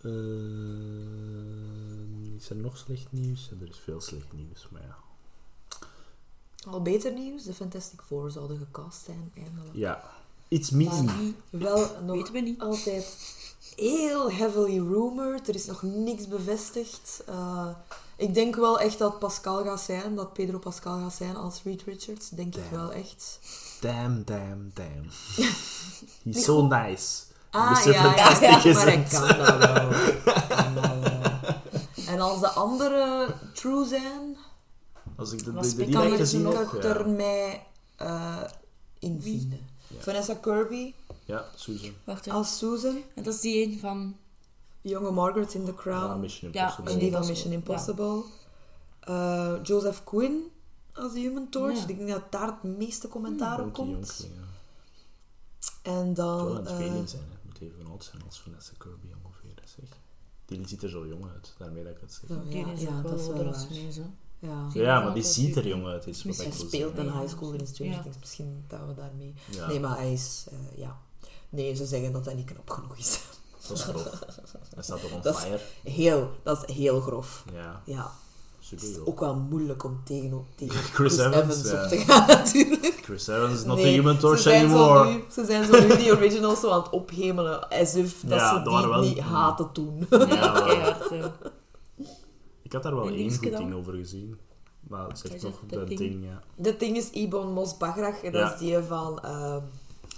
S3: Eh, is er nog slecht nieuws? Er is veel slecht nieuws, maar ja.
S2: Al beter nieuws, de Fantastic Four zouden gecast zijn, eindelijk.
S3: Ja, iets minder.
S4: Maar wie?
S2: Wel nog
S4: Weten we niet.
S2: altijd heel heavily rumored. Er is nog niks bevestigd. Eh, ik denk wel echt dat Pascal gaat zijn, dat Pedro Pascal gaat zijn als Reed Richards. Denk ik
S3: Damn.
S2: wel echt.
S3: Damn, damn, damn. He's so nice. Mr.
S2: Ah, ja,
S3: Fantastic is
S2: maar ik
S3: het.
S2: kan dat wel. Ik kan dat wel. En als de andere true zijn,
S3: Als ik de,
S4: Was
S3: de, de, die
S4: Picard
S3: dat
S2: kan
S3: ik
S4: er
S2: ik
S3: gezien
S2: nog
S3: heb.
S2: er
S3: Ja.
S2: mij eh, in vinden.
S3: Ja.
S2: Vanessa Kirby
S3: ja, Susan.
S4: Wacht even.
S2: als Susan,
S4: En dat is die een van...
S2: jonge Margaret in The
S3: Ja,
S2: Crown,
S3: Mission
S4: Ja,
S3: Impossible.
S2: en die van
S4: Impossible.
S2: Mission Impossible. Eh, Joseph Quinn als de Human Torch.
S4: Ja.
S2: Ik denk dat daar het meeste commentaar op
S3: Ook die
S2: komt.
S3: jonkeling, ja.
S2: En
S3: Het
S2: dan...
S3: zal wel aan het
S2: eh,
S3: spelen zijn, hè. Moet even oud zijn als Vanessa Kirby ongeveer, zeg. Die ziet er zo jong uit, daarmee dat ik het zeg.
S2: oh,
S4: die
S2: ja,
S4: is
S2: ja,
S4: ook
S2: dat is
S4: wel
S2: wel
S4: ouder als
S2: waar.
S4: mij, zo.
S2: Ja.
S4: Zie-
S3: Ja, maar die ziet er jong uit, is wat
S4: Misschien
S3: ik wil
S2: speelt
S3: zeggen.
S2: een
S4: Ja.
S2: high school in Stranger
S4: Ja.
S2: Things. Misschien dat we daarmee...
S3: dus, Ja.
S2: Nee, maar hij is... eh, ja. Nee, ze zeggen dat hij niet knap genoeg is.
S3: Dat is grof. Hij staat ook on
S2: Dat is-
S3: fire.
S2: Heel, dat is heel grof.
S3: Ja,
S2: Ja,
S3: super
S2: het is ook wel moeilijk om tegen, tegen Chris,
S3: Evans,
S2: Evans
S3: ja.
S2: op te gaan natuurlijk.
S3: Chris Evans is not
S2: Nee,
S3: the human torch
S2: ze zijn zo
S3: anymore.
S2: nu- Ze zijn zo nu die originals zo aan het ophemelen, alsof dat
S3: Ja,
S2: ze
S3: dat
S2: die
S3: waren wel-
S2: niet haten toen.
S3: Ja, wel.
S4: Keihard, eh. ja.
S3: ik had daar wel
S4: En
S3: één
S4: dingetje
S3: goed
S4: dan?
S3: ding over gezien. Maar het
S4: Wat
S3: zegt
S4: is
S3: nog
S4: dat,
S3: dat
S4: dat
S3: ding,
S4: ding?
S3: ja.
S2: Dit ding is Ibon Mos Bagrach en dat
S3: Ja.
S2: is die van ehm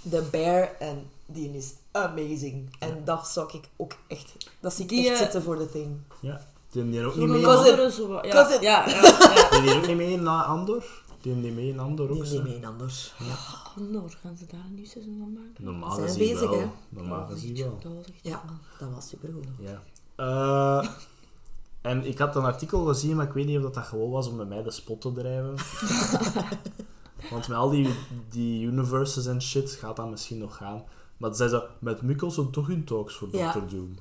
S2: The Bear en die is amazing. En dat zou ik ook echt, dat zie ik
S4: Die,
S2: echt
S4: eh,
S2: zitten voor de thing.
S3: Ja, die neemt ook niet
S4: Zo'n
S3: mee.
S2: Cause it-
S4: andere zo wat. Ja,
S2: cause it-
S4: ja, ja, ja.
S3: Die neemt ook niet mee naar Andor. Die neemt niet mee in Andor
S2: Die
S3: ook. zo.
S2: neem een anders.
S4: Andor, Oh, gaan ze daar een nieuw seizoen van maken?
S3: Normaal
S2: Zijn
S3: gezien
S2: bezig,
S3: wel.
S2: hè?
S3: Normaal
S4: Dat was
S3: gezien
S4: echt
S3: wel.
S4: goed, dat was echt
S2: Ja,
S4: goed.
S2: dat was supergoed.
S3: Ja. Eh, en ik had een artikel gezien, maar ik weet niet of dat, dat gewoon was om met mij de spot te drijven. Want met al die, die universes en shit gaat dat misschien nog gaan. Maar zij zei, met Mikkelsen toch hun talks voor
S2: Ja.
S3: Dr. Doom.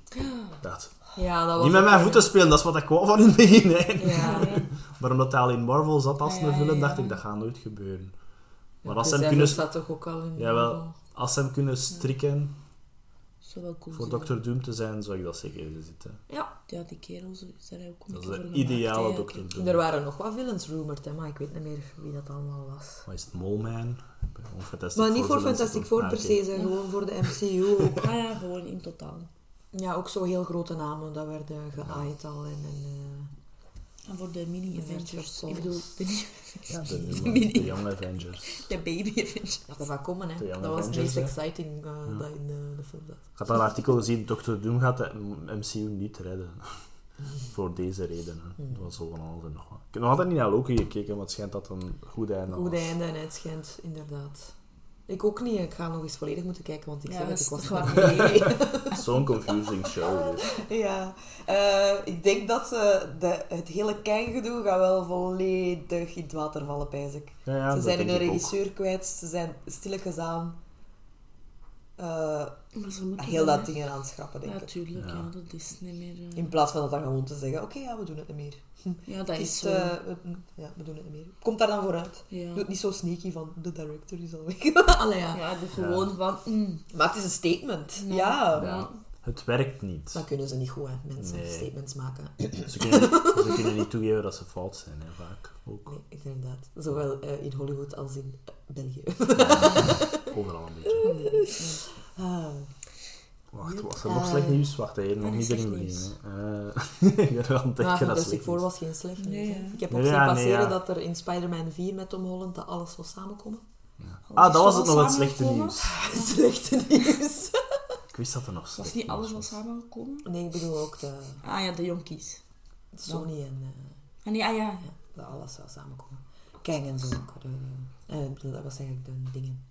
S3: Dat.
S2: Ja, dat was
S3: Niet met mijn voeten spelen, dat is wat ik wou van in het begin. hè.
S2: Ja.
S3: Maar omdat hij al in Marvel zat als
S4: Ja, ja,
S3: een film, dacht
S4: ja.
S3: ik, dat gaat nooit gebeuren. Maar
S2: Dus
S3: als ze hem
S2: hij
S3: kunnen,
S2: staat toch ook al in.
S3: jawel, als ze hem kunnen strikken
S4: Zou wel cool
S3: voor
S4: zijn.
S3: Dr. Doom te zijn, zou ik dat zeker in zitten.
S2: Ja,
S4: Ja, die kerels zijn daar ook een
S3: Dat is
S4: beetje
S3: de
S4: voor
S3: ideale
S4: gemaakt,
S3: Dr.
S4: eigenlijk.
S3: Doom.
S2: er waren nog wat villains rumored, hè, maar ik weet niet meer wie dat allemaal was.
S3: Wat is het, Molman? Of Fantastic
S2: Maar niet
S3: Four,
S2: voor
S3: zodat ze
S2: Fantastic
S3: toch-
S2: Four per
S3: Ah,
S2: se,
S3: oké.
S2: zijn gewoon voor de MCU. ook.
S4: Ah ja, gewoon in totaal.
S2: Ja, ook zo heel grote namen, dat werden geaaid al. En, en, eh,
S4: En voor de mini-Avengers.
S2: Avengers.
S4: Ik bedoel, de,
S3: Ja,
S4: de,
S3: de, nieuwe, de Young Avengers.
S4: baby-Avengers.
S2: dat er wat komen, hè.
S3: De
S2: Dat
S3: Young
S2: was het
S3: Avengers,
S2: meest
S3: hè.
S2: exciting eh,
S3: Ja.
S2: dat in de, de film zat.
S3: Ik had al een artikel gezien, Dr. Doom gaat de MCU niet redden. Voor deze redenen.
S2: Hmm.
S3: Dat was zo van alles en nog wat. Ik heb nog altijd niet naar Loki gekeken, want het schijnt dat een goed einde
S2: Goed
S3: was.
S2: einde en het schijnt, inderdaad. Ik ook niet, ik ga nog eens volledig moeten kijken, want ik
S4: Ja,
S2: zeg
S4: dat
S2: het, ik
S4: is
S2: was
S4: toch
S2: er
S4: waar.
S2: niet bij.
S3: Zo'n confusing show. Dus.
S2: Ja, eh, ik denk dat ze de, het hele keingedoe gaat wel volledig in het water vallen, pijs ik.
S3: Ja, ja,
S2: ze
S3: dat
S2: zijn
S3: denk
S2: hun
S3: ik ook.
S2: regisseur kwijt, ze zijn stilletjes aan eh,
S4: Maar ze moeten
S2: heel
S4: wel,
S2: dat
S4: hè.
S2: ding aan het schrappen, denk
S4: Ja,
S2: ik.
S4: tuurlijk. Ja.
S3: Ja.
S4: dat is niet meer... eh,
S2: In plaats van dat dan gewoon te zeggen, oké, ja, we doen het niet meer.
S4: Ja, dat
S2: Het
S4: is
S2: is,
S4: zo.
S2: eh, we- ja, we doen het niet meer. Komt daar dan vooruit.
S4: ja.
S2: Doe het niet zo sneaky van, de director is al weg. Allee, ja.
S4: ja, de gewoon van... mm,
S2: Maar het is een statement.
S4: Ja.
S2: Ja.
S3: Ja. Het werkt niet.
S2: Dat kunnen ze niet goed, hè, mensen.
S3: Nee.
S2: Statements maken.
S3: Ze kunnen, ze kunnen niet toegeven dat ze fout zijn, hè, vaak. Ook
S2: Nee, inderdaad. Zowel eh, in Hollywood als in eh, België.
S3: overal een beetje.
S4: Mm.
S2: Ah.
S3: Wacht, was er nog slecht nieuws? Wacht, hè, nog
S4: eh, is
S3: niet
S4: slecht
S3: erin
S4: nieuws.
S3: beginnen. Eh, ik ben wel aan
S2: Maar
S3: het denken dat
S2: Fantastic
S3: slecht
S2: Four
S3: nieuws
S2: was geen slecht nieuws.
S4: Nee,
S2: hè.
S4: ja.
S2: Ik heb ook
S3: Ja,
S2: zien
S3: nee,
S2: passeren
S3: ja.
S2: dat er in Spider-Man 4 met Tom Holland dat alles zou samenkomen.
S3: Ah, dat was
S4: al
S3: het nog het slechte
S4: samengekomen?
S3: nieuws.
S2: Slechte nieuws.
S3: Ik wist dat er nog
S4: Was
S3: slecht
S4: niet alles al
S3: nieuws was.
S4: samengekomen?
S2: Nee, ik bedoel ook de
S4: Ah ja, de jonkies.
S2: Sony en eh,
S4: Ah nee, ah ja.
S2: ja, dat alles zou samenkomen. Kang en zo. ook, eh, eh, dat was eigenlijk de dingen.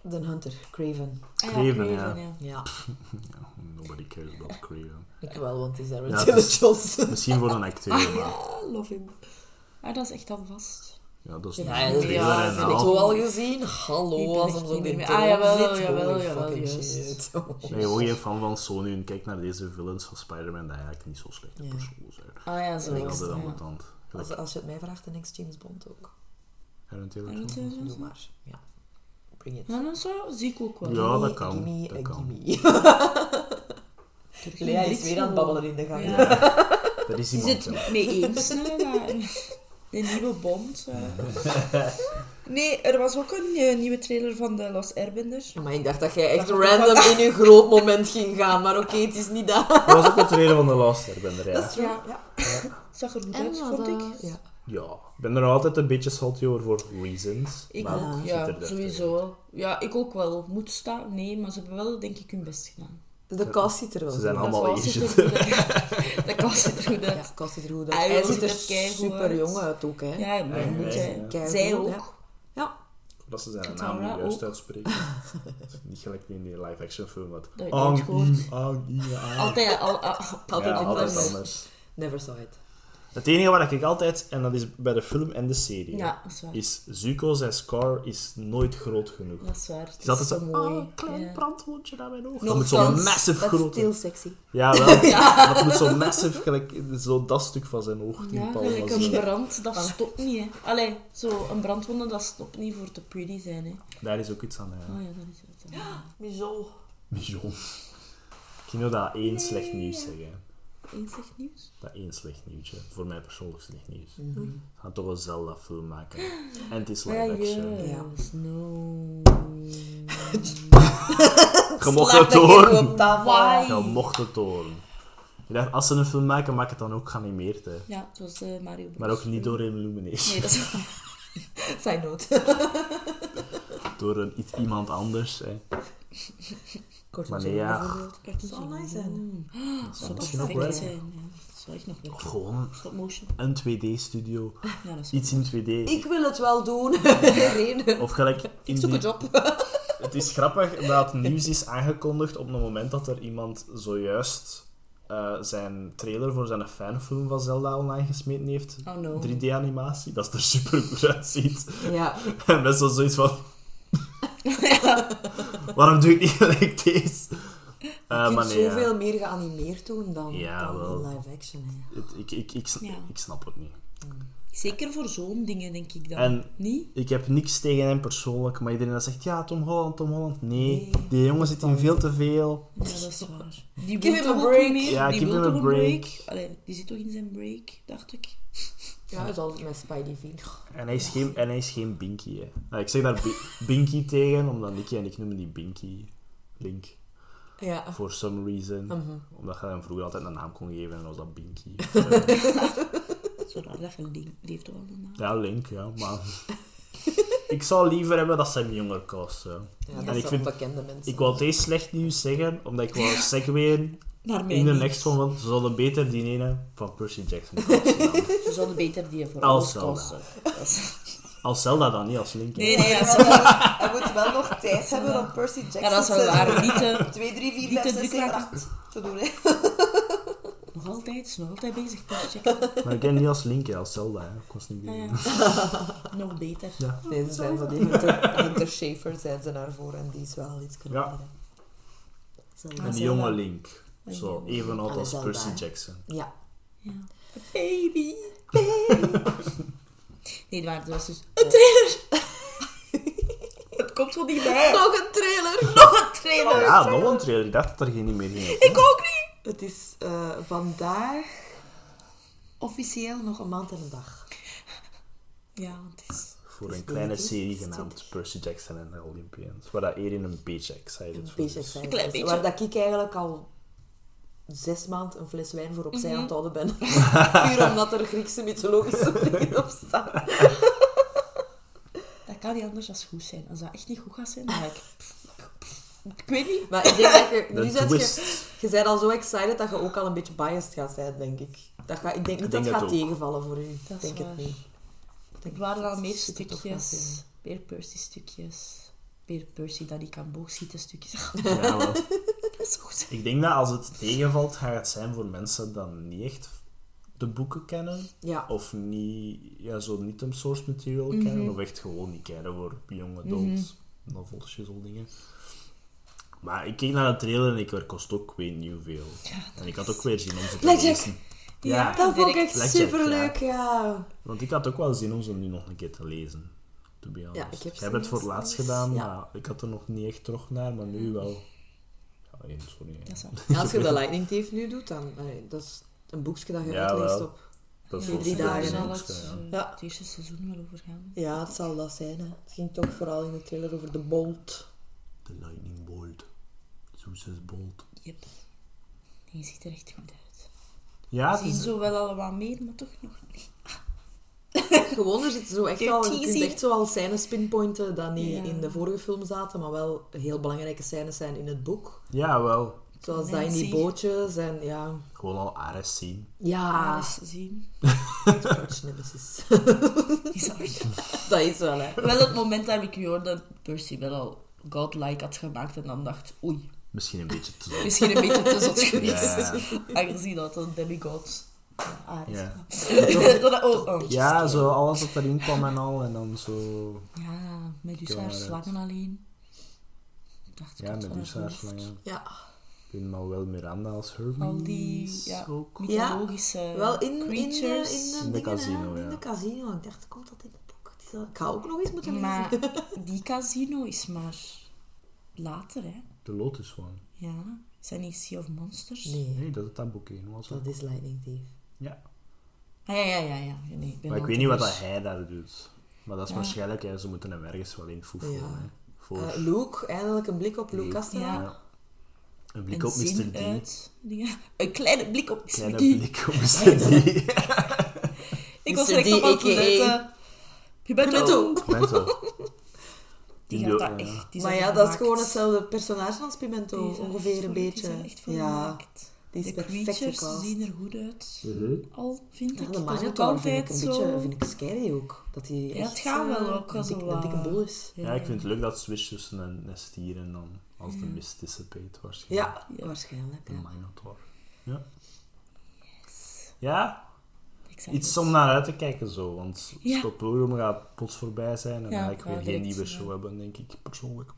S2: De Hunter, Craven.
S4: Ah, ja,
S3: Craven,
S4: Craven,
S3: ja.
S4: ja.
S2: Ja,
S3: Nobody cares about Craven.
S2: ik wel, want het is Aaron
S3: Ja, het
S2: Taylor
S3: is-
S2: Johnson.
S3: Misschien voor een acteur, maar...
S4: Ah, love him. Ah, dat is echt al vast.
S3: Ja, dat is niet
S2: Ja,
S3: een
S2: dat
S3: trailer
S2: heb
S4: ja,
S3: en
S4: vind
S2: ik
S3: al.
S2: zo al gezien.
S4: Ik
S2: Hallo,
S4: ben
S2: als
S4: echt
S2: hem zo
S4: niet
S2: in de
S4: meer-
S2: ah,
S4: Ah, jawel,
S2: zit.
S4: jawel,
S2: Holy
S4: jawel,
S2: fucking
S4: juist.
S2: shit.
S3: Ik ben gewoon geen fan van Sony en kijk naar deze villains van Spider-Man, die eigenlijk niet zo slechte
S2: Ja.
S3: personen zijn.
S4: Ah ja,
S3: Dat
S4: zo.
S3: is
S4: is
S3: altijd
S4: het,
S3: aan
S4: ja.
S3: mijn tand.
S2: Als,
S3: Gelijk
S2: als je het mij vraagt, dan is James Bond ook.
S3: Aaron Taylor
S4: Aaron
S3: Johnson.
S4: Taylor
S2: Doe
S4: Johnson?
S2: maar. Ja. Bring it.
S4: Ja, dat zo zie ik ook wel.
S3: Ja.
S2: Gimme,
S3: dat kan,
S2: Gimme,
S3: dat
S2: eh,
S3: kan.
S2: gimme.
S4: Terug in
S2: Lea is
S4: Brits
S2: weer aan het
S4: gewoon.
S2: babbelen in de gang.
S4: Ja.
S3: Er is
S4: Ze
S3: iemand.
S4: is
S3: hè.
S4: het mee eens, hè, maar de nieuwe Bond. eh. Nee, er was ook een eh, nieuwe trailer van de Los Airbenders.
S2: Maar ik dacht dat jij echt
S4: Dat gaat
S2: random in je groot moment ging gaan. Maar oké, het is niet dat.
S3: Dat was ook het reden van de Last Airbender, ja.
S4: Ja,
S2: Ja.
S4: zag er goed uit, vond ik.
S2: Ja.
S3: Ja, ik ben er altijd een beetje salty over voor reasons.
S4: Ik
S3: maar
S4: ook,
S3: het
S4: ja,
S3: zit er dus deftig
S4: sowieso. wel. Ja, ik ook wel. Moet staan, nee, maar ze hebben wel, denk ik, hun best gedaan.
S2: De kast ziet er wel
S3: Ze zijn
S2: goed
S3: allemaal
S4: Dat was- ziet er
S3: Asian.
S4: goed uit. De kast ziet er goed
S2: uit. Ja,
S4: uit.
S2: de kast ziet er goed uit.
S4: Hij
S2: Hij
S4: ziet
S2: ziet er
S4: er keigoed
S2: super
S4: uit.
S2: jong uit ook, hè.
S4: Ja, maar
S3: Ja,
S4: moet
S3: ja,
S4: jij.
S2: ja.
S4: Zij
S2: Keigoed,
S4: ook.
S2: Ja.
S3: Dat ze zijn
S4: Katara
S3: naam niet juist
S4: ook.
S3: uitspreken. Dat is niet gelijk in die live-action film. Wat...
S4: Dat heb ik
S3: Ang,
S4: nooit gehoord.
S3: Im, Ang, Im, Ang.
S4: Altijd, al, al, altijd
S3: Ja,
S4: anders.
S3: altijd anders.
S2: Never saw it.
S3: Het enige waar ik altijd, en dat is bij de film en de serie,
S4: Ja, dat is waar.
S3: is Zuko zijn scar is nooit groot genoeg.
S4: Dat is waar. Het is
S3: dat is
S4: zo
S3: een
S4: mooi.
S3: klein
S4: Ja.
S3: brandwondje naar mijn oog.
S4: Nog
S3: Dat moet zo'n
S4: zelfs,
S3: massive
S2: Dat is
S3: grote...
S2: still sexy.
S3: Ja, wel. Dat moet zo'n massive, gelijk, zo dat stuk van zijn oog.
S4: Oh, Ja,
S3: tientallen
S4: gelijk
S3: van
S4: een
S3: zijn-
S4: brand, dat
S3: Ah.
S4: stopt niet, hè. Allee, zo, een brandwonde, dat stopt niet voor te pretty zijn, hè.
S3: Daar is ook iets aan, ja.
S4: Oh ja, dat is het.
S2: Michel.
S1: Bijon.
S3: Ik ging nou dat één slecht nieuws zeggen.
S2: Eén slecht nieuws?
S3: Dat één slecht nieuwtje. Voor mij persoonlijk slecht nieuws.
S2: Mm.
S3: We gaan toch een Zelda-film maken. En het is live action.
S2: Ja.
S4: yes, no.
S3: Je mocht
S2: Slaat
S3: het
S2: dat
S3: horen.
S2: even op tafel.
S4: Why?
S3: Je mocht het horen. Ik dacht, als ze een film maken, maak het dan ook geanimeerd. Hè.
S4: Ja, het was eh, Mario Bros.
S3: Maar ook niet door Illumination.
S4: Nee, dat is...
S2: Zijn nood.
S3: Door een, iets, iemand anders. Hè.
S2: Kortom,
S3: Maar
S2: zo
S3: nee, ja.
S2: bijvoorbeeld.
S4: Het
S2: zou mooi zijn.
S3: Dat
S4: Hmm.
S3: zou
S4: Dat
S3: misschien
S4: zou
S3: ook
S4: echt
S3: werken.
S4: zijn. ja. Dat zou echt nog
S3: Of
S4: werken.
S3: gewoon
S4: Stop motion.
S3: een 2D-studio.
S4: Ja, dat is
S3: Iets in 2D.
S2: Ik wil het wel doen. Irene.
S3: Of gelijk...
S2: Ik
S3: in
S2: zoek
S3: die-
S2: een job.
S3: Het is grappig dat het nieuws is aangekondigd op het moment dat er iemand zojuist eh, zijn trailer voor zijn fanfilm van Zelda online gesmeten heeft.
S4: Oh no.
S3: 3D-animatie, dat het er super goed uitziet.
S2: Ja.
S3: En best wel zoiets van... Waarom doe ik niet gelijk deze? Eh,
S2: Je kunt
S3: maar nee, ja.
S2: zoveel meer geanimeerd doen dan,
S3: Ja,
S2: dan
S3: wel.
S2: in live action. hè.
S3: Het- ik, ik, ik, sn-
S4: Ja.
S3: ik snap het niet.
S4: Zeker voor zo'n dingen, denk ik dan.
S3: En-
S4: Niet?
S3: Ik heb niks tegen hem persoonlijk, maar iedereen dat zegt, ja, Tom Holland, Tom Holland. Nee,
S2: Nee.
S3: die jongen zit in veel te veel.
S4: Ja, dat is waar. Die
S2: Give
S4: wil
S2: him a
S4: toch ook niet
S2: break.
S4: meer?
S3: Ja,
S4: die
S3: give
S4: wil
S3: him a
S4: toch een
S3: break.
S4: Allee, die zit toch in zijn break, dacht ik.
S2: Ja, dat is altijd met Spidey Veen.
S3: En hij is geen, en hij is geen Binky, hè. Nou, ik zeg daar Bi- Binky tegen, omdat Nicky en ik noemen die Binky. Link.
S2: Ja.
S3: For some reason.
S2: Mhm.
S3: Omdat je hem vroeger altijd een naam kon geven en was dat Binky.
S4: Zo raar dat je die die heeft toch al een naam.
S3: ja, Link, ja, maar... ik zou liever hebben dat ze hem jonger kost. hè.
S2: Ja,
S3: En
S2: dat zijn
S3: ik vind-
S2: bekende mensen.
S3: Ik wou deze slecht nieuws zeggen, omdat ik wou segwayen
S4: Naar mij
S3: in de
S4: niet.
S3: next one, want ze zouden beter die ene van Percy Jackson kosten dan.
S4: Ze zouden beter die voor
S3: Als
S4: ons
S3: wel,
S4: kosten. Dat is-
S3: Als Zelda dan, niet als Link. hè.
S4: Nee, nee, dat is
S2: Hij
S4: wel-
S2: moet- Hij moet wel nog tijd hebben om Percy Jackson
S4: ja, dat is wel waar. Niet te...
S2: 2, 3, 4,
S4: Niet
S2: 5,
S4: te
S2: 6,
S4: druk
S2: 7,
S4: laten.
S2: 8 te doen. Hè.
S4: Nog altijd, is nog altijd bezig. Pas checken.
S3: Maar ik ken niet als Link, hè, als Zelda. Hè. Ik was niet
S2: Ah,
S4: Ja,
S3: meer.
S4: ja. Nog beter.
S2: Nee, ze zijn van die Hunter, Hunter Schaefer zijn ze naar voren en die is wel iets knapper.
S3: Ja.
S2: hè. Zelda.
S3: Een
S2: Zelda.
S3: jonge Link. Zo, even oud
S2: Alle
S3: als
S2: Zelda, Oh,
S3: Percy
S2: hè.
S3: Jackson.
S2: Ja.
S4: Ja. Baby. Nee, maar het was dus... Een trailer! het komt wel niet bij.
S2: Nog een trailer!
S4: Nog een trailer!
S3: Ja, nog een trailer. Ik dacht dat er geen meer ging.
S4: Ik ook niet!
S2: Het is eh, vandaag officieel nog een maand en een dag.
S4: Ja, want het is...
S3: Voor een kleine serie genaamd Percy Jackson en de Olympians. Waar dat eerder een beetje excited
S2: Een
S3: voor
S2: beetje
S3: is.
S2: excited.
S4: klein
S2: is,
S4: beetje.
S2: Waar dat ik eigenlijk al zes maanden een fles wijn voor opzij
S4: Mhm.
S2: aan het houden ben. Puur omdat er Griekse mythologische dingen op staan.
S4: Dat kan niet anders dan goed zijn. Als dat echt niet goed gaat zijn, dan ga ik... Ik weet niet.
S2: Maar ik denk dat je... Nu
S3: De
S2: zet je...
S3: twist.
S2: Je bent al zo excited dat je ook al een beetje biased gaat zijn, denk ik. Dat ga, ik denk niet dat het
S3: denk het
S2: gaat
S3: ook.
S2: tegenvallen voor u.
S4: Dat
S2: Ik
S4: is
S2: denk
S4: waar.
S2: het niet. Ik denk
S4: Er waren al
S2: dat het
S4: meer
S2: super tof gaat
S4: stukjes.
S2: zijn.
S4: Meer Percy-stukjes. Meer Percy dat ik kan boogschieten stukjes.
S3: Ja, wel.
S4: Dat is goed.
S3: Ik denk dat als het tegenvalt, gaat het zijn voor mensen die niet echt de boeken kennen.
S2: Ja.
S3: Of niet, ja, zo niet een source material kennen. Of echt gewoon niet kennen voor young adult novelsjes of dingen. Maar ik keek naar de trailer en ik werd kost ook weet niet hoeveel. en ik had ook weer zin om ze te
S2: Blackjack.
S3: lezen. Ja,
S2: Dat vond ik
S4: direct.
S2: echt
S3: Blackjack, ja.
S2: superleuk, ja.
S3: want ik had ook wel zin om ze nu nog een keer te lezen. To be honest.
S2: Ja, ik heb
S3: Jij
S2: ze
S3: hebt het
S2: niet
S3: voor
S2: eens
S3: laatst
S2: gelezen.
S3: gedaan,
S2: Ja.
S3: maar ik had er nog niet echt terug naar, maar nu wel. Ja, één, sorry.
S4: Dat is waar.
S2: Ja, Als je de Lightning Thief nu doet, dan... allee, dat is een boekje dat je
S3: Ja,
S2: uitleest
S3: wel.
S2: op...
S3: Dat
S2: Ja,
S3: wel
S2: drie
S3: super
S2: dagen.
S3: leuk,
S4: zal
S2: Zal
S4: het, eh,
S3: ja.
S2: Ja.
S4: het eerste seizoen wel over gaan.
S2: Ja, het zal dat zijn, hè. Het ging toch vooral in de trailer over de Bolt.
S3: De Lightning Bolt. Zeus Bolt.
S4: Yep. Nee, je ziet er echt goed uit.
S3: Ja,
S4: We
S3: het
S4: zien
S3: is...
S4: zo wel allemaal meer, maar toch nog niet.
S2: Gewoon, er zit zo echt
S4: Kijk,
S2: al... Je kunt
S4: teasing.
S2: echt zo al scènes pinpointen dat niet
S4: Ja.
S2: in de vorige film zaten, maar wel heel belangrijke scènes zijn in het boek.
S3: ja, wel.
S2: Zoals dat in die
S4: Nancy.
S2: bootjes en ja...
S3: Gewoon al Ares zien.
S2: Ja,
S4: Alles zien.
S2: Arch Nemesis.
S4: Is hard.
S2: dat is wel, hè.
S4: wel het moment dat ik hoorde dat Percy wel al godlike had gemaakt en dan dacht, oei,
S3: Misschien een beetje te zot.
S4: misschien een beetje te zot
S3: Ja,
S4: geweest.
S3: ja,
S4: Aangezien dat een demigod ja, aardig
S3: ja.
S4: is. Dat- oh, oh.
S3: Ja, zo alles wat erin kwam en al. En dan zo...
S4: Ja, Medusa haar
S3: Ja, dat-
S4: slangen alleen. Ik dacht, ik
S3: Ja,
S4: had wel
S3: Medusa
S4: een
S3: haar
S4: hoofd.
S3: slangen.
S2: Ja.
S3: Ik weet maar wel Miranda als Hermes.
S4: Al die ja,
S3: ook.
S4: mythologische
S2: Wel in, eh, in, in,
S4: creatures.
S2: de,
S3: In de casino,
S2: hè?
S3: ja.
S2: In de casino. Ik dacht, komt dat in het boek? Het is al- Ik ga ook nog eens moeten lezen.
S4: Maar die casino is maar later, hè.
S3: De Lotus One.
S4: Ja. Is dat niet Sea of Monsters?
S2: Nee,
S3: Nee, dat is het Tamboekeen. Was dat?
S2: dat is Lightning Thief.
S3: Ja.
S4: Ah, ja, ja, ja, ja. Nee, ik ben
S3: Maar ik
S4: al
S3: weet
S4: te
S3: niet wat
S4: vers.
S3: dat hij daar doet. Maar dat is
S4: Ja.
S3: waarschijnlijk, hè, ze moeten hem ergens wel in foefelen.
S2: Ja.
S3: hè. Voor
S2: Eh, Luke, eindelijk een blik op Luke
S3: Luke,
S2: Castelaar.
S4: ja.
S3: een
S4: Een
S3: blik op
S4: zin
S3: Mr. D.
S4: uit- dingen. Een kleine blik op Mr.
S3: Kleine
S4: D.
S3: blik op Mr. D.
S4: Ik was
S2: Mr.
S4: direct
S2: D,
S4: op aan het
S2: aka.
S4: letten.
S3: Oh,
S4: Pimento.
S3: Pimento.
S4: Die
S3: Die
S4: gaat
S3: ook,
S4: dat
S3: ja.
S4: echt. die
S2: maar
S4: zijn
S2: ja, dat is
S4: gemaakt.
S2: gewoon hetzelfde personage als Pimento,
S4: Die zijn echt
S2: ongeveer een
S4: voor- Die
S2: beetje.
S4: zijn echt voor
S2: ja,
S4: gemaakt.
S2: die is
S4: de
S2: perfect
S4: creatures
S2: gecast.
S4: zien er goed uit. Al vind
S2: Ja,
S4: ik.
S2: de
S4: dat is ook
S2: Minotaur vind
S4: altijd
S2: ik een
S4: zo.
S2: beetje vind ik scary ook. Dat hij
S4: Ja, het
S2: echt
S4: gaat wel
S2: eh,
S4: ook
S2: een,
S4: als
S2: dik-
S4: een
S2: een dikke
S4: wa-
S2: boel is.
S3: Ja, ik vind het leuk dat switch tussen een een stier en dan als de mist dissipate waarschijnlijk.
S2: Ja, waarschijnlijk.
S3: Een
S2: Ja.
S3: Minotaur. Ja. Ja,
S4: Ik zeg
S3: iets
S4: het.
S3: om naar uit te kijken zo. Want
S4: Ja.
S3: Stop Program gaat plots voorbij zijn en
S4: Ja,
S3: dan ga ik weer
S4: ja,
S3: geen
S4: direct,
S3: nieuwe
S4: ja.
S3: show hebben, denk ik persoonlijk.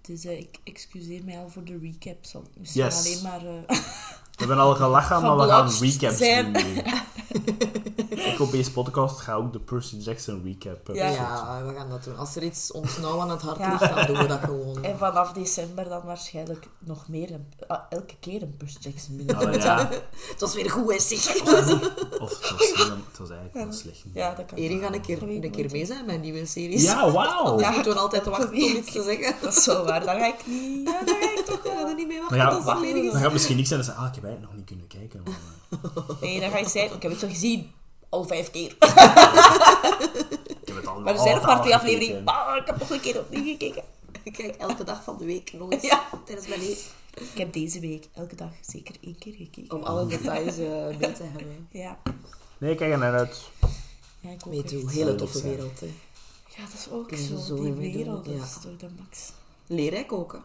S4: Dus eh, ik excuseer mij al voor de recap. zal ik Misschien
S3: Yes.
S4: alleen maar... eh,
S3: We hebben al gelachen, maar we gaan
S4: Geblast
S3: recaps
S4: zijn.
S3: doen nu. ik op deze podcast ga ook de Percy Jackson recap
S4: Ja.
S2: Ja.
S3: episode
S2: we gaan dat doen. Als er iets ons nou aan het hart
S4: Ja.
S2: ligt, dan doen we dat gewoon.
S4: en vanaf december dan waarschijnlijk nog meer. Een, ah, elke keer een Percy Jackson binnen.
S3: doen. Ah, ja.
S2: Het was weer goed, hè, zeg.
S3: Of het was, helemaal- het was eigenlijk wel slecht.
S4: Ja, dat kan.
S2: Erin gaan een keer, een keer mee zijn met nieuwe series.
S3: Ja, wauw!
S2: Dan moeten we altijd wachten om iets te zeggen.
S4: Dat is zo waar. Dan ga ik niet... Ja, dan ga ik toch...
S2: We gaan er niet mee wachten
S3: Maar ja,
S2: tot het
S3: wacht,
S2: volledig
S3: dan
S2: is.
S3: gaat misschien niks zijn en dan zeggen, ah, ik heb eigenlijk nog niet kunnen kijken. Maar, eh,
S4: Nee, dan ga ik zeggen... Ik heb het al gezien. Al vijf keer.
S3: ik heb het al
S4: Maar er zijn nog maar twee afleveringen. Ah, ik heb nog een keer opnieuw gekeken.
S2: Ik kijk elke dag van de week nog eens
S4: Ja.
S2: tijdens mijn leven.
S4: Ik heb deze week elke dag zeker één keer gekeken.
S2: Om alle details eh mee te hebben.
S4: Ja.
S3: Nee, ik kijk er naar uit.
S4: ja ik ook
S2: Weet
S4: echt.
S2: je, hele
S3: leuk
S2: toffe
S3: zijn.
S2: wereld. Hè.
S4: Ja, dat is ook
S2: Kunnen ze
S4: zo.
S2: zo
S4: Die
S2: weer doen,
S4: wereld dat
S2: ja.
S4: is toch de max.
S2: Leerrijk ook. Hè.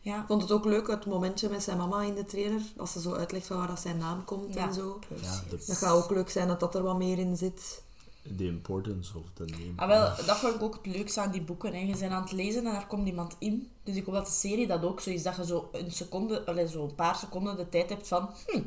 S4: Ja.
S2: Ik vond het ook leuk, het momentje met zijn mama in de trailer. Als ze zo uitlegt van waar dat zijn naam komt
S4: Ja.
S2: en zo.
S3: Ja, de,
S2: Dat gaat ook leuk zijn dat dat er wat meer in zit.
S3: the importance of the name.
S4: Ah, wel, dat vond ik ook het leukste aan die boeken. Hè. Je bent aan het lezen en daar komt iemand in. Dus ik hoop dat de serie dat ook zo is. Dat je zo een seconde, allee, zo een paar seconden de tijd hebt van... Hm.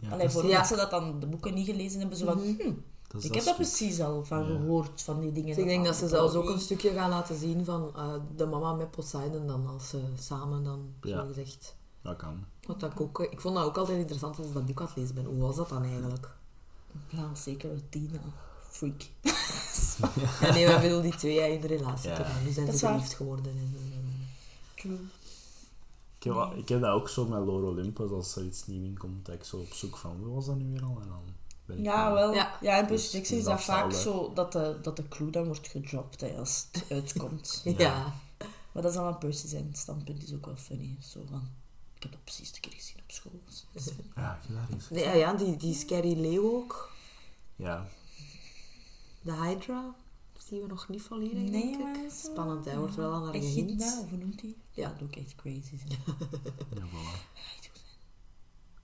S3: Ja,
S4: Allee, voor
S2: Ja. Mhm.
S4: mensen dat dan de boeken niet gelezen hebben, zo van... Hm.
S3: Dus dat is
S4: Ik heb
S3: stuk.
S4: dat precies al van gehoord, van die dingen.
S2: Dus ik denk dat ze zelfs ook een
S4: stuk
S2: stukje gaan laten zien van eh, de mama met Poseidon dan, als ze samen dan,
S3: Ja.
S2: zo gezegd.
S3: Dat kan.
S2: Wat dat ik ook, eh, ik vond dat ook altijd interessant als ik dat boek aan het lezen ben. Hoe was dat dan eigenlijk?
S4: Ja, zeker Tina. Freak.
S2: Ja, nee, we willen die twee hè, in de relatie
S3: Ja.
S2: te gaan. Nu zijn
S4: Dat
S2: ze
S4: is waar.
S2: verliefd geworden. En, eh,
S4: True.
S3: Ik heb, wel- ik heb dat ook zo met Lore Olympus, als er iets nieuws in komt, dat ik zo op zoek van, hoe was dat nu weer al? En dan ben ik
S4: Ja,
S3: dan-
S4: wel.
S2: Ja.
S4: Ja, en Percy
S3: Dus
S4: Jackson is
S3: dat
S4: dat vaak
S3: zal, hè.
S4: zo dat de, dat de clue dan wordt gedropt hè, als het uitkomt.
S2: ja.
S4: Maar dat is dan van Percy zijn standpunt is ook wel funny. Zo van, ik heb dat precies de keer gezien op school. Dus dat is funny.
S3: Ja, ik heb daar iets-
S2: Nee, ja, ja, die, die scary leeuw ook.
S3: Ja,
S2: De Hydra. Zien we nog niet volledig,
S4: Nee,
S2: denk
S4: maar
S2: ik.
S4: is wel-
S2: Spannend, hij wordt wel aan haar gehind.
S4: Echidna, of hoe noemt hij?
S2: Ja.
S4: Ja, dat ook echt crazy. Zijn.
S3: ja, voilà.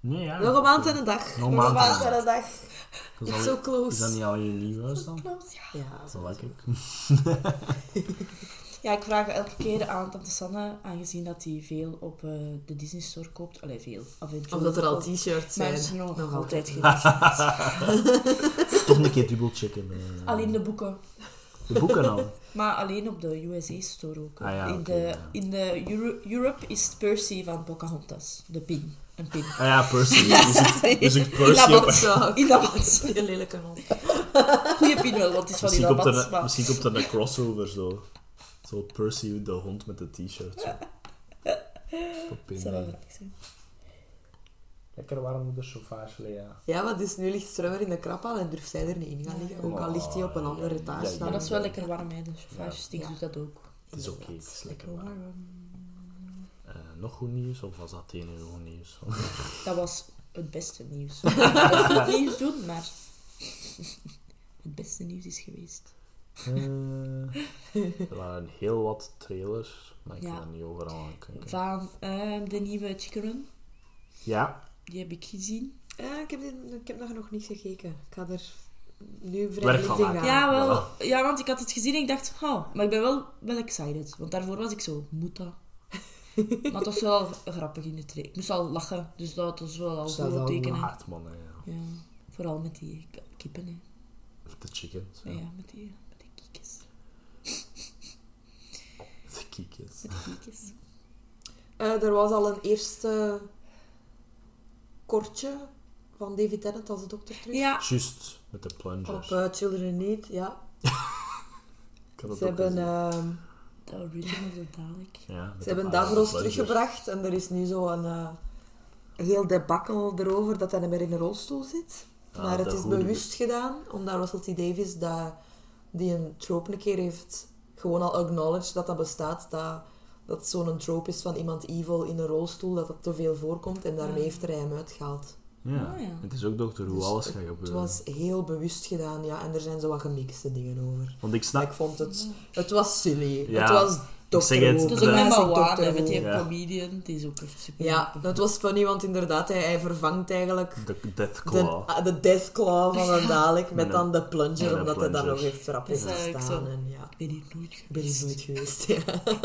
S3: Nee, ja.
S2: Nog een maand en een dag.
S3: Nog een maand en een dag.
S2: dag.
S3: Is
S2: It's
S3: dat-
S2: so
S3: Is dat
S2: close.
S3: niet al je nieuw huis dan?
S4: Close, ja.
S2: Ja,
S3: Dat
S2: zo.
S3: lijkt ik.
S4: Ja, ik vraag elke keer aan tante Sanne, aangezien dat hij veel op eh, de Disney Store koopt. Allee, veel. Af en toe.
S2: Omdat er al t-shirts
S4: Maar
S2: zijn.
S4: er is nog,
S2: Nog
S4: altijd
S2: altijd.
S4: genoeg.
S3: Toch een keer dubbelchecken. eh,
S4: Alleen de boeken.
S3: De boeken al.
S4: Maar alleen op de USA-store ook.
S3: Ah ja,
S4: in,
S3: oké,
S4: de,
S3: ja.
S4: in de Euro- Europe is het Percy van Pocahontas. De pin. Een pin.
S3: Ah ja, Percy. Je zoekt, je zoekt Percy op.
S2: Zo,
S4: In dat bad.
S2: die lelijke man.
S4: Goeie pin wel, want het is van in
S3: Misschien
S4: dat
S3: komt,
S4: bad.
S3: er,
S4: maar-
S3: een- misschien komt er een crossover zo. Zo Percy de hond met de t-shirt. zo. Op in,
S4: Zal
S3: eh.
S4: wel grappig zijn.
S3: Lekker warm op de chauffage, Lea.
S2: Ja, maar dus nu ligt Strummer in de krappaal en durft zij er niet in gaan liggen. Ook al ligt hij op een andere etage.
S3: Ja,
S4: Maar
S2: dan.
S4: dat is wel lekker warm, hè. De chauffage
S2: Ja.
S4: stinkt doet dat ook.
S3: Het is oké, het is lekker
S4: Lekker
S3: warm.
S4: warm.
S3: Eh, nog goed nieuws? Of was dat het enige goed nieuws?
S4: Dat was het beste nieuws. Ik wil goed nieuws doen, maar... Het beste nieuws is geweest.
S3: Eh, er waren heel wat trailers, maar ik
S4: Ja.
S3: kan er niet overal aan kijken.
S4: Van ehm, de nieuwe Chicken Run.
S3: Ja,
S4: Die heb ik gezien.
S2: Ja, ik heb, dit- ik heb nog- nog niet gekeken. Ik ga er nu vrij
S3: Werk van
S2: licht in
S3: maken.
S2: gaan.
S4: Ja, wel, ja, want ik had het gezien en ik dacht, oh, maar ik ben wel, wel excited. Want daarvoor was ik zo, moet dat? maar het was wel grappig in de trek. Ik moest al lachen, dus dat was wel al
S2: Dus dat
S4: zo
S2: is al
S4: tekenen.
S3: hard man. hè, ja.
S4: Ja, vooral met die k- kippen, hè.
S3: De chickens.
S4: Ja,
S3: Ja.
S4: met, die, met die kiekjes.
S3: De kiekens.
S4: Met die kiekjes.
S2: Eh, er was al een eerste kortje van David Tennant als de dokter terug.
S4: Ja.
S3: Juist, met de plungers.
S4: Oh,
S2: Op eh, Children in Need, ja.
S3: Ik had dat
S2: Ze
S3: ook
S2: hebben,
S3: gezien.
S2: ehm
S4: De original zo dadelijk.
S3: Ja, met
S2: ze
S3: de
S2: hebben
S3: parel
S2: Davros
S3: plungers.
S2: teruggebracht en er is nu zo'n eh heel debakkel erover dat hij niet meer in een rolstoel zit.
S3: Ah,
S2: maar het
S3: dat
S2: is
S3: goede-
S2: bewust gedaan, omdat Russell T. Davies dat, die een trope een keer heeft gewoon al acknowledged dat dat bestaat, dat, dat zo'n trope is van iemand evil in een rolstoel, dat dat te veel voorkomt en daarmee heeft hij hem uitgehaald.
S3: Ja.
S4: Ah, ja.
S3: Het is ook Doctor Who,
S2: Dus
S3: alles
S2: het-
S3: gaat gebeuren.
S2: Het was heel bewust gedaan, ja, en er zijn zo wat gemixte dingen over.
S3: Want ik
S2: Maar
S3: snap...
S2: ik vond het... Het was silly.
S3: Ja.
S2: Het was
S3: Ik zeg het,
S2: Doctor Who.
S4: Het is
S3: De-
S4: ook met
S2: classic
S4: Mawar,
S2: Doctor
S4: hè, met die
S2: Who.
S3: Ja.
S4: comedian. Die is ook echt super.
S2: Ja, dat was funny, want inderdaad, hij, hij vervangt eigenlijk
S3: De Death
S2: de,
S3: Claw.
S2: ah, de Death Claw van een Dalek
S3: Met
S2: met
S3: een-
S2: dan de plunger,
S3: met een
S2: omdat hij daar
S3: plunger.
S2: nog heeft rap
S4: Dat
S2: in
S4: is eigenlijk
S2: gestaan.
S4: zo.
S2: En ja,
S4: Ik ben hier nooit geweest.
S2: ik ben hier nooit geweest. Ja.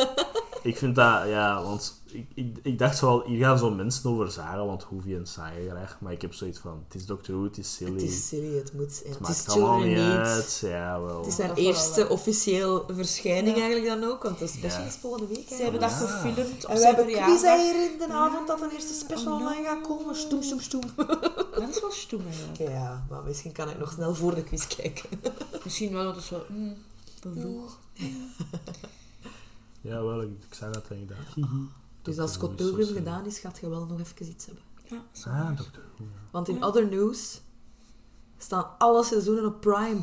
S3: Ik vind dat, ja, want ik, ik, ik dacht wel, hier gaan zo mensen over zagen, want Hoovy en saai graag. Maar ik heb zoiets van, het is Doctor Who, het is silly.
S2: Het is silly, het moet. Ja. Het
S3: maakt
S2: is
S3: allemaal
S2: Children
S3: niet
S2: Need.
S3: uit. Ja, wel.
S2: Het is haar
S4: Dat is wel
S2: eerste officieel verschijning eigenlijk dan ook, want de special
S3: Ja.
S2: is volgende week.
S4: Ze hebben dat
S3: Ja.
S4: gefilmd op
S2: En we
S4: zijn
S2: hebben quiz
S4: verjaardag.
S2: hier in de avond dat een eerste special online gaat komen. Stoem, stoem, stoem.
S4: Oh, Dat is wel stoem, eigenlijk.
S2: Ja, maar misschien kan ik nog snel voor de quiz kijken.
S4: Misschien wel dat is zo... Mm, te vroeg.
S3: Ja, wel, ik, ik zag dat en ik dacht,
S2: Dus als Scott Pilgrim gedaan is, gaat je wel nog even iets hebben.
S4: Ja, zo.
S3: Ah, Doctor Who.
S2: Want in Other News staan alle seizoenen op Prime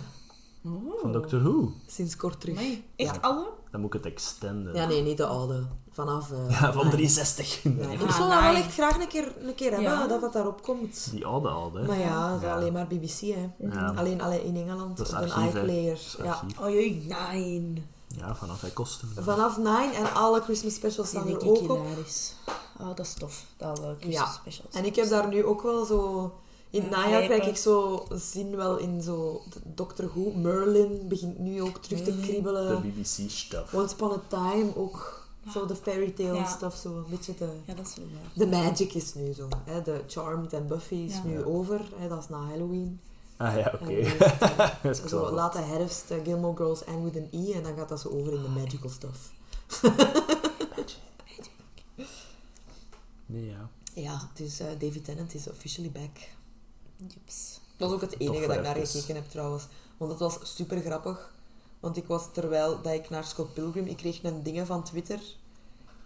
S4: Oh.
S3: Van Doctor Who.
S2: sinds kort terug.
S4: Amai. Echt
S2: Ja.
S4: alle?
S3: Dan moet ik het extenden.
S2: Ja, nee, niet de oude. Vanaf... eh,
S3: Ja, van
S2: Prime.
S3: 63.
S2: Ja,
S3: Nee.
S2: ik
S4: Ah,
S2: zou dat wel
S4: nice.
S2: echt graag een keer, een keer hebben,
S4: Ja.
S2: dat dat daarop komt.
S3: Die oude oude. hè.
S2: Maar ja, dat is
S3: Ja.
S2: alleen maar BBC, hè.
S3: Ja.
S2: Alleen, alleen in Engeland,
S3: Dat
S2: op
S3: is
S2: een
S3: archief, hè.
S2: iPlayer.
S3: Dat is
S2: Ja.
S3: archief.
S4: Oh jee, nein.
S3: Ja, vanaf hij kosten.
S2: Vanaf 9 en alle Christmas specials
S4: Die
S2: staan
S4: vind
S2: er
S4: ik
S2: ook op.
S4: hilarisch. Oh, dat is tof. Dat uh,
S2: Ja.
S4: specials.
S2: En ik heb daar nu ook wel zo... In het
S4: Ja,
S2: najaar krijg
S4: hypen.
S2: ik zo zin wel in zo... Doctor Who, Merlin begint nu ook terug te
S4: Merlin.
S3: De
S2: kriebelen.
S3: BBC-stuff.
S2: Once Upon a Time ook. Zo de fairy tale
S4: Ja.
S2: stuff, zo een beetje de...
S4: Ja, dat is wel waar.
S2: De magic is nu zo. Hè? De Charmed en Buffy is
S4: Ja.
S2: nu
S3: Ja.
S2: over. Hè? Dat is na Halloween.
S3: Ah ja, oké.
S2: En dan is het, eh,
S3: Dat is
S2: zo
S3: wel-
S2: late herfst, eh, Gilmore Girls en with an E. En dan gaat dat zo over in de magical stuff.
S3: Nee, ja.
S2: Ja, dus eh, David Tennant is officially back.
S4: Jeeps.
S2: Dat is ook het enige
S3: Toch
S2: dat ik naar
S3: ergens.
S2: gekeken heb trouwens. Want dat was super grappig. Want ik was terwijl dat ik naar Scott Pilgrim... Ik kreeg een dingen van Twitter.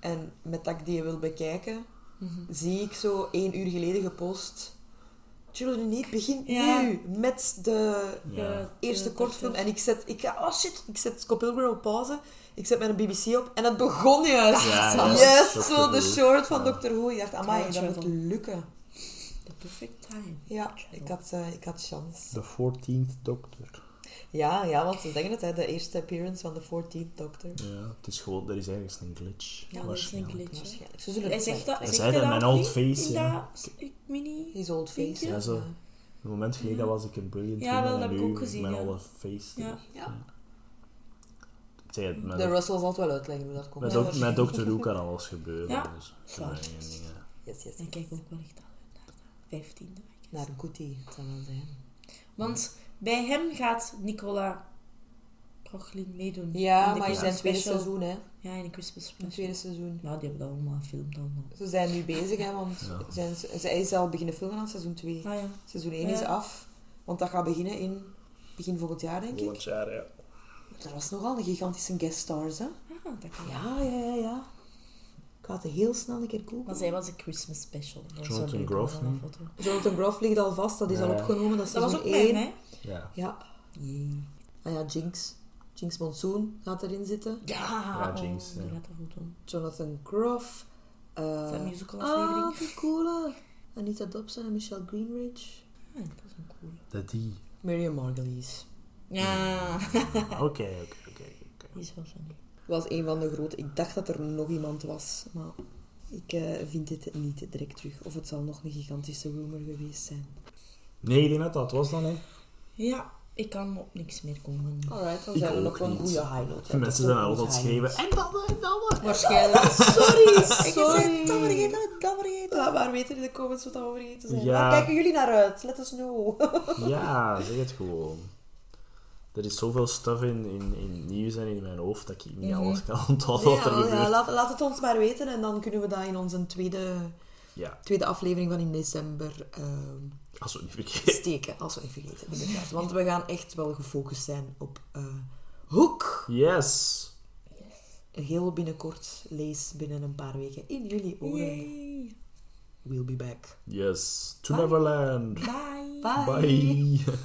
S2: En met dat ik die wil bekijken,
S3: Mhm.
S2: zie ik zo één uur geleden gepost... Children Need begint
S4: Ja.
S2: nu met de
S3: Ja.
S2: eerste kortfilm. En ik zet... Ik, ga- oh shit, ik zet Scott Pilgrim op pauze. Ik zet mijn BBC op. En het begon juist.
S3: Ja, ja. Doctor
S2: yes, zo de
S3: Who.
S2: short van
S3: Ja.
S2: Doctor Who. Ik dacht, amai, dat moet lukken.
S4: The perfect time.
S2: Ja, ik had, eh, ik had chance.
S3: De 14th Doctor.
S2: Ja, ja, want ze zeggen het, hè, de eerste appearance van de 14th Doctor.
S3: Ja, het is gewoon, er is ergens een
S4: Ja,
S3: glitch.
S4: dat is een
S3: waarschijnlijk.
S4: glitch.
S2: Waarschijnlijk. Ze zullen
S4: Hij
S2: het
S4: zegt
S2: zeggen.
S4: dat.
S3: Hij
S4: zegt
S3: zei dat
S4: hij dat
S3: in mijn
S4: ook
S3: old
S4: niet
S3: face,
S4: in
S3: ja.
S4: dat s- mini...
S2: His old
S4: Denk
S2: face.
S4: je?
S3: Ja, zo.
S2: Ja.
S3: Op het moment geleden was ik een brilliant
S4: Ja,
S3: woman
S4: wel,
S3: en
S4: dat heb ik
S3: nu
S4: ook gezien,
S3: Met
S4: ja.
S3: alle face.
S4: Ja.
S2: Ja.
S3: Ik zeg het, met,
S2: De Russell zal het wel uitleggen hoe dat komt.
S3: met, doc- met Dr. Who kan alles gebeuren.
S4: Ja.
S3: Dus,
S4: Zwaar.
S3: dat zijn dingen.
S2: Yes, yes,
S4: Dan
S2: yes.
S4: kijk ik ook wel echt al naar de vijftiende. I guess.
S2: Naar Goody, het zal wel zijn.
S4: Want bij hem gaat Nicola Prochlin meedoen.
S2: Ja,
S4: In de
S2: maar in
S4: Christmas
S2: zijn tweede
S4: special.
S2: seizoen, hè.
S4: Ja, in de Christmas
S2: In het
S4: special.
S2: tweede seizoen.
S4: Nou, die hebben dat allemaal gefilmd allemaal.
S2: Ze zijn nu bezig, hè, want
S3: Ja.
S2: zijn, ze, hij is al beginnen filmen aan seizoen 2.
S4: Ah ja.
S2: Seizoen 1 is
S4: Ja.
S2: af, want dat gaat beginnen in begin volgend jaar, denk ik.
S3: Volgend jaar, ja.
S2: Er was nogal een gigantische guest stars, hè.
S4: Ah, dat kan.
S2: Ja, ja, ja, ja. Ik had heel snel een keer
S4: Maar
S2: googlen.
S4: zij was een Christmas special. Dat was wel
S3: Jonathan
S4: leuk,
S3: Groff,
S4: dat was een
S3: hè?
S4: foto.
S2: Jonathan Groff ligt al vast, dat is al
S3: Ja.
S2: opgenomen, dat is
S4: Dat was ook
S2: seizoen
S4: bij
S2: één.
S4: mij.
S3: Ja,
S2: Ja,
S4: Jee.
S2: ah ja, Jinx. Jinx Monsoon gaat erin zitten.
S4: Ja, oh,
S3: Jinx,
S4: die
S3: ja.
S4: gaat er goed om.
S2: Jonathan Groff. eh
S4: Zijn musical aflevering.
S2: ah, die coole. Anita Dobson en Michelle Greenridge.
S4: Ja, dat is een cool.
S3: dat die.
S2: Miriam Margulies.
S4: Ja,
S3: Oké, oké, oké, oké.
S4: die is wel funny.
S2: Was een van de grote. Ik dacht dat er nog iemand was, maar ik eh, vind dit niet direct terug. Of het zal nog een gigantische rumor geweest zijn.
S3: Nee, ik denk dat dat was dan, hè.
S4: Ja, ik kan op niks meer komen.
S2: Alright, dan
S3: Ik
S2: zijn we
S3: ook
S2: op een
S3: niet.
S2: goede high note.
S3: De
S2: Ja,
S3: mensen
S2: dat
S3: zijn
S2: is
S3: al
S2: een
S3: wat
S2: goede high
S3: schreven. En dat, en dat.
S4: Waarschijnlijk.
S2: note. Sorry,
S4: Sorry. Dat
S2: sorry.
S4: vergeten, dat vergeten.
S2: Laat maar weten in de comments wat we vergeten zijn.
S3: Ja.
S2: Waar kijken jullie naar uit? Let us know.
S3: Ja, zeg het gewoon. Er is zoveel stuff in, in, in nieuws en in mijn hoofd dat ik niet
S2: Mhm.
S3: alles kan onthouden
S2: Nee,
S3: wat er
S2: wel, ja,
S3: gebeurt.
S2: laat, laat het ons maar weten en dan kunnen we dat in onze tweede,
S3: Ja,
S2: tweede aflevering van in december ehm,
S3: als we het niet vergeten.
S2: steken. Als we niet vergeten, inderdaad. Want we gaan echt wel gefocust zijn op eh, Hoek.
S3: Yes!
S2: Heel binnenkort, lees binnen een paar weken in jullie oren.
S4: Yay.
S2: We'll be back.
S3: Yes! To
S2: Bye.
S3: Neverland!
S4: Bye.
S2: Bye.
S3: Bye.